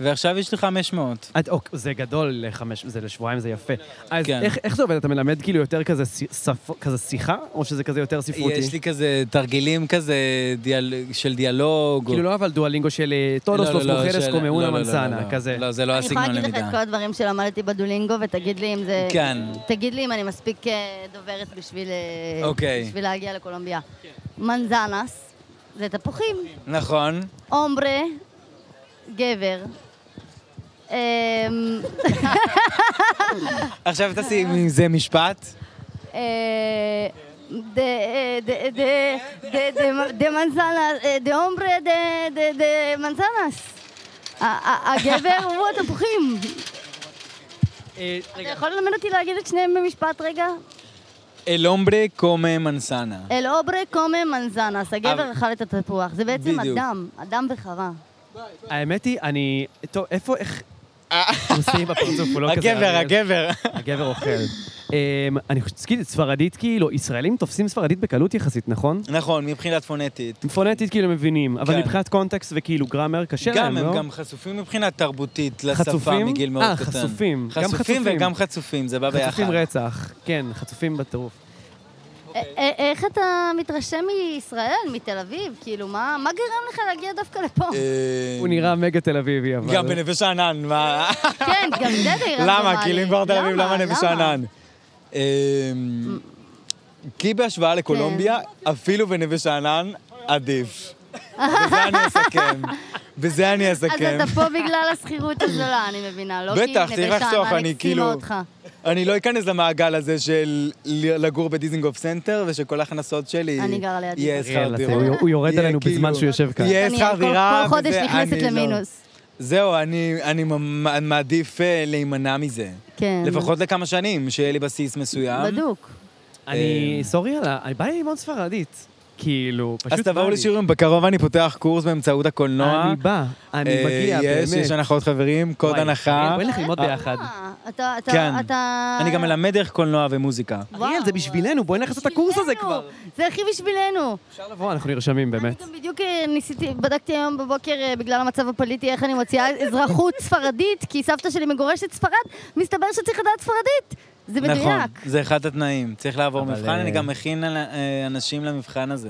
Speaker 6: ועכשיו יש לי 500.
Speaker 3: את, אוק, זה גדול לחמש, זה לשבועיים, זה יפה. אז
Speaker 6: כן.
Speaker 3: איך, איך זה עובד? אתה מלמד כאילו יותר כזה, סי- שפ, כזה שיחה, או שזה כזה יותר ספרותי?
Speaker 6: יש לי כזה תרגילים כזה דיאל... של דיאלוג.
Speaker 3: כאילו לא אבל דואלינגו של אה, טודוס
Speaker 6: לא,
Speaker 3: לוס
Speaker 6: לא,
Speaker 3: מוכרס
Speaker 6: של-
Speaker 3: קומאונה
Speaker 6: לא, לא, לא,
Speaker 3: מנסנה,
Speaker 6: לא.
Speaker 3: כזה.
Speaker 6: לא, זה לא
Speaker 4: אני יכולה
Speaker 6: הסגנון
Speaker 4: להגיד לך את כל
Speaker 6: למידה.
Speaker 4: הדברים שלמדתי בדולינגו, ותגיד לי אם זה...
Speaker 6: כן.
Speaker 4: תגיד לי אם אני מספיק אה, דוברת בשביל... אה,
Speaker 6: אוקיי.
Speaker 4: בשביל להגיע לקולומביה. מנזנס, זה תפוחים.
Speaker 6: נכון.
Speaker 4: הומרה, גבר. אמ,
Speaker 6: עכשיו תעשי עם זה משפט.
Speaker 4: אה, דה- אה, דה- דה- דה- דה- דה מנזנס, אה, דה הומרה, דה- דה- דה מנזנס. ה- ה- הגבר הוא התפוחים.
Speaker 3: אה,
Speaker 4: אתה
Speaker 3: רגע,
Speaker 4: יכול ללמד אותי להגיד את שניהם במשפט רגע?
Speaker 6: אל הומברה קומה מנסנה.
Speaker 4: אל אוברה קומה מנזנס, הגבר
Speaker 6: אבל-
Speaker 4: אכל את התפוח. זה בעצם
Speaker 6: בדיוק.
Speaker 4: אדם, אדם וחווה.
Speaker 3: האמת היא, אני... טוב, איפה, איך... עושים בפרצוף, הוא לא כזה...
Speaker 6: אה. הגבר,
Speaker 3: אני-
Speaker 6: הגבר. *laughs*
Speaker 3: הגבר אוכל. אמ, אני חושב, כאילו, ספרדית, כאילו, ישראלים תופסים ספרדית בקלות יחסית, נכון?
Speaker 6: נכון, מבחינת פונטית.
Speaker 3: פונטית כאילו מבינים, אבל
Speaker 6: כן.
Speaker 3: מבחינת קונטקסט וכאילו גרמר קשה להם,
Speaker 6: גם,
Speaker 3: לא?
Speaker 6: הם גם חשופים מבחינה תרבותית לשפה
Speaker 3: חצופים?
Speaker 6: מגיל מאוד
Speaker 3: אה,
Speaker 6: קטן.
Speaker 3: חשופים. גם
Speaker 6: חשופים
Speaker 3: חשופים.
Speaker 6: וגם חצופים, זה בא ביחד.
Speaker 3: חצופים רצח, כן, חצופים בטירוף.
Speaker 6: אוקיי.
Speaker 4: א- א- אה, איך אתה מתרשם מישראל, מתל אביב? כאילו, מה מה גרם לך להגיע דווקא לפה?
Speaker 6: אה,
Speaker 3: הוא נראה מגה תל אביבי, אבל...
Speaker 6: גם בנווה שאנן, מה?
Speaker 4: כן, גם זה די רנדומלי.
Speaker 6: למה? כאילו אם כבר תל אביב, למה נווה
Speaker 4: למה?
Speaker 6: שאנן? אמ, כי בהשוואה
Speaker 4: כן.
Speaker 6: לקולומביה, אפילו בנווה שאנן,
Speaker 4: *laughs*
Speaker 6: עדיף. בזה אני אסכם. בזה אני
Speaker 4: אז
Speaker 6: אסכם.
Speaker 4: אתה פה בגלל השכירות הזולה, אני מבינה, לא כי
Speaker 6: בטח,
Speaker 4: נווה
Speaker 6: צריך לחסוך,
Speaker 4: שאנן
Speaker 6: אני
Speaker 4: הקסימה
Speaker 6: כאילו-
Speaker 4: אותך.
Speaker 6: אני לא אכנס למעגל הזה של לגור בדיזינגוף סנטר, ושכל ההכנסות שלי
Speaker 4: אני גרה ליד
Speaker 6: יהיה
Speaker 3: אריאל,
Speaker 6: שכר
Speaker 3: אתם-
Speaker 6: דירה.
Speaker 3: הוא- הוא יורד
Speaker 6: יהיה
Speaker 3: עלינו
Speaker 6: כאילו-
Speaker 3: בזמן שהוא יושב כאן.
Speaker 6: יהיה
Speaker 4: אני
Speaker 6: שכר
Speaker 4: כל-
Speaker 6: דירה,
Speaker 4: כל חודש
Speaker 6: וזה-
Speaker 4: נכנסת
Speaker 6: אני לא.
Speaker 4: למינוס.
Speaker 6: זהו, אני, אני ממ- מעדיף אה, להימנע מזה.
Speaker 4: כן.
Speaker 6: לפחות לכמה שנים, שיהיה לי בסיס מסוים.
Speaker 4: בדוק.
Speaker 3: אני, סורי על ה... בא לי ללמוד ספרדית. כאילו, פשוט
Speaker 6: אמ. אז תבואו
Speaker 3: בא לי.
Speaker 6: לשיעורים, בקרוב אני פותח קורס באמצעות הקולנוע.
Speaker 3: אני בא, אני
Speaker 6: אה,
Speaker 3: מגיע, באמת.
Speaker 6: יש, יש הנחות חברים, קוד
Speaker 3: וואי,
Speaker 6: הנחה.
Speaker 3: אריאל, בואי נלך ללמוד
Speaker 6: אה,
Speaker 3: ביחד.
Speaker 4: אה, אתה, אתה,
Speaker 6: כן.
Speaker 4: אתה...
Speaker 6: אני גם מלמד דרך קולנוע ומוזיקה.
Speaker 3: אריאל, זה בשבילנו, בואי נלך לעשות את הקורס הזה
Speaker 4: בשבילנו,
Speaker 3: כבר.
Speaker 4: זה הכי בשבילנו.
Speaker 3: אפשר לבוא, אנחנו נרשמים,
Speaker 4: אני
Speaker 3: באמת.
Speaker 4: גם בדיוק אה, ניסיתי, בדקתי היום בבוקר אה, בגלל המצב הפוליטי איך אני מוציאה אזרחות ספרדית, כי סבתא שלי מגורשת ספרד, מסתבר שצריך לדעת ספרדית. זה
Speaker 6: נכון,
Speaker 4: מדויק.
Speaker 6: זה אחד התנאים. צריך לעבור
Speaker 3: אבל,
Speaker 6: מבחן, אני
Speaker 3: אה,
Speaker 6: גם מכין על- אה, אנשים למבחן הזה.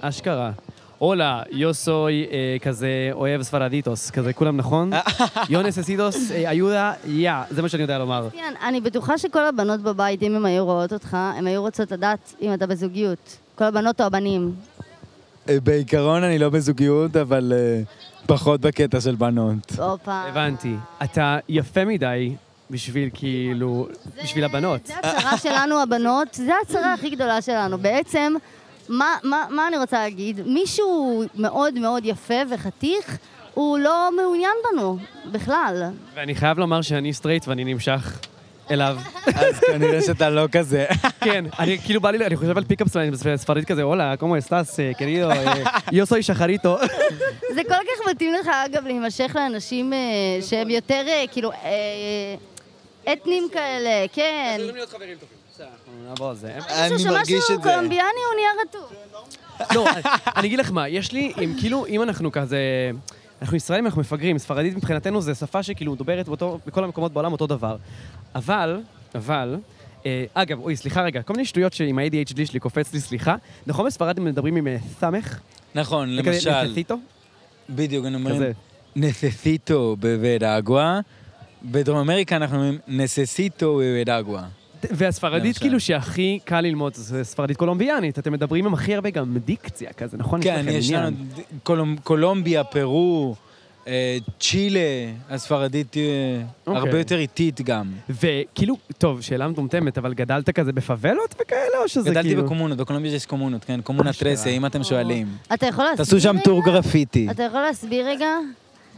Speaker 3: אשכרה. הולה, יו סוי אה, כזה אוהב ספרדיטוס, כזה כולם נכון? יו נססידוס, אה, איודה, יא, זה מה שאני יודע לומר.
Speaker 4: כן, אני בטוחה שכל הבנות בבית, אם הן היו רואות אותך, הן היו רוצות לדעת אם אתה בזוגיות. כל הבנות או הבנים.
Speaker 6: אה, בעיקרון אני לא בזוגיות, אבל אה, פחות בקטע של *laughs* בנות.
Speaker 4: הופה.
Speaker 3: הבנתי. אתה יפה מדי בשביל כאילו, בשביל הבנות.
Speaker 4: זה הצרה שלנו, הבנות, זה הצרה הכי גדולה שלנו. בעצם, מה, מה, מה אני רוצה להגיד? מישהו מאוד מאוד יפה וחתיך, הוא לא מעוניין בנו, בכלל.
Speaker 3: ואני חייב לומר שאני סטרייט ואני נמשך
Speaker 4: *laughs*
Speaker 3: אליו.
Speaker 6: אז כנראה שאתה לא כזה.
Speaker 3: כן, אני כאילו בא לי, אני חושב על פיקאפ סלעים בספרדית כזה, הולה, כמו אסטס, אה, כרידו, אה, יו סוי שחריטו. *laughs*
Speaker 4: זה כל כך מתאים לך, אגב, להימשך לאנשים אה, שהם יותר, אה, כאילו, אה, אטנים כאלה, כן.
Speaker 6: אני
Speaker 4: מישהו
Speaker 6: מרגיש
Speaker 4: שמשהו
Speaker 6: את זה.
Speaker 4: קולומביאני הוא נהיה רטוב.
Speaker 3: לא, אני אגיד לך מה, יש לי, אם כאילו, אם אנחנו כזה... אנחנו ישראלים, אנחנו מפגרים, ספרדית מבחינתנו זו שפה שכאילו מדוברת באותו, בכל המקומות בעולם אותו דבר. אבל, אבל, אה, אגב, אוי, סליחה רגע, כל מיני שטויות שעם ה-ADHD שלי קופץ לי, סליחה, נכון בספרדים מדברים עם אה, סמך?
Speaker 6: *laughs* נכון,
Speaker 3: וכזה
Speaker 6: למשל,
Speaker 3: נחסיתו?
Speaker 6: בדיוק, אני אומר,
Speaker 3: כזה.
Speaker 6: נססיטו בוודאגווה. בדרום אמריקה אנחנו אומרים נססיטו בוודאגווה.
Speaker 3: והספרדית
Speaker 6: למשל.
Speaker 3: כאילו שהכי קל ללמוד זה ספרדית קולומביאנית, אתם מדברים עם הכי הרבה גם דיקציה כזה, נכון?
Speaker 6: כן,
Speaker 3: לכם
Speaker 6: יש
Speaker 3: עניין.
Speaker 6: לנו ד- קולומ- קולומביה, פרו, אה, צ'ילה, הספרדית אה,
Speaker 3: אוקיי.
Speaker 6: הרבה יותר איטית גם.
Speaker 3: וכאילו, טוב, שאלה מטומטמת, אבל גדלת כזה בפאבלות וכאלה, או שזה
Speaker 6: גדלתי
Speaker 3: כאילו...
Speaker 6: בקומונות, בקולומביה יש קומונות, כן, קומונה
Speaker 3: אשכרה.
Speaker 6: טרסיה, אם אתם שואלים.
Speaker 4: אתה יכול להסביר
Speaker 6: תעשו שם
Speaker 4: רגע?
Speaker 6: טור גרפיטי.
Speaker 4: אתה יכול להסביר רגע?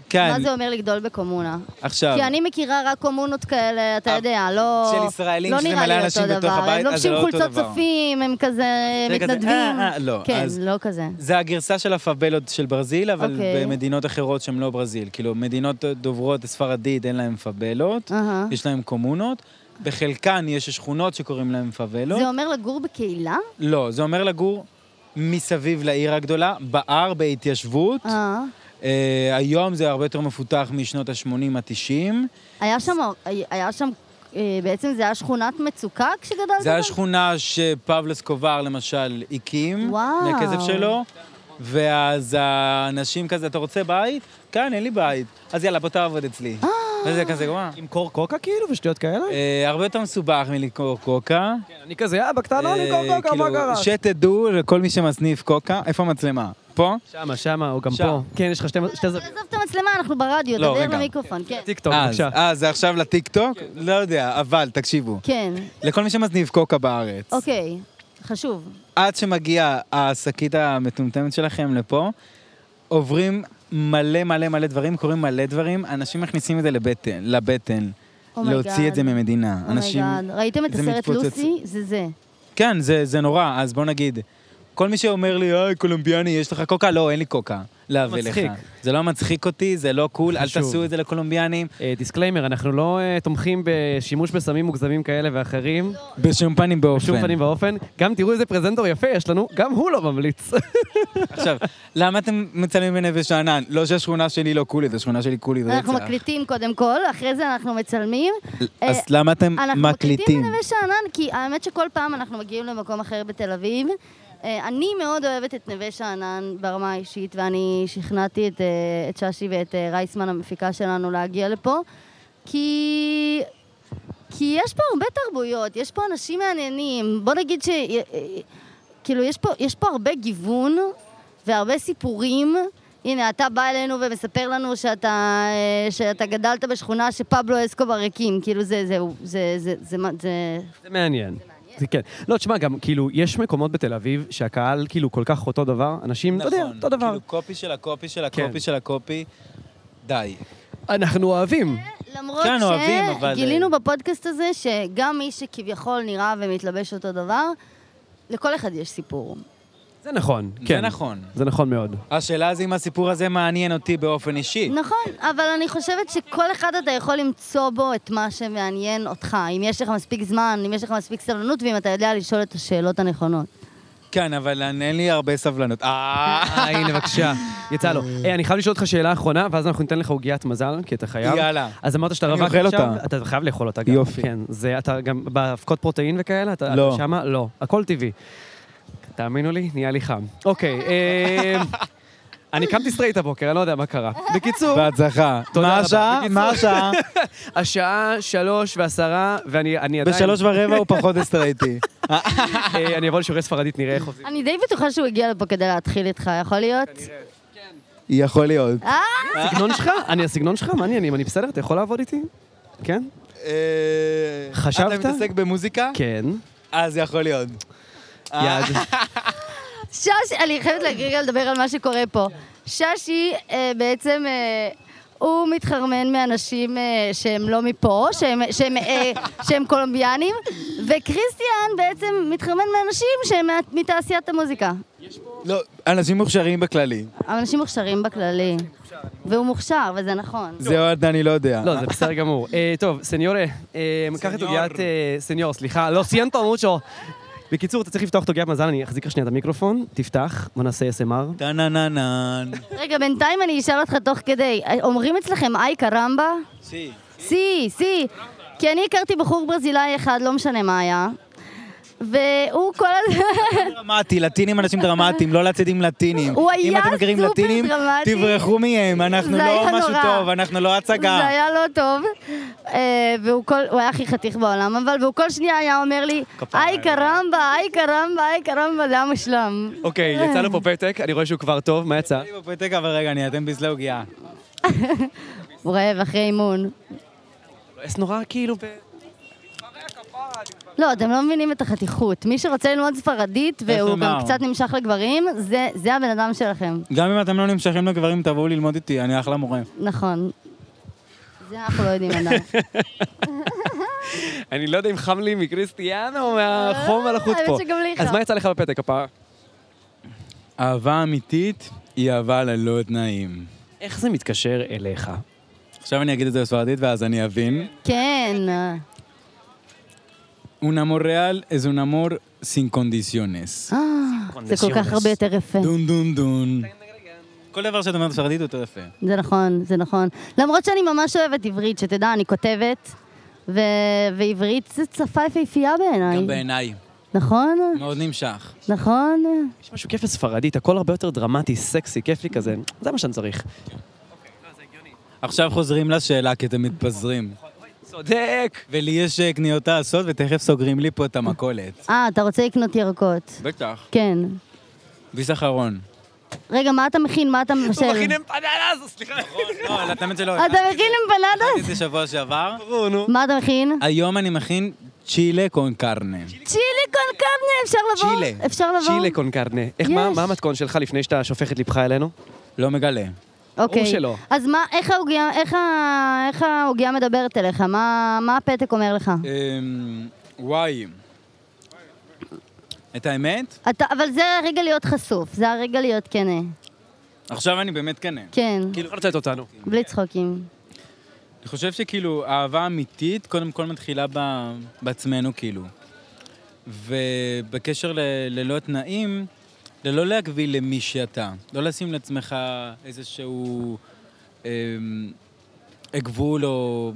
Speaker 6: כן,
Speaker 4: מה זה אומר לגדול בקומונה?
Speaker 6: עכשיו.
Speaker 4: כי אני מכירה רק קומונות כאלה, אתה יודע, לא...
Speaker 6: אה, של ישראלים
Speaker 4: לא
Speaker 6: שזה
Speaker 4: נראה
Speaker 6: מלא
Speaker 4: לי
Speaker 6: אנשים
Speaker 4: אותו
Speaker 6: בתוך
Speaker 4: דבר.
Speaker 6: הבית,
Speaker 4: הם
Speaker 6: אז זה
Speaker 4: לובשים
Speaker 6: לא אותו
Speaker 4: חולצות
Speaker 6: דבר.
Speaker 4: צופים, הם כזה
Speaker 6: זה כזה,
Speaker 4: מתנדבים.
Speaker 6: אה, אה, לא,
Speaker 4: כן,
Speaker 6: אז-
Speaker 4: לא כזה.
Speaker 6: זה הגרסה של הפאבלות של ברזיל, אבל
Speaker 4: אוקיי.
Speaker 6: במדינות אחרות שהן לא ברזיל. כאילו, מדינות דוברות ספרדית אין להן פאבלות,
Speaker 4: אהה.
Speaker 6: יש להן קומונות. בחלקן יש שכונות שקוראים להן פאבלות.
Speaker 4: זה אומר לגור בקהילה?
Speaker 6: לא, זה אומר לגור מסביב לעיר הגדולה, בהר, בהתיישבות.
Speaker 4: אה.
Speaker 6: אה, היום זה הרבה יותר מפותח משנות ה-80, ה-90.
Speaker 4: היה שם, היה שם, אה, בעצם זה היה שכונת מצוקה כשגדלת?
Speaker 6: זה
Speaker 4: שם?
Speaker 6: היה שכונה שפבלו אסקובר למשל הקים,
Speaker 4: וואו.
Speaker 6: מהכסף שלו, ואז האנשים כזה, אתה רוצה בית? כן, אין לי בית. אז יאללה, בוא תעבוד אצלי. וזה כזה, וואו.
Speaker 3: עם קור קוקה כאילו ושטויות כאלה?
Speaker 6: אה, הרבה יותר מסובך מלקרוא קוקה.
Speaker 3: אני כזה, אה, בקטנה אני קור
Speaker 6: אה,
Speaker 3: קוקה, מה
Speaker 6: כאילו,
Speaker 3: קרה?
Speaker 6: שתדעו לכל מי שמסניף קוקה, איפה המצלמה? פה?
Speaker 3: שמה, שמה, או גם
Speaker 6: שם.
Speaker 3: פה. כן, יש לך שתי- שתי זוויות.
Speaker 4: עזוב את המצלמה, אנחנו ברדיו,
Speaker 6: לא,
Speaker 4: תדבר
Speaker 6: רגע.
Speaker 4: למיקרופון, כן.
Speaker 3: טיקטוק,
Speaker 6: אז,
Speaker 3: בבקשה.
Speaker 6: אה, זה עכשיו לטיקטוק? לא יודע, אבל תקשיבו.
Speaker 4: כן,
Speaker 6: לכל מי שמזניב קוקה בארץ,
Speaker 4: אוקיי, חשוב.
Speaker 6: עד שמגיעה השקית המטומטמת שלכם לפה, עוברים מלא מלא מלא דברים, קורים מלא דברים, אנשים מכניסים את זה לבטן, לבטן.
Speaker 4: Oh my
Speaker 6: להוציא את
Speaker 4: God.
Speaker 6: זה ממדינה. אנשים...
Speaker 4: אומייגאד. ראיתם את
Speaker 6: זה
Speaker 4: הסרט
Speaker 6: מתפוצץ.
Speaker 4: לוסי? זה זה.
Speaker 6: כן, זה, זה נורא, אז בוא נגיד, כל מי שאומר לי, היי, קולומביאני, יש לך קוקה? לא, אין לי קוקה להביא לך.
Speaker 3: מצחיק.
Speaker 6: זה לא מצחיק אותי, זה לא קול, אל
Speaker 3: חשוב.
Speaker 6: תעשו את זה לקולומביאנים.
Speaker 3: אה, דיסקליימר, אנחנו לא אה, תומכים בשימוש בסמים מוגזמים כאלה ואחרים,
Speaker 6: בשום פנים באופן.
Speaker 3: בשום פנים ואופן. גם תראו איזה פרזנטור יפה יש לנו, גם הוא לא *laughs* ממליץ.
Speaker 6: עכשיו, למה אתם מצלמים בנפש הענן? לא שהשכונה שלי לא קולית, השכונה שלי קולית רצח.
Speaker 4: אנחנו מקליטים קודם כל, אחרי זה אנחנו מצלמים.
Speaker 6: אז
Speaker 4: אה,
Speaker 6: למה אתם
Speaker 4: אנחנו
Speaker 6: מקליטים?
Speaker 4: מקליטים בנווה שאנן, כי האמת שכל פעם אנחנו מגיעים למקום אחר בתל אביב. אה, אני מאוד אוהבת את נווה שאנן ברמה האישית, ואני שכנעתי את, אה, את ששי ואת אה, רייסמן, המפיקה שלנו, להגיע לפה, כי... כי יש פה הרבה תרבויות, יש פה אנשים מעניינים. בוא נגיד ש... אה, אה, כאילו, יש פה, יש פה הרבה גיוון והרבה סיפורים. הנה, אתה בא אלינו ומספר לנו שאתה, אה, שאתה גדלת בשכונה שפבלו אסקובר הקים. כאילו, זה, זה, זה, זה, זה, מה- זה,
Speaker 3: זה מעניין. זה כן. לא, תשמע, גם כאילו, יש מקומות בתל אביב שהקהל כאילו כל כך אותו דבר, אנשים, אתה יודע,
Speaker 6: נכון,
Speaker 3: אותו דבר.
Speaker 6: כאילו קופי של הקופי של
Speaker 3: כן.
Speaker 6: הקופי של הקופי. די.
Speaker 3: אנחנו אוהבים.
Speaker 4: למרות
Speaker 6: כן, אוהבים, אבל-
Speaker 4: שגילינו בפודקאסט הזה שגם מי שכביכול נראה ומתלבש אותו דבר, לכל אחד יש סיפור.
Speaker 3: זה נכון,
Speaker 6: זה
Speaker 3: כן.
Speaker 6: נכון.
Speaker 3: זה נכון מאוד.
Speaker 6: השאלה זה אם הסיפור הזה מעניין אותי באופן אישי.
Speaker 4: נכון, אבל אני חושבת שכל אחד אתה יכול למצוא בו את מה שמעניין אותך. אם יש לך מספיק זמן, אם יש לך מספיק סבלנות, ואם אתה יודע לשאול את השאלות הנכונות.
Speaker 6: כן, אבל אין לי הרבה סבלנות. אה,
Speaker 3: אה, הנה, בבקשה. יצא לו. היי, אני חייב לשאול אותך שאלה אחרונה, ואז אנחנו ניתן לך עוגיית מזל, כי אתה חייב.
Speaker 6: יאללה.
Speaker 3: אז אמרת שאתה
Speaker 6: אני
Speaker 3: רווק
Speaker 6: אוכל
Speaker 3: עכשיו,
Speaker 6: אותה.
Speaker 3: אתה חייב לאכול אותה גם.
Speaker 6: יופי.
Speaker 3: כן, זה, אתה גם באבקות פרוטאין וכאלה? אתה,
Speaker 6: לא.
Speaker 3: אתה שמה? לא. הכל טבעי. תאמינו לי, נהיה לי חם. אוקיי, אה, אני קמתי סטרייט הבוקר, אני לא יודע מה קרה. בקיצור,
Speaker 6: בהצלחה.
Speaker 3: תודה
Speaker 6: מה
Speaker 3: רבה.
Speaker 6: השעה?
Speaker 3: בקיצור.
Speaker 6: מה *laughs* השעה?
Speaker 3: השעה שלוש ועשרה, ואני אני עדיין...
Speaker 6: בשלוש ורבע הוא פחות אסטרייטי.
Speaker 3: אה, אני אבוא לשיעורי ספרדית, נראה איך עושים.
Speaker 4: אני די בטוחה שהוא הגיע לפה כדי להתחיל איתך, יכול להיות?
Speaker 6: יכול להיות.
Speaker 4: אה,
Speaker 3: הסגנון שלך? אני הסגנון שלך? מה העניינים? אני בסדר? אתה יכול לעבוד איתי? כן?
Speaker 6: אה,
Speaker 3: חשבת?
Speaker 6: אתה מתעסק במוזיקה?
Speaker 3: כן.
Speaker 6: אז יכול להיות.
Speaker 3: יד.
Speaker 4: ששי, אני חייבת להגיד לדבר על מה שקורה פה. ששי אה, בעצם... אה, הוא מתחרמן מאנשים אה, שהם לא מפה, שהם, שהם, אה, שהם קולומביאנים, וכריסטיאן בעצם מתחרמן מאנשים שהם מה- מתעשיית המוזיקה.
Speaker 6: לא, אנשים מוכשרים בכללי.
Speaker 4: אבל אנשים מוכשרים בכללי. והוא מוכשר, וזה נכון.
Speaker 6: זה עוד אני לא יודע.
Speaker 3: לא, זה בסדר גמור. אה, טוב, סניורה, אה, קח את עוגיית... אה, סניור, סליחה, לא סיינטו מוצ'ו. בקיצור, אתה צריך לפתוח את עוגיית מזל, אני אחזיק לך שנייה את המיקרופון, תפתח, בוא נעשה SMR.
Speaker 6: טה-נה-נה-נן.
Speaker 4: רגע, בינתיים אני אשאל אותך תוך כדי, אומרים אצלכם איי קרמבה? סי, סי. כי אני הכרתי בחור ברזילאי אחד, לא משנה מה היה, והוא כל הזמן...
Speaker 6: דרמטי, לטינים אנשים דרמטיים, לא לצאת עם לטינים.
Speaker 4: הוא היה
Speaker 6: אם אתם מכירים
Speaker 4: סופר
Speaker 6: לטינים,
Speaker 4: דרמטי.
Speaker 6: תברחו מהם, אנחנו
Speaker 4: זה
Speaker 6: לא
Speaker 4: היה
Speaker 6: משהו
Speaker 4: נורא.
Speaker 6: טוב, אנחנו לא
Speaker 4: זה
Speaker 6: הצגה.
Speaker 4: היה לא טוב, אה, והוא כל, הוא היה הכי חתיך בעולם, אבל והוא כל שנייה היה אומר לי, איי קרמבה, איי קרמבה, איי קרמבה, זה היה מושלם.
Speaker 3: אוקיי,
Speaker 4: אה.
Speaker 3: יצא לו פה פתק, אני רואה שהוא כבר טוב, מה יצא?
Speaker 6: אני בפתק, אבל רגע, אני אתן ביס לעוגיה.
Speaker 4: הוא רעב אחרי אימון.
Speaker 3: אז נורא כאילו... ב-
Speaker 4: לא, אתם לא מבינים את החתיכות. מי שרוצה ללמוד ספרדית והוא
Speaker 6: לומר.
Speaker 4: גם קצת נמשך לגברים, זה- זה הבן אדם שלכם.
Speaker 6: גם אם אתם לא נמשכים לגברים, תבואו ללמוד איתי, אני אחלה מורה.
Speaker 4: נכון. זה אנחנו לא יודעים עדיין.
Speaker 6: *laughs*
Speaker 3: אני לא יודע אם חם לי מקריסטיאן או מהחום על החוט
Speaker 4: אה, האמת
Speaker 3: פה.
Speaker 4: שגם לי
Speaker 3: אז
Speaker 4: חם.
Speaker 3: מה יצא לך בפתק הפעם?
Speaker 6: אהבה אמיתית היא אהבה ללא תנאים.
Speaker 3: איך זה מתקשר אליך?
Speaker 6: עכשיו אני אגיד את זה בספרדית ואז אני אבין.
Speaker 4: כן.
Speaker 6: Un amor real es un amor sin condiciones.
Speaker 4: אה, זה כל כך הרבה יותר יפה.
Speaker 6: דון דון דון. כל דבר שאת אומרת בספרדית הוא יותר יפה.
Speaker 4: זה נכון, זה נכון. למרות שאני ממש אוהבת עברית, שתדע, אני כותבת, ו- ועברית זה שפה יפהפייה
Speaker 6: גם
Speaker 4: בעיניי.
Speaker 6: בעיניי.
Speaker 4: נכון?
Speaker 6: מאוד נמשך.
Speaker 4: נכון?
Speaker 3: יש משהו כיף בספרדית, הכל הרבה יותר דרמטי, סקסי, כיפי כזה, זה מה שאני צריך.
Speaker 6: עכשיו חוזרים לשאלה כי אתם מתפזרים.
Speaker 3: צודק!
Speaker 6: ולי יש אה, קניות לעשות ותכף סוגרים לי פה את המכולת.
Speaker 4: אה, אתה רוצה לקנות ירקות.
Speaker 6: בטח.
Speaker 4: כן.
Speaker 6: ביס אחרון.
Speaker 4: רגע, מה אתה מכין? מה אתה מבשל?
Speaker 3: אמפנדלס, סליחה.
Speaker 6: לא, על התאמת
Speaker 4: אתה
Speaker 6: שלא.
Speaker 4: מכין
Speaker 6: אמפנדס?
Speaker 4: אמפנדס?
Speaker 6: *laughs* זה שבוע שעבר.
Speaker 4: מה אתה מכין?
Speaker 6: היום אני מכין צ'ילה קון קרנה.
Speaker 4: צ'ילי קון קרנה, אפשר לבוא?
Speaker 6: צ'ילה.
Speaker 4: אפשר לבוא?
Speaker 3: צ'ילה קונקרנה. איך, מה
Speaker 4: יש.
Speaker 3: מה המתכון שלך לפני שאתה שופך את ליבך אלינו?
Speaker 6: לא מגלה.
Speaker 4: אוקיי.
Speaker 3: ברור שלא.
Speaker 4: אז מה, איך העוגיה, איך, ה- איך העוגיה מדברת אליך? מה, מה הפתק אומר לך?
Speaker 6: אמ, וואי. את האמת?
Speaker 4: אתה, אבל זה הרגע להיות חשוף, זה הרגע להיות כנה.
Speaker 6: עכשיו אני באמת כנה.
Speaker 4: כן,
Speaker 3: כאילו,
Speaker 8: לא
Speaker 3: יכול לצאת אותנו.
Speaker 4: בלי צחוקים.
Speaker 6: אני חושב שכאילו, אהבה אמיתית קודם כל מתחילה ב... בעצמנו, כאילו. ובקשר ל... ללא תנאים, ללא להגביל למי שאתה. לא לשים לעצמך איזשהו אמ... גבול או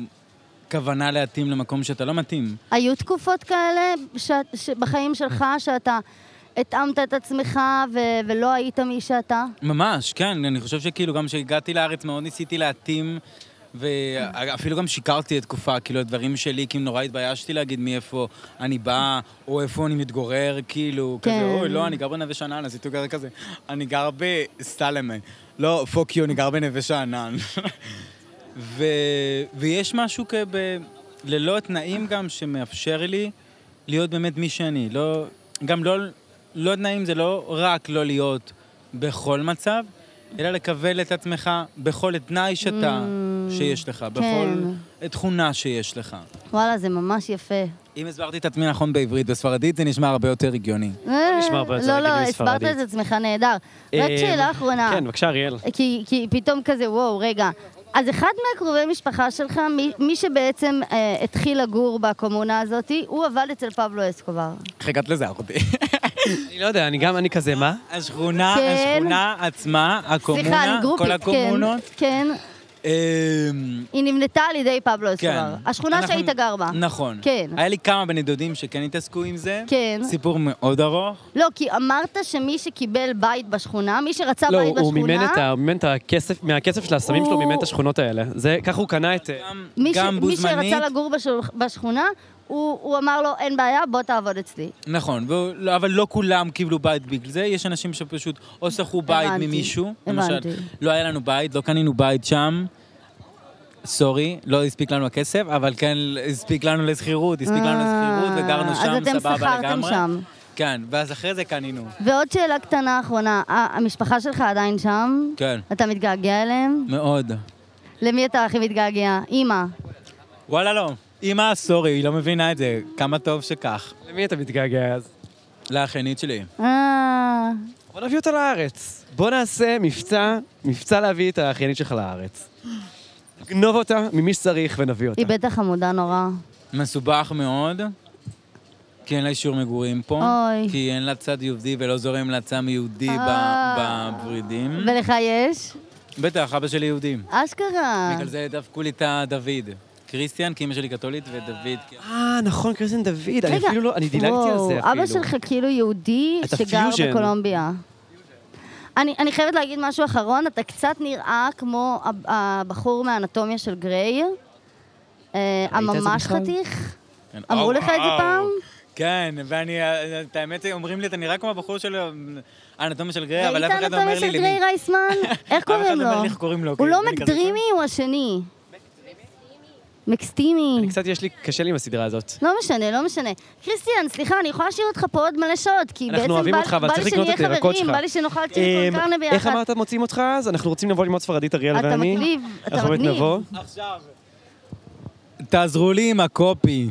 Speaker 6: כוונה להתאים למקום שאתה לא מתאים.
Speaker 4: היו תקופות כאלה ש, ש, בחיים שלך שאתה התאמת את עצמך ו, ולא היית מי שאתה?
Speaker 6: ממש, כן, אני חושב שכאילו גם כשהגעתי לארץ מאוד ניסיתי להתאים, ואפילו גם שיקרתי לתקופה, כאילו הדברים שלי, כאילו נורא התביישתי להגיד מאיפה אני בא, או איפה אני מתגורר, כאילו,
Speaker 4: כן.
Speaker 6: כזה, אוי, לא, אני גר בנווה שאנן, אז הייתי גר כזה, אני גר בסטלמן. לא, פוק יו, אני גר בנווה שאנן. ו... ויש משהו כב... ללא תנאים גם שמאפשר לי להיות באמת מי שאני. לא... גם לא... לא תנאים זה לא רק לא להיות בכל מצב, אלא לקבל את
Speaker 4: כן.
Speaker 6: עצמך בכל תנאי שאתה, שיש לך, בכל תכונה שיש לך.
Speaker 4: וואלה, זה ממש יפה.
Speaker 6: אם הסברתי את עצמי נכון בעברית, בספרדית זה נשמע הרבה יותר הגיוני.
Speaker 4: אה,
Speaker 8: נשמע הרבה יותר
Speaker 4: לא, לא,
Speaker 8: הגיוני
Speaker 4: הסברת
Speaker 8: ספרדית.
Speaker 4: את עצמך נהדר. רק
Speaker 8: אה,
Speaker 4: שאלה אחרונה.
Speaker 8: כן, בבקשה, אריאל.
Speaker 4: כי, כי פתאום כזה, וואו, רגע. אז אחד מהקרובי משפחה שלך, מי, מי שבעצם אה, התחיל לגור בקומונה הזאת, הוא עבד אצל פבלו אסקובר.
Speaker 6: איך הגעת לזה, אחותי?
Speaker 4: אה,
Speaker 3: אני לא יודע, אני גם, אני כזה, מה?
Speaker 6: השכונה,
Speaker 4: כן.
Speaker 6: השכונה עצמה,
Speaker 4: סליחה, אני
Speaker 6: הקומונה,
Speaker 4: גרופית,
Speaker 6: כל הקומונות.
Speaker 4: כן, כן.
Speaker 6: אמ,
Speaker 4: היא נמנתה על ידי פבלו
Speaker 6: כן.
Speaker 4: אסקובר. השכונה
Speaker 6: אנחנו-
Speaker 4: שהיית גר בה.
Speaker 6: נכון.
Speaker 4: כן.
Speaker 6: היה לי כמה בני דודים שכן התעסקו עם זה.
Speaker 4: כן.
Speaker 6: סיפור מאוד ארוך.
Speaker 4: לא, כי אמרת שמי שקיבל בית בשכונה, מי שרצה
Speaker 3: לא,
Speaker 4: בית
Speaker 3: הוא- הוא מימן
Speaker 4: בשכונה,
Speaker 3: את ה- הוא מימן את הכסף, מהכסף של הסמים שלו הוא מימן את השכונות האלה. זה, ככה הוא קנה את... אה,
Speaker 6: גם-
Speaker 4: מי,
Speaker 6: גם
Speaker 4: ש,
Speaker 6: בו
Speaker 4: מי
Speaker 6: זמנית.
Speaker 4: שרצה לגור בשול- בשכונה, הוא, הוא אמר לו, אין בעיה, בוא תעבוד אצלי.
Speaker 6: נכון, והוא- לא- אבל לא כולם קיבלו בית בגלל זה, יש אנשים שפשוט או שכרו בית
Speaker 4: הבנתי,
Speaker 6: ממישהו,
Speaker 4: הבנתי.
Speaker 6: למשל, לא היה לנו בית, לא קנינו בית שם, סורי, לא הספיק לנו הכסף, אבל כן הספיק לנו לשכירות, הספיק לנו לשכירות, וגרנו
Speaker 4: אה, אז
Speaker 6: שם,
Speaker 4: אתם
Speaker 6: סבבה
Speaker 4: שכרתם
Speaker 6: לגמרי.
Speaker 4: שם.
Speaker 6: כן, ואז אחרי זה קנינו.
Speaker 4: ועוד שאלה קטנה אחרונה, ה- המשפחה שלך עדיין שם?
Speaker 6: כן.
Speaker 4: אתה מתגעגע אליהם?
Speaker 6: מאוד.
Speaker 4: למי אתה הכי מתגעגע? אימא.
Speaker 6: וואלה, לא. אמא, סורי, היא לא מבינה את זה, כמה טוב שכך.
Speaker 3: אה, למי אתה מתגעגע אז?
Speaker 6: לאחיינית שלי.
Speaker 4: אה,
Speaker 3: בוא נביא אותו לארץ. בוא נעשה מבצע, מבצע להביא את האחיינית שלך לארץ. נגנוב אותה ממי שצריך ונביא אותה.
Speaker 4: היא בטח חמודה נורא.
Speaker 6: מסובך מאוד, כי אין לה אישור מגורים פה.
Speaker 4: אוי.
Speaker 6: כי אין לה צד יהודי ולא זורם לה צד יהודי ב-
Speaker 4: אה.
Speaker 6: בוורידים.
Speaker 4: ולך יש?
Speaker 6: בטח, אבא שלי יהודי.
Speaker 4: אשכרה.
Speaker 6: בגלל זה דפקו לי את הדוד. קריסטיאן, כי אמא שלי קתולית, ודוד... כי-
Speaker 3: אה, נכון, קריסטין דוד, אני
Speaker 4: רגע,
Speaker 3: אפילו לא, אני דילגתי על
Speaker 4: וואו,
Speaker 3: זה אפילו.
Speaker 4: אבא שלך כאילו יהודי
Speaker 3: אתה
Speaker 4: שגר
Speaker 3: פיוז'ן.
Speaker 4: בקולומביה. אני, אני חייבת להגיד משהו אחרון, אתה קצת נראה כמו הב- הבחור מהאנטומיה של גריי, אה,
Speaker 3: את זה
Speaker 4: הממש
Speaker 3: בכלל?
Speaker 4: חתיך.
Speaker 6: כן.
Speaker 4: אמרו
Speaker 6: או,
Speaker 4: לך את זה
Speaker 6: וואו.
Speaker 4: פעם?
Speaker 6: כן, ואני... אה, את האמת, אומרים לי, אתה נראה כמו הבחור של האנטומיה של גריי, אבל
Speaker 4: ראית
Speaker 6: אף אחד לא אומר
Speaker 4: אנטומיה
Speaker 6: לי
Speaker 4: של
Speaker 6: למי.
Speaker 4: גריי
Speaker 3: *laughs*
Speaker 4: רייסמן? איך
Speaker 6: אחד
Speaker 4: קוראים
Speaker 6: לא
Speaker 4: לו?
Speaker 6: אומר לי איך קוראים לו,
Speaker 4: הוא
Speaker 6: כן,
Speaker 4: לא
Speaker 6: אני כזה
Speaker 4: מקדרימי, הוא השני. מקסטימי.
Speaker 3: אני קצת, יש לי, קשה לי עם הסדרה הזאת.
Speaker 4: לא משנה, לא משנה. קריסטיאן, סליחה, אני יכולה להשאיר אותך פה עוד מלא שעות, כי
Speaker 3: אנחנו
Speaker 4: בעצם
Speaker 3: אוהבים
Speaker 4: בא-
Speaker 3: אותך, אבל
Speaker 4: בא
Speaker 3: צריך
Speaker 4: לי
Speaker 3: לקנות
Speaker 4: שנהיה
Speaker 3: את הירקות
Speaker 4: חברים,
Speaker 3: שלך.
Speaker 4: בא לי שנאכל צ'ילי
Speaker 3: אמ,
Speaker 4: קול קרנה ביחד.
Speaker 3: איך אמרת מוצאים אותך אז? אנחנו רוצים לבוא ללמוד ספרדית, אריאל
Speaker 4: אתה
Speaker 3: ואני.
Speaker 4: מגניב, אתה
Speaker 3: אנחנו באמת
Speaker 4: מגניב.
Speaker 3: נבוא.
Speaker 6: תעזרו לי עם הקופי.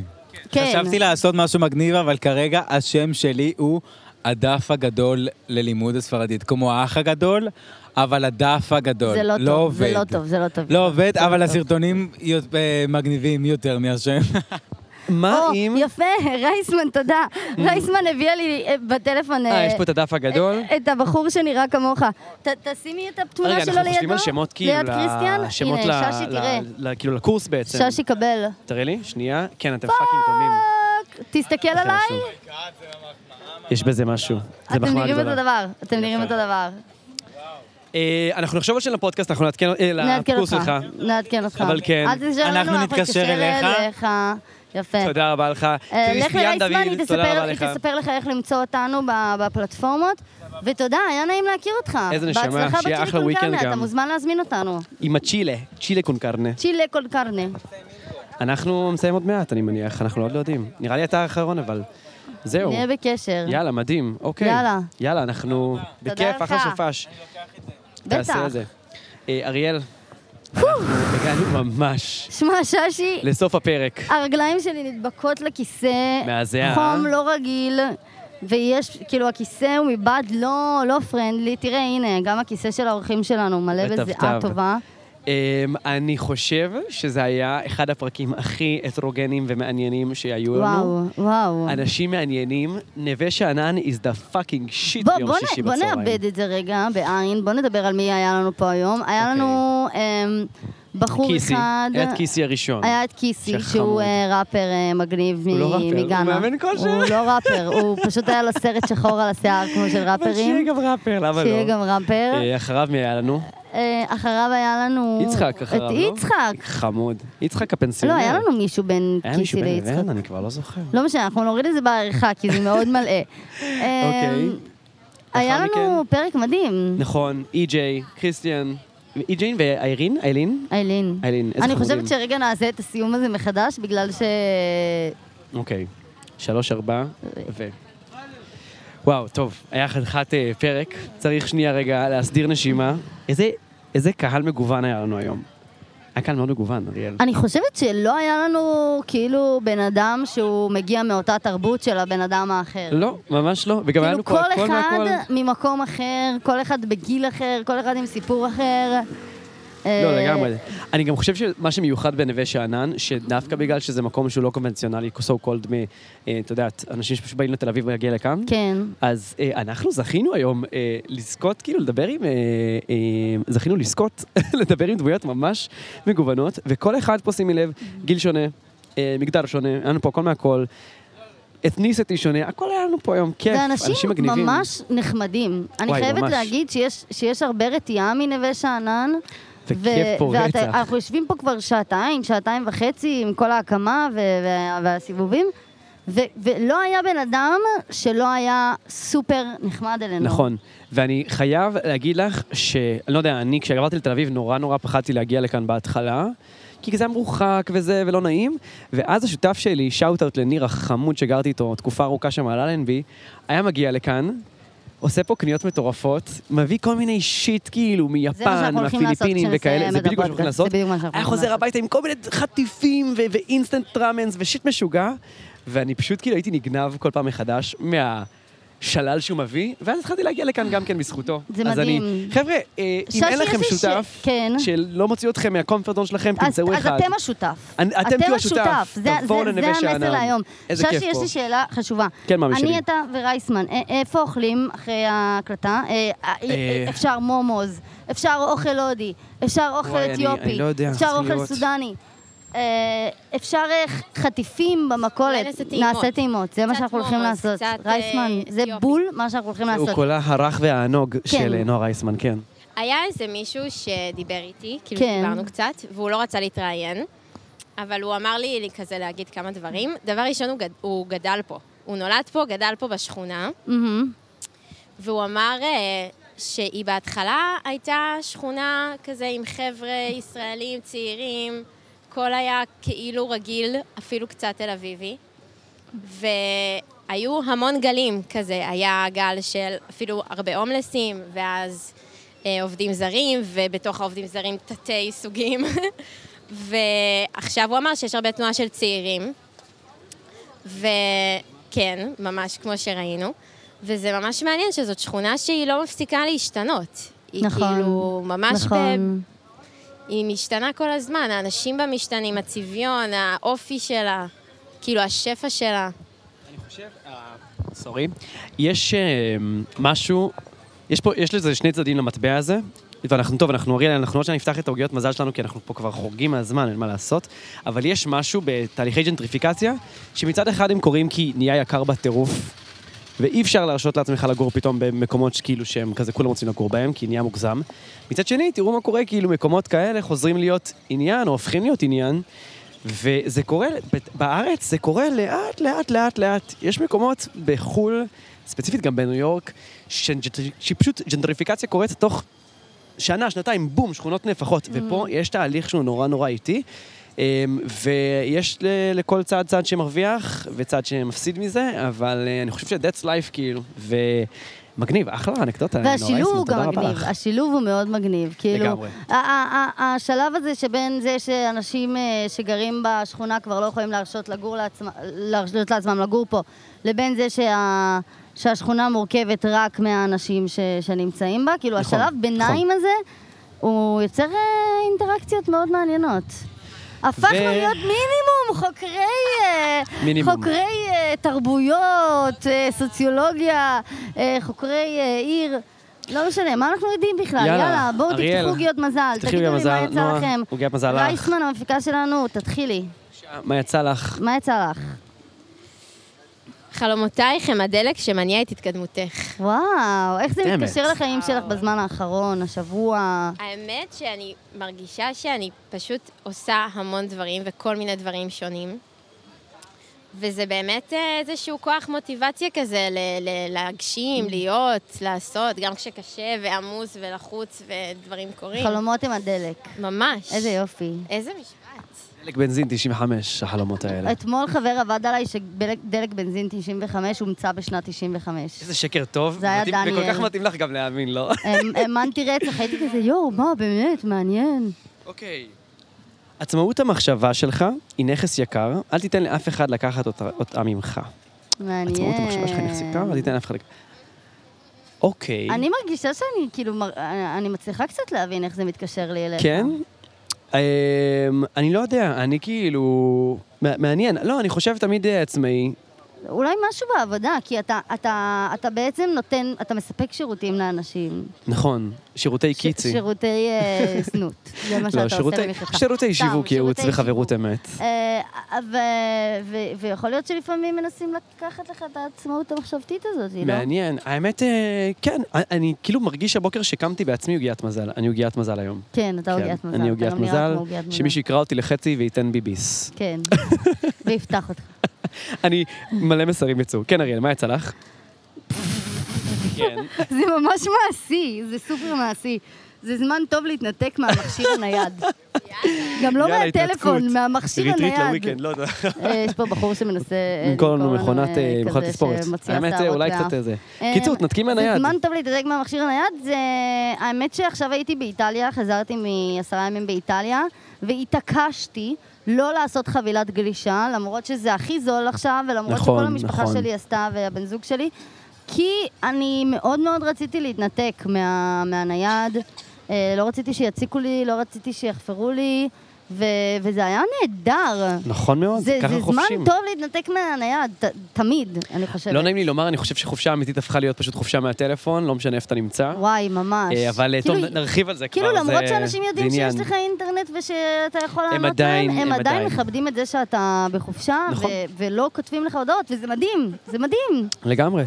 Speaker 4: כן.
Speaker 6: חשבתי לעשות משהו מגניב, אבל כרגע השם שלי הוא הדף הגדול ללימוד הספרדית. כמו האח הגדול, אבל הדף הגדול.
Speaker 4: זה לא טוב, זה
Speaker 6: עובד.
Speaker 4: לא טוב, זה לא טוב.
Speaker 6: לא עובד, אבל הסרטונים יו- אה, מגניבים יותר מהשם.
Speaker 3: מה
Speaker 4: או,
Speaker 3: אם...
Speaker 4: יפה, רייסמן, תודה. רייסמן הביאה לי אה, בטלפון...
Speaker 3: אה, יש פה את הדף הגדול.
Speaker 4: אה, את הבחור שנראה כמוך. ת- תשימי את התמונה שלו
Speaker 3: רגע,
Speaker 4: לידו.
Speaker 3: אנחנו חושבים על שמות כאילו,
Speaker 4: ליד קריסטיאן?
Speaker 3: לשמות
Speaker 4: הנה,
Speaker 3: ל-
Speaker 4: ששי,
Speaker 3: ל-
Speaker 4: תראה.
Speaker 3: ל- כאילו לקורס בעצם.
Speaker 4: ששי קבל.
Speaker 3: תראה לי, שנייה. כן, אתם פאקינג דומים.
Speaker 4: פאק! תסתכל עליי.
Speaker 3: יש בזה משהו. זה
Speaker 4: אתם
Speaker 3: מחמאה
Speaker 4: נראים אותו
Speaker 3: גדולה.
Speaker 4: דבר. אתם נראים אותו דבר.
Speaker 3: אה, אנחנו נחשוב על של הפודקאסט, אנחנו נעדכן אה,
Speaker 4: נעדכן
Speaker 3: לקורס
Speaker 4: אותך.
Speaker 3: שלך.
Speaker 4: נעדכן אותך.
Speaker 3: אבל כן,
Speaker 4: אל תשאר לנו,
Speaker 6: אנחנו נתקשר אליך.
Speaker 4: יפה.
Speaker 3: תודה רבה לך.
Speaker 4: כן. אה, לך
Speaker 3: קריסטיאן
Speaker 4: לרייסמן,
Speaker 3: דוד,
Speaker 4: היא
Speaker 3: תודה
Speaker 4: תספר-
Speaker 3: רבה
Speaker 4: היא
Speaker 3: לך.
Speaker 4: תספר לך איך למצוא אותנו ב- בפלטפורמות. ותודה, היה נעים להכיר אותך.
Speaker 3: איזה נשמה,
Speaker 4: בהצלחה
Speaker 3: שיהיה
Speaker 4: בצ'ילי
Speaker 3: אחלה
Speaker 4: קול
Speaker 3: weekend
Speaker 4: קרנה, אתה
Speaker 3: גם.
Speaker 4: מוזמן להזמין אותנו.
Speaker 3: עם הצ'ילה, צ'ילה קונקרנה.
Speaker 4: צ'ילה קול קרנה.
Speaker 3: אנחנו נסיים עוד מעט, אני מניח, אנחנו עוד לא יודעים. נראה לי אתה האחרון, אבל... זהו.
Speaker 4: נהיה בקשר.
Speaker 3: יאללה, מדהים, אוקיי.
Speaker 4: יאללה.
Speaker 3: יאללה, אנחנו...
Speaker 4: תודה
Speaker 3: בכיף,
Speaker 4: לך.
Speaker 3: אחלה סופש.
Speaker 4: בטח.
Speaker 3: תעשה את זה. אה, אריאל, אנחנו הגענו ממש
Speaker 4: שמע, ששי,
Speaker 3: לסוף הפרק.
Speaker 4: אה. הרגליים שלי נדבקות לכיסא.
Speaker 3: מהזיעה,
Speaker 4: חום
Speaker 3: אה?
Speaker 4: לא רגיל. ויש, כאילו, הכיסא הוא מבעד לא, לא פרנדלי. תראה, הנה, גם הכיסא של האורחים שלנו מלא
Speaker 3: וטבטב.
Speaker 4: בזיעה טובה.
Speaker 3: אמ, אני חושב שזה היה אחד הפרקים הכי הטרוגנים ומעניינים שהיו
Speaker 4: וואו,
Speaker 3: לנו.
Speaker 4: וואו.
Speaker 3: לא אנשים מעניינים, נווה שאנן is the fucking shit
Speaker 4: בוא,
Speaker 3: ביום
Speaker 4: בוא,
Speaker 3: שישי
Speaker 4: נ, בוא
Speaker 3: בצהריים.
Speaker 4: נאבד את זה רגע בעין, בוא נדבר על מי היה לנו פה היום. היה
Speaker 3: אוקיי.
Speaker 4: לנו אמ, בחור
Speaker 3: כיסי,
Speaker 4: אחד...
Speaker 3: היה את כיסי הראשון.
Speaker 4: היה את כיסי,
Speaker 3: שחמוד.
Speaker 4: שהוא אה, ראפר אה, מגניב
Speaker 3: הוא לא
Speaker 4: מ-
Speaker 3: ראפר, הוא
Speaker 4: מגאנה.
Speaker 3: מאמן כושר.
Speaker 4: הוא לא ראפר, הוא פשוט היה לו סרט שחור על השיער כמו של
Speaker 3: אבל שיהיה
Speaker 4: ראפרים.
Speaker 3: גם ראפר, למה לא?
Speaker 4: שיהיה גם ראפר.
Speaker 3: אה, אחריו מי היה לנו?
Speaker 4: אה, אחריו היה לנו...
Speaker 3: יצחק אחריו,
Speaker 4: את
Speaker 3: לא?
Speaker 4: יצחק.
Speaker 3: חמוד. יצחק
Speaker 4: לא,
Speaker 3: הפנסיונר.
Speaker 4: היה לנו מישהו בין
Speaker 3: היה מישהו
Speaker 4: כיסי
Speaker 3: בין
Speaker 4: ליצחק.
Speaker 3: לבין? אני כבר לא זוכר.
Speaker 4: לא משנה, אנחנו נוריד את זה בעריכה, כי זה מאוד
Speaker 3: *laughs*
Speaker 4: מלאה.
Speaker 3: אוקיי.
Speaker 4: אמ, היה
Speaker 3: לאחר
Speaker 4: לנו
Speaker 3: מכן?
Speaker 4: פרק מדהים.
Speaker 3: נכון, אי-ג'יי, קריסטיאן, אי-ג'יין ואיירין, E איילין?
Speaker 4: איילין.
Speaker 3: איילין, איזה
Speaker 4: אני
Speaker 3: חמודים.
Speaker 4: חושבת שרגע נעשה את הסיום הזה מחדש, בגלל ש...
Speaker 3: אוקיי. שלוש, ארבע, ו... וואו, טוב, היה חתיכת אה, פרק. צריך שנייה רגע להסדיר נשימה. איזה, איזה קהל מגוון היה לנו היום. היה כאן מאוד מגוון, אריאל.
Speaker 4: אני חושבת שלא היה לנו כאילו בן אדם שהוא מגיע מאותה תרבות של הבן אדם האחר.
Speaker 3: לא, ממש לא, וגם היה לנו
Speaker 4: כאילו
Speaker 3: פה
Speaker 4: כל
Speaker 3: הכל
Speaker 4: אחד
Speaker 3: מהכל.
Speaker 4: ממקום אחר, כל אחד בגיל אחר, כל אחד עם סיפור אחר.
Speaker 3: לא,
Speaker 4: אה,
Speaker 3: לגמרי. אני גם חושב שמה שמיוחד בנווה שאנן, שדווקא בגלל שזה מקום שהוא לא קונבנציונלי, so called מ... אה, את יודעת, אנשים שפשוט באים לתל אביב ולהגיע לכאן,
Speaker 4: כן.
Speaker 3: אז אה, אנחנו זכינו היום אה, לזכות, כאילו, לדבר עם... אה, אה, זכינו לזכות, *laughs* לדבר עם דמויות ממש מגוונות, וכל אחד פה, שימי לב, גיל שונה, אה, מגדר שונה, היה לנו פה הכל מהכל, אתניסיטי שונה, הכל היה לנו פה היום כיף,
Speaker 4: זה
Speaker 3: אנשים
Speaker 4: אנשים
Speaker 3: מגניבים.
Speaker 4: ממש נחמדים. אני
Speaker 3: וואי,
Speaker 4: חייבת
Speaker 3: ממש.
Speaker 4: להגיד שיש- שיש הרבה רתיעה מנווה שאנן.
Speaker 3: וכיף פה
Speaker 4: ואת-
Speaker 3: רצח.
Speaker 4: אנחנו יושבים פה כבר שעתיים, שעתיים וחצי עם כל ההקמה ו- ו- והסיבובים, ו- ולא היה בן אדם שלא היה סופר נחמד אלינו.
Speaker 3: נכון, ואני חייב להגיד לך ש... אני לא יודע, אני כשעברתי לתל אביב נורא נורא פחדתי להגיע לכאן בהתחלה, כי זה היה מרוחק וזה ולא נעים, ואז השותף שלי, שאוט-אאוט לניר החמוד שגרתי איתו תקופה ארוכה שם על אלנבי, היה מגיע לכאן. עושה פה קניות מטורפות, מביא כל מיני שיט כאילו
Speaker 4: זה מה
Speaker 3: מיפן,
Speaker 4: שאנחנו הולכים לעשות
Speaker 3: מהפיליפינים
Speaker 4: כשנסיים
Speaker 3: וכאלה,
Speaker 4: את
Speaker 3: זה בדיוק מה שאנחנו
Speaker 4: הפודקאסט,
Speaker 3: הולכים לעשות.
Speaker 4: זה בדיוק מה שאנחנו
Speaker 3: היה
Speaker 4: הולכים
Speaker 3: חוזר
Speaker 4: לעשות.
Speaker 3: הביתה עם כל מיני חטיפים ו- ואינסטנט ראמנס ושיט משוגע, ואני פשוט כאילו הייתי נגנב כל פעם מחדש מהשלל שהוא מביא, ואז התחלתי להגיע לכאן גם כן בזכותו.
Speaker 4: זה
Speaker 3: אז
Speaker 4: מדהים.
Speaker 3: אני, חבר'ה, אה, אם
Speaker 4: ששי,
Speaker 3: אין לכם
Speaker 4: איזה ש-
Speaker 3: שותף,
Speaker 4: כן.
Speaker 3: שלא מוציא אתכם מהקומפרט זון שלכם,
Speaker 4: אז,
Speaker 3: תמצאו
Speaker 4: אז
Speaker 3: אחד.
Speaker 4: אתם השותף.
Speaker 3: אני- אתם תהיו השותף.
Speaker 4: זה,
Speaker 3: תבואו
Speaker 4: זה,
Speaker 3: לנווה
Speaker 4: זה המסר
Speaker 3: שאנן.
Speaker 4: להיום.
Speaker 3: איזה
Speaker 4: ששי,
Speaker 3: כיף
Speaker 4: יש
Speaker 3: פה.
Speaker 4: לי שאלה חשובה.
Speaker 3: כן, מאמי שלי.
Speaker 4: אני, אתה ורייסמן, א- איפה אוכלים אחרי ההקלטה? אה, אה,
Speaker 3: אה.
Speaker 4: אפשר מומוז, אפשר אוכל הודי, אפשר אוכל
Speaker 3: וואי, אני-
Speaker 4: אתיופי,
Speaker 3: אני לא יודע,
Speaker 4: אפשר
Speaker 3: צריכים
Speaker 4: אוכל
Speaker 3: לראות.
Speaker 4: סודני. אה, אפשר אה, ח- חטיפים במכולת,
Speaker 7: אולי נעשה טעימות.
Speaker 4: נעשה טעימות, זה מה
Speaker 7: קצת
Speaker 4: שאנחנו הולכים
Speaker 7: מומוז,
Speaker 4: לעשות.
Speaker 7: קצת, אה,
Speaker 4: רייסמן, זה
Speaker 7: אתיופי.
Speaker 4: בול מה שאנחנו הולכים
Speaker 3: הוא
Speaker 4: לעשות.
Speaker 3: קולה הרך והענוג של
Speaker 4: כן.
Speaker 3: אה, נועה רייסמן, כן.
Speaker 7: היה איזה מישהו שדיבר איתי, כאילו
Speaker 4: כן.
Speaker 7: דיברנו קצת, והוא לא רצה להתראיין, אבל הוא אמר לי לי כזה להגיד כמה דברים. דבר ראשון, הוא גד- הוא גדל פה. הוא נולד פה, גדל פה בשכונה,
Speaker 4: מהמם.
Speaker 7: והוא אמר אה, שהיא בהתחלה הייתה שכונה כזה עם חבר'ה ישראלים צעירים, הכל היה כאילו רגיל, אפילו קצת תל אביבי. והיו המון גלים כזה, היה גל של אפילו הרבה הומלסים, ואז אה, עובדים זרים, ובתוך העובדים זרים תתי סוגים. *laughs* ועכשיו הוא אמר שיש הרבה תנועה של צעירים, וכן, ממש כמו שראינו, וזה ממש מעניין שזאת שכונה שהיא לא מפסיקה להשתנות. היא
Speaker 4: נכון,
Speaker 7: כאילו ממש ב...
Speaker 4: נכון.
Speaker 7: היא משתנה כל הזמן, האנשים בה משתנים, הצביון, האופי שלה, כאילו השפע שלה.
Speaker 3: סורי. יש אה, משהו, יש פה, יש לזה שני צדדים למטבע הזה, ואנחנו, טוב, אנחנו אריאל, אנחנו עוד שניה נפתח את העוגיות מזל שלנו, כי אנחנו פה כבר חורגים מהזמן, אין מה לעשות, אבל יש משהו בתהליכי ג'נטריפיקציה, שמצד אחד הם קורים כי נהיה יקר בטירוף, ואי אפשר להרשות לעצמך לגור פתאום במקומות שכאילו שהם כזה כולם רוצים לגור בהם, כי נהיה מוגזם. מצד שני, תראו מה קורה, כאילו מקומות כאלה חוזרים להיות עניין, או הופכים להיות עניין, וזה קורה, ב- בארץ זה קורה לאט, לאט, לאט, לאט. יש מקומות בחו"ל, ספציפית גם בניו יורק, ש- שפשוט ג'נטריפיקציה קורית תוך שנה, שנתיים, בום, שכונות
Speaker 4: Mm.
Speaker 3: נהפכות. ופה יש תהליך שהוא נורא נורא איטי, אמ, ויש ל- לכל צד צד שמרוויח וצד שמפסיד מזה, אבל אה, אני חושב ש-that's life כאילו, ומגניב, אחלה אנקדוטה, נורא
Speaker 4: והשילוב
Speaker 3: אסמן,
Speaker 4: הוא
Speaker 3: תודה
Speaker 4: גם
Speaker 3: רבה
Speaker 4: מגניב,
Speaker 3: לך.
Speaker 4: השילוב הוא מאוד מגניב. כאילו,
Speaker 3: לגמרי.
Speaker 4: ה- ה- ה- השלב הזה שבין זה שאנשים אה, שגרים בשכונה כבר לא יכולים להרשות לגור לעצמם, להרשות לעצמם לגור פה, לבין זה שה... שהשכונה מורכבת רק מהאנשים ש, שנמצאים בה, כאילו
Speaker 3: נכון,
Speaker 4: השלב ביניים הזה, הוא יוצר אה, אינטראקציות מאוד מעניינות. הפכנו
Speaker 3: ו-
Speaker 4: להיות מינימום חוקרי, אה,
Speaker 3: מינימום.
Speaker 4: חוקרי אה, תרבויות, אה, סוציולוגיה, אה, חוקרי אה, עיר. לא משנה, מה אנחנו יודעים בכלל?
Speaker 3: יאללה,
Speaker 4: יאללה, בואו
Speaker 3: אריאל,
Speaker 4: תפתחו עוגיות מזל,
Speaker 3: תפתחי
Speaker 4: תגידו לי
Speaker 3: עוגיות
Speaker 4: מה
Speaker 3: מזל,
Speaker 4: יצא
Speaker 3: נועה,
Speaker 4: לכם.
Speaker 3: עוגיות מזל לך.
Speaker 4: רייסמן, המפיקה שלנו, תתחילי.
Speaker 3: מה יצא לך?
Speaker 4: מה יצא לך?
Speaker 7: חלומותייך הם הדלק שמניע את התקדמותך.
Speaker 4: וואו, איך זה
Speaker 3: באמת.
Speaker 4: מתקשר לחיים שלך בזמן האחרון, השבוע?
Speaker 7: האמת שאני מרגישה שאני פשוט עושה המון דברים וכל מיני דברים שונים. וזה באמת אה, איזשהו כוח מוטיבציה כזה ל- ל-
Speaker 4: Mm.
Speaker 7: להגשים, להיות, לעשות, גם כשקשה ועמוס ולחוץ ודברים קורים.
Speaker 4: חלומות עם הדלק.
Speaker 7: ממש.
Speaker 4: איזה יופי.
Speaker 7: איזה משפט.
Speaker 3: דלק בנזין 95, החלומות האלה.
Speaker 4: אתמול חבר עבד עליי שדלק בנזין 95 הומצא בשנת 95.
Speaker 3: איזה שקר טוב,
Speaker 4: זה היה
Speaker 3: מתאים-
Speaker 4: דניאל.
Speaker 3: וכל כך מתאים לך גם להאמין, לא?
Speaker 4: האמנתי רצח, הייתי כזה, יואו, מה, באמת, מעניין.
Speaker 3: אוקיי. עצמאות המחשבה שלך היא נכס יקר, אל תיתן לאף אחד לקחת אותה, אותה ממך.
Speaker 4: מעניין. אה,
Speaker 3: עצמאות המחשבה שלך היא נכס יקר, אל תיתן לאף אחד לקחת. אוקיי.
Speaker 4: אני מרגישה שאני כאילו, מר- אני- אני מצליחה קצת להבין איך זה מתקשר לי אליך.
Speaker 3: כן? אמ, אני לא יודע, אני כאילו... מע- מעניין. לא, אני חושב תמיד אה, עצמאי.
Speaker 4: אולי משהו בעבודה, כי אתה, אתה, אתה בעצם נותן, אתה מספק שירותים לאנשים.
Speaker 3: נכון, שירותי
Speaker 4: ש-
Speaker 3: קיצי.
Speaker 4: שירותי אה, זנות. זה מה שאתה
Speaker 3: לא,
Speaker 4: עושה
Speaker 3: שירותי-
Speaker 4: למכלך.
Speaker 3: שירותי
Speaker 4: סתם,
Speaker 3: שיווק, ייעוץ
Speaker 4: שירותי
Speaker 3: וחברות
Speaker 4: שיווק.
Speaker 3: אמת.
Speaker 4: אה, ו- ו- ויכול להיות שלפעמים מנסים לקחת לך את העצמאות המחשבתית הזאת, לא?
Speaker 3: מעניין. האמת, אה, כן, אני- אני כאילו מרגיש הבוקר שקמתי בעצמי עוגיית מזל. אני עוגיית מזל היום.
Speaker 4: כן, אתה
Speaker 3: כן,
Speaker 4: עוגיית מזל.
Speaker 3: אני
Speaker 4: אתה
Speaker 3: עוגיית
Speaker 4: לא נראה
Speaker 3: מזל,
Speaker 4: כמו עוגיית מזל.
Speaker 3: שמישהו יקרא אותי לחצי וייתן בי ביס.
Speaker 4: *laughs* כן, ויפתח אותך.
Speaker 3: אני, מלא מסרים יצאו. כן, אריאל, מה יצא לך? כן.
Speaker 4: *laughs* זה ממש מעשי, זה סופר מעשי. זה זמן טוב להתנתק מהמכשיר *laughs* הנייד. גם לא
Speaker 3: יאללה,
Speaker 4: מהטלפון,
Speaker 3: התנתקות.
Speaker 4: מהמכשיר
Speaker 3: ריטריט
Speaker 4: הנייד.
Speaker 3: לוויקנד, לא יודע.
Speaker 4: אה, *laughs* יש פה בחור שמנסה... אה,
Speaker 3: למכור לנו מכונת
Speaker 4: אה,
Speaker 3: אה, מכונת
Speaker 4: כזה
Speaker 3: תספורת.
Speaker 4: שמוציאה
Speaker 3: האמת, אה,
Speaker 4: שערות
Speaker 3: אולי
Speaker 4: לאף.
Speaker 3: קצת איזה.
Speaker 4: אה,
Speaker 3: קיצור, תנתקי
Speaker 4: זה
Speaker 3: מהנייד.
Speaker 4: זמן טוב להתנתק מהמכשיר הנייד, זה... האמת שעכשיו הייתי באיטליה, חזרתי מעשרה ימים באיטליה, והתעקשתי לא לעשות חבילת גלישה, למרות שזה הכי זול עכשיו, ולמרות
Speaker 3: נכון,
Speaker 4: שכל המשפחה
Speaker 3: נכון.
Speaker 4: שלי עשתה והבן זוג שלי, כי אני מאוד מאוד רציתי להתנתק מה, מהנייד, אה, לא רציתי שיציקו לי, לא רציתי שיחפרו לי, ו, וזה היה נהדר.
Speaker 3: נכון מאוד,
Speaker 4: זה,
Speaker 3: ככה
Speaker 4: זה זמן
Speaker 3: חופשים.
Speaker 4: טוב להתנתק מהנייד, ת, תמיד, אני חושבת.
Speaker 3: לא נעים לי לומר, אני חושב שחופשה אמיתית הפכה להיות פשוט חופשה מהטלפון, לא משנה איפה אתה נמצא.
Speaker 4: וואי, ממש.
Speaker 3: אה, אבל אה, טוב,
Speaker 4: כאילו,
Speaker 3: נרחיב על זה כבר.
Speaker 4: כאילו
Speaker 3: זה-
Speaker 4: למרות שאנשים
Speaker 3: זה
Speaker 4: יודעים שיש
Speaker 3: עניין.
Speaker 4: לך אינטרנט ושאתה יכול לענות
Speaker 3: עדיין-
Speaker 4: להם,
Speaker 3: הם
Speaker 4: הם עדיין
Speaker 3: עדיין.
Speaker 4: מכבדים את זה שאתה בחופשה,
Speaker 3: נכון.
Speaker 4: ו- ולא כותבים לך הודעות, וזה מדהים, זה מדהים.
Speaker 3: לגמרי.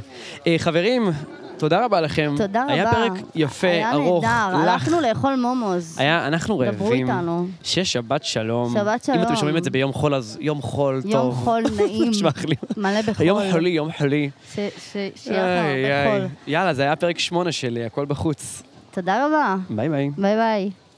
Speaker 3: אה, חברים, תודה רבה לכם.
Speaker 4: תודה רבה.
Speaker 3: היה פרק יפה,
Speaker 4: היה
Speaker 3: ארוך,
Speaker 4: נהדר,
Speaker 3: לך.
Speaker 4: הלכנו לאכול מומוז.
Speaker 3: היה, אנחנו
Speaker 4: דברו
Speaker 3: רעבים.
Speaker 4: איתנו.
Speaker 3: שיהיה שבת שלום.
Speaker 4: שבת
Speaker 3: אם אתם
Speaker 4: שלום.
Speaker 3: שומעים את זה ביום חול, אז יום חול
Speaker 4: יום
Speaker 3: טוב. *laughs*
Speaker 4: חול נעים.
Speaker 3: שמאכלים.
Speaker 4: מלא בחול.
Speaker 3: יום חולי, יום חולי.
Speaker 4: ש- ש- שיהיה
Speaker 3: איי,
Speaker 4: לך
Speaker 3: איי.
Speaker 4: הרבה חול.
Speaker 3: יאללה, זה היה פרק שמונה של אה, הכל בחוץ.
Speaker 4: תודה רבה.
Speaker 3: ביי ביי.
Speaker 4: ביי ביי.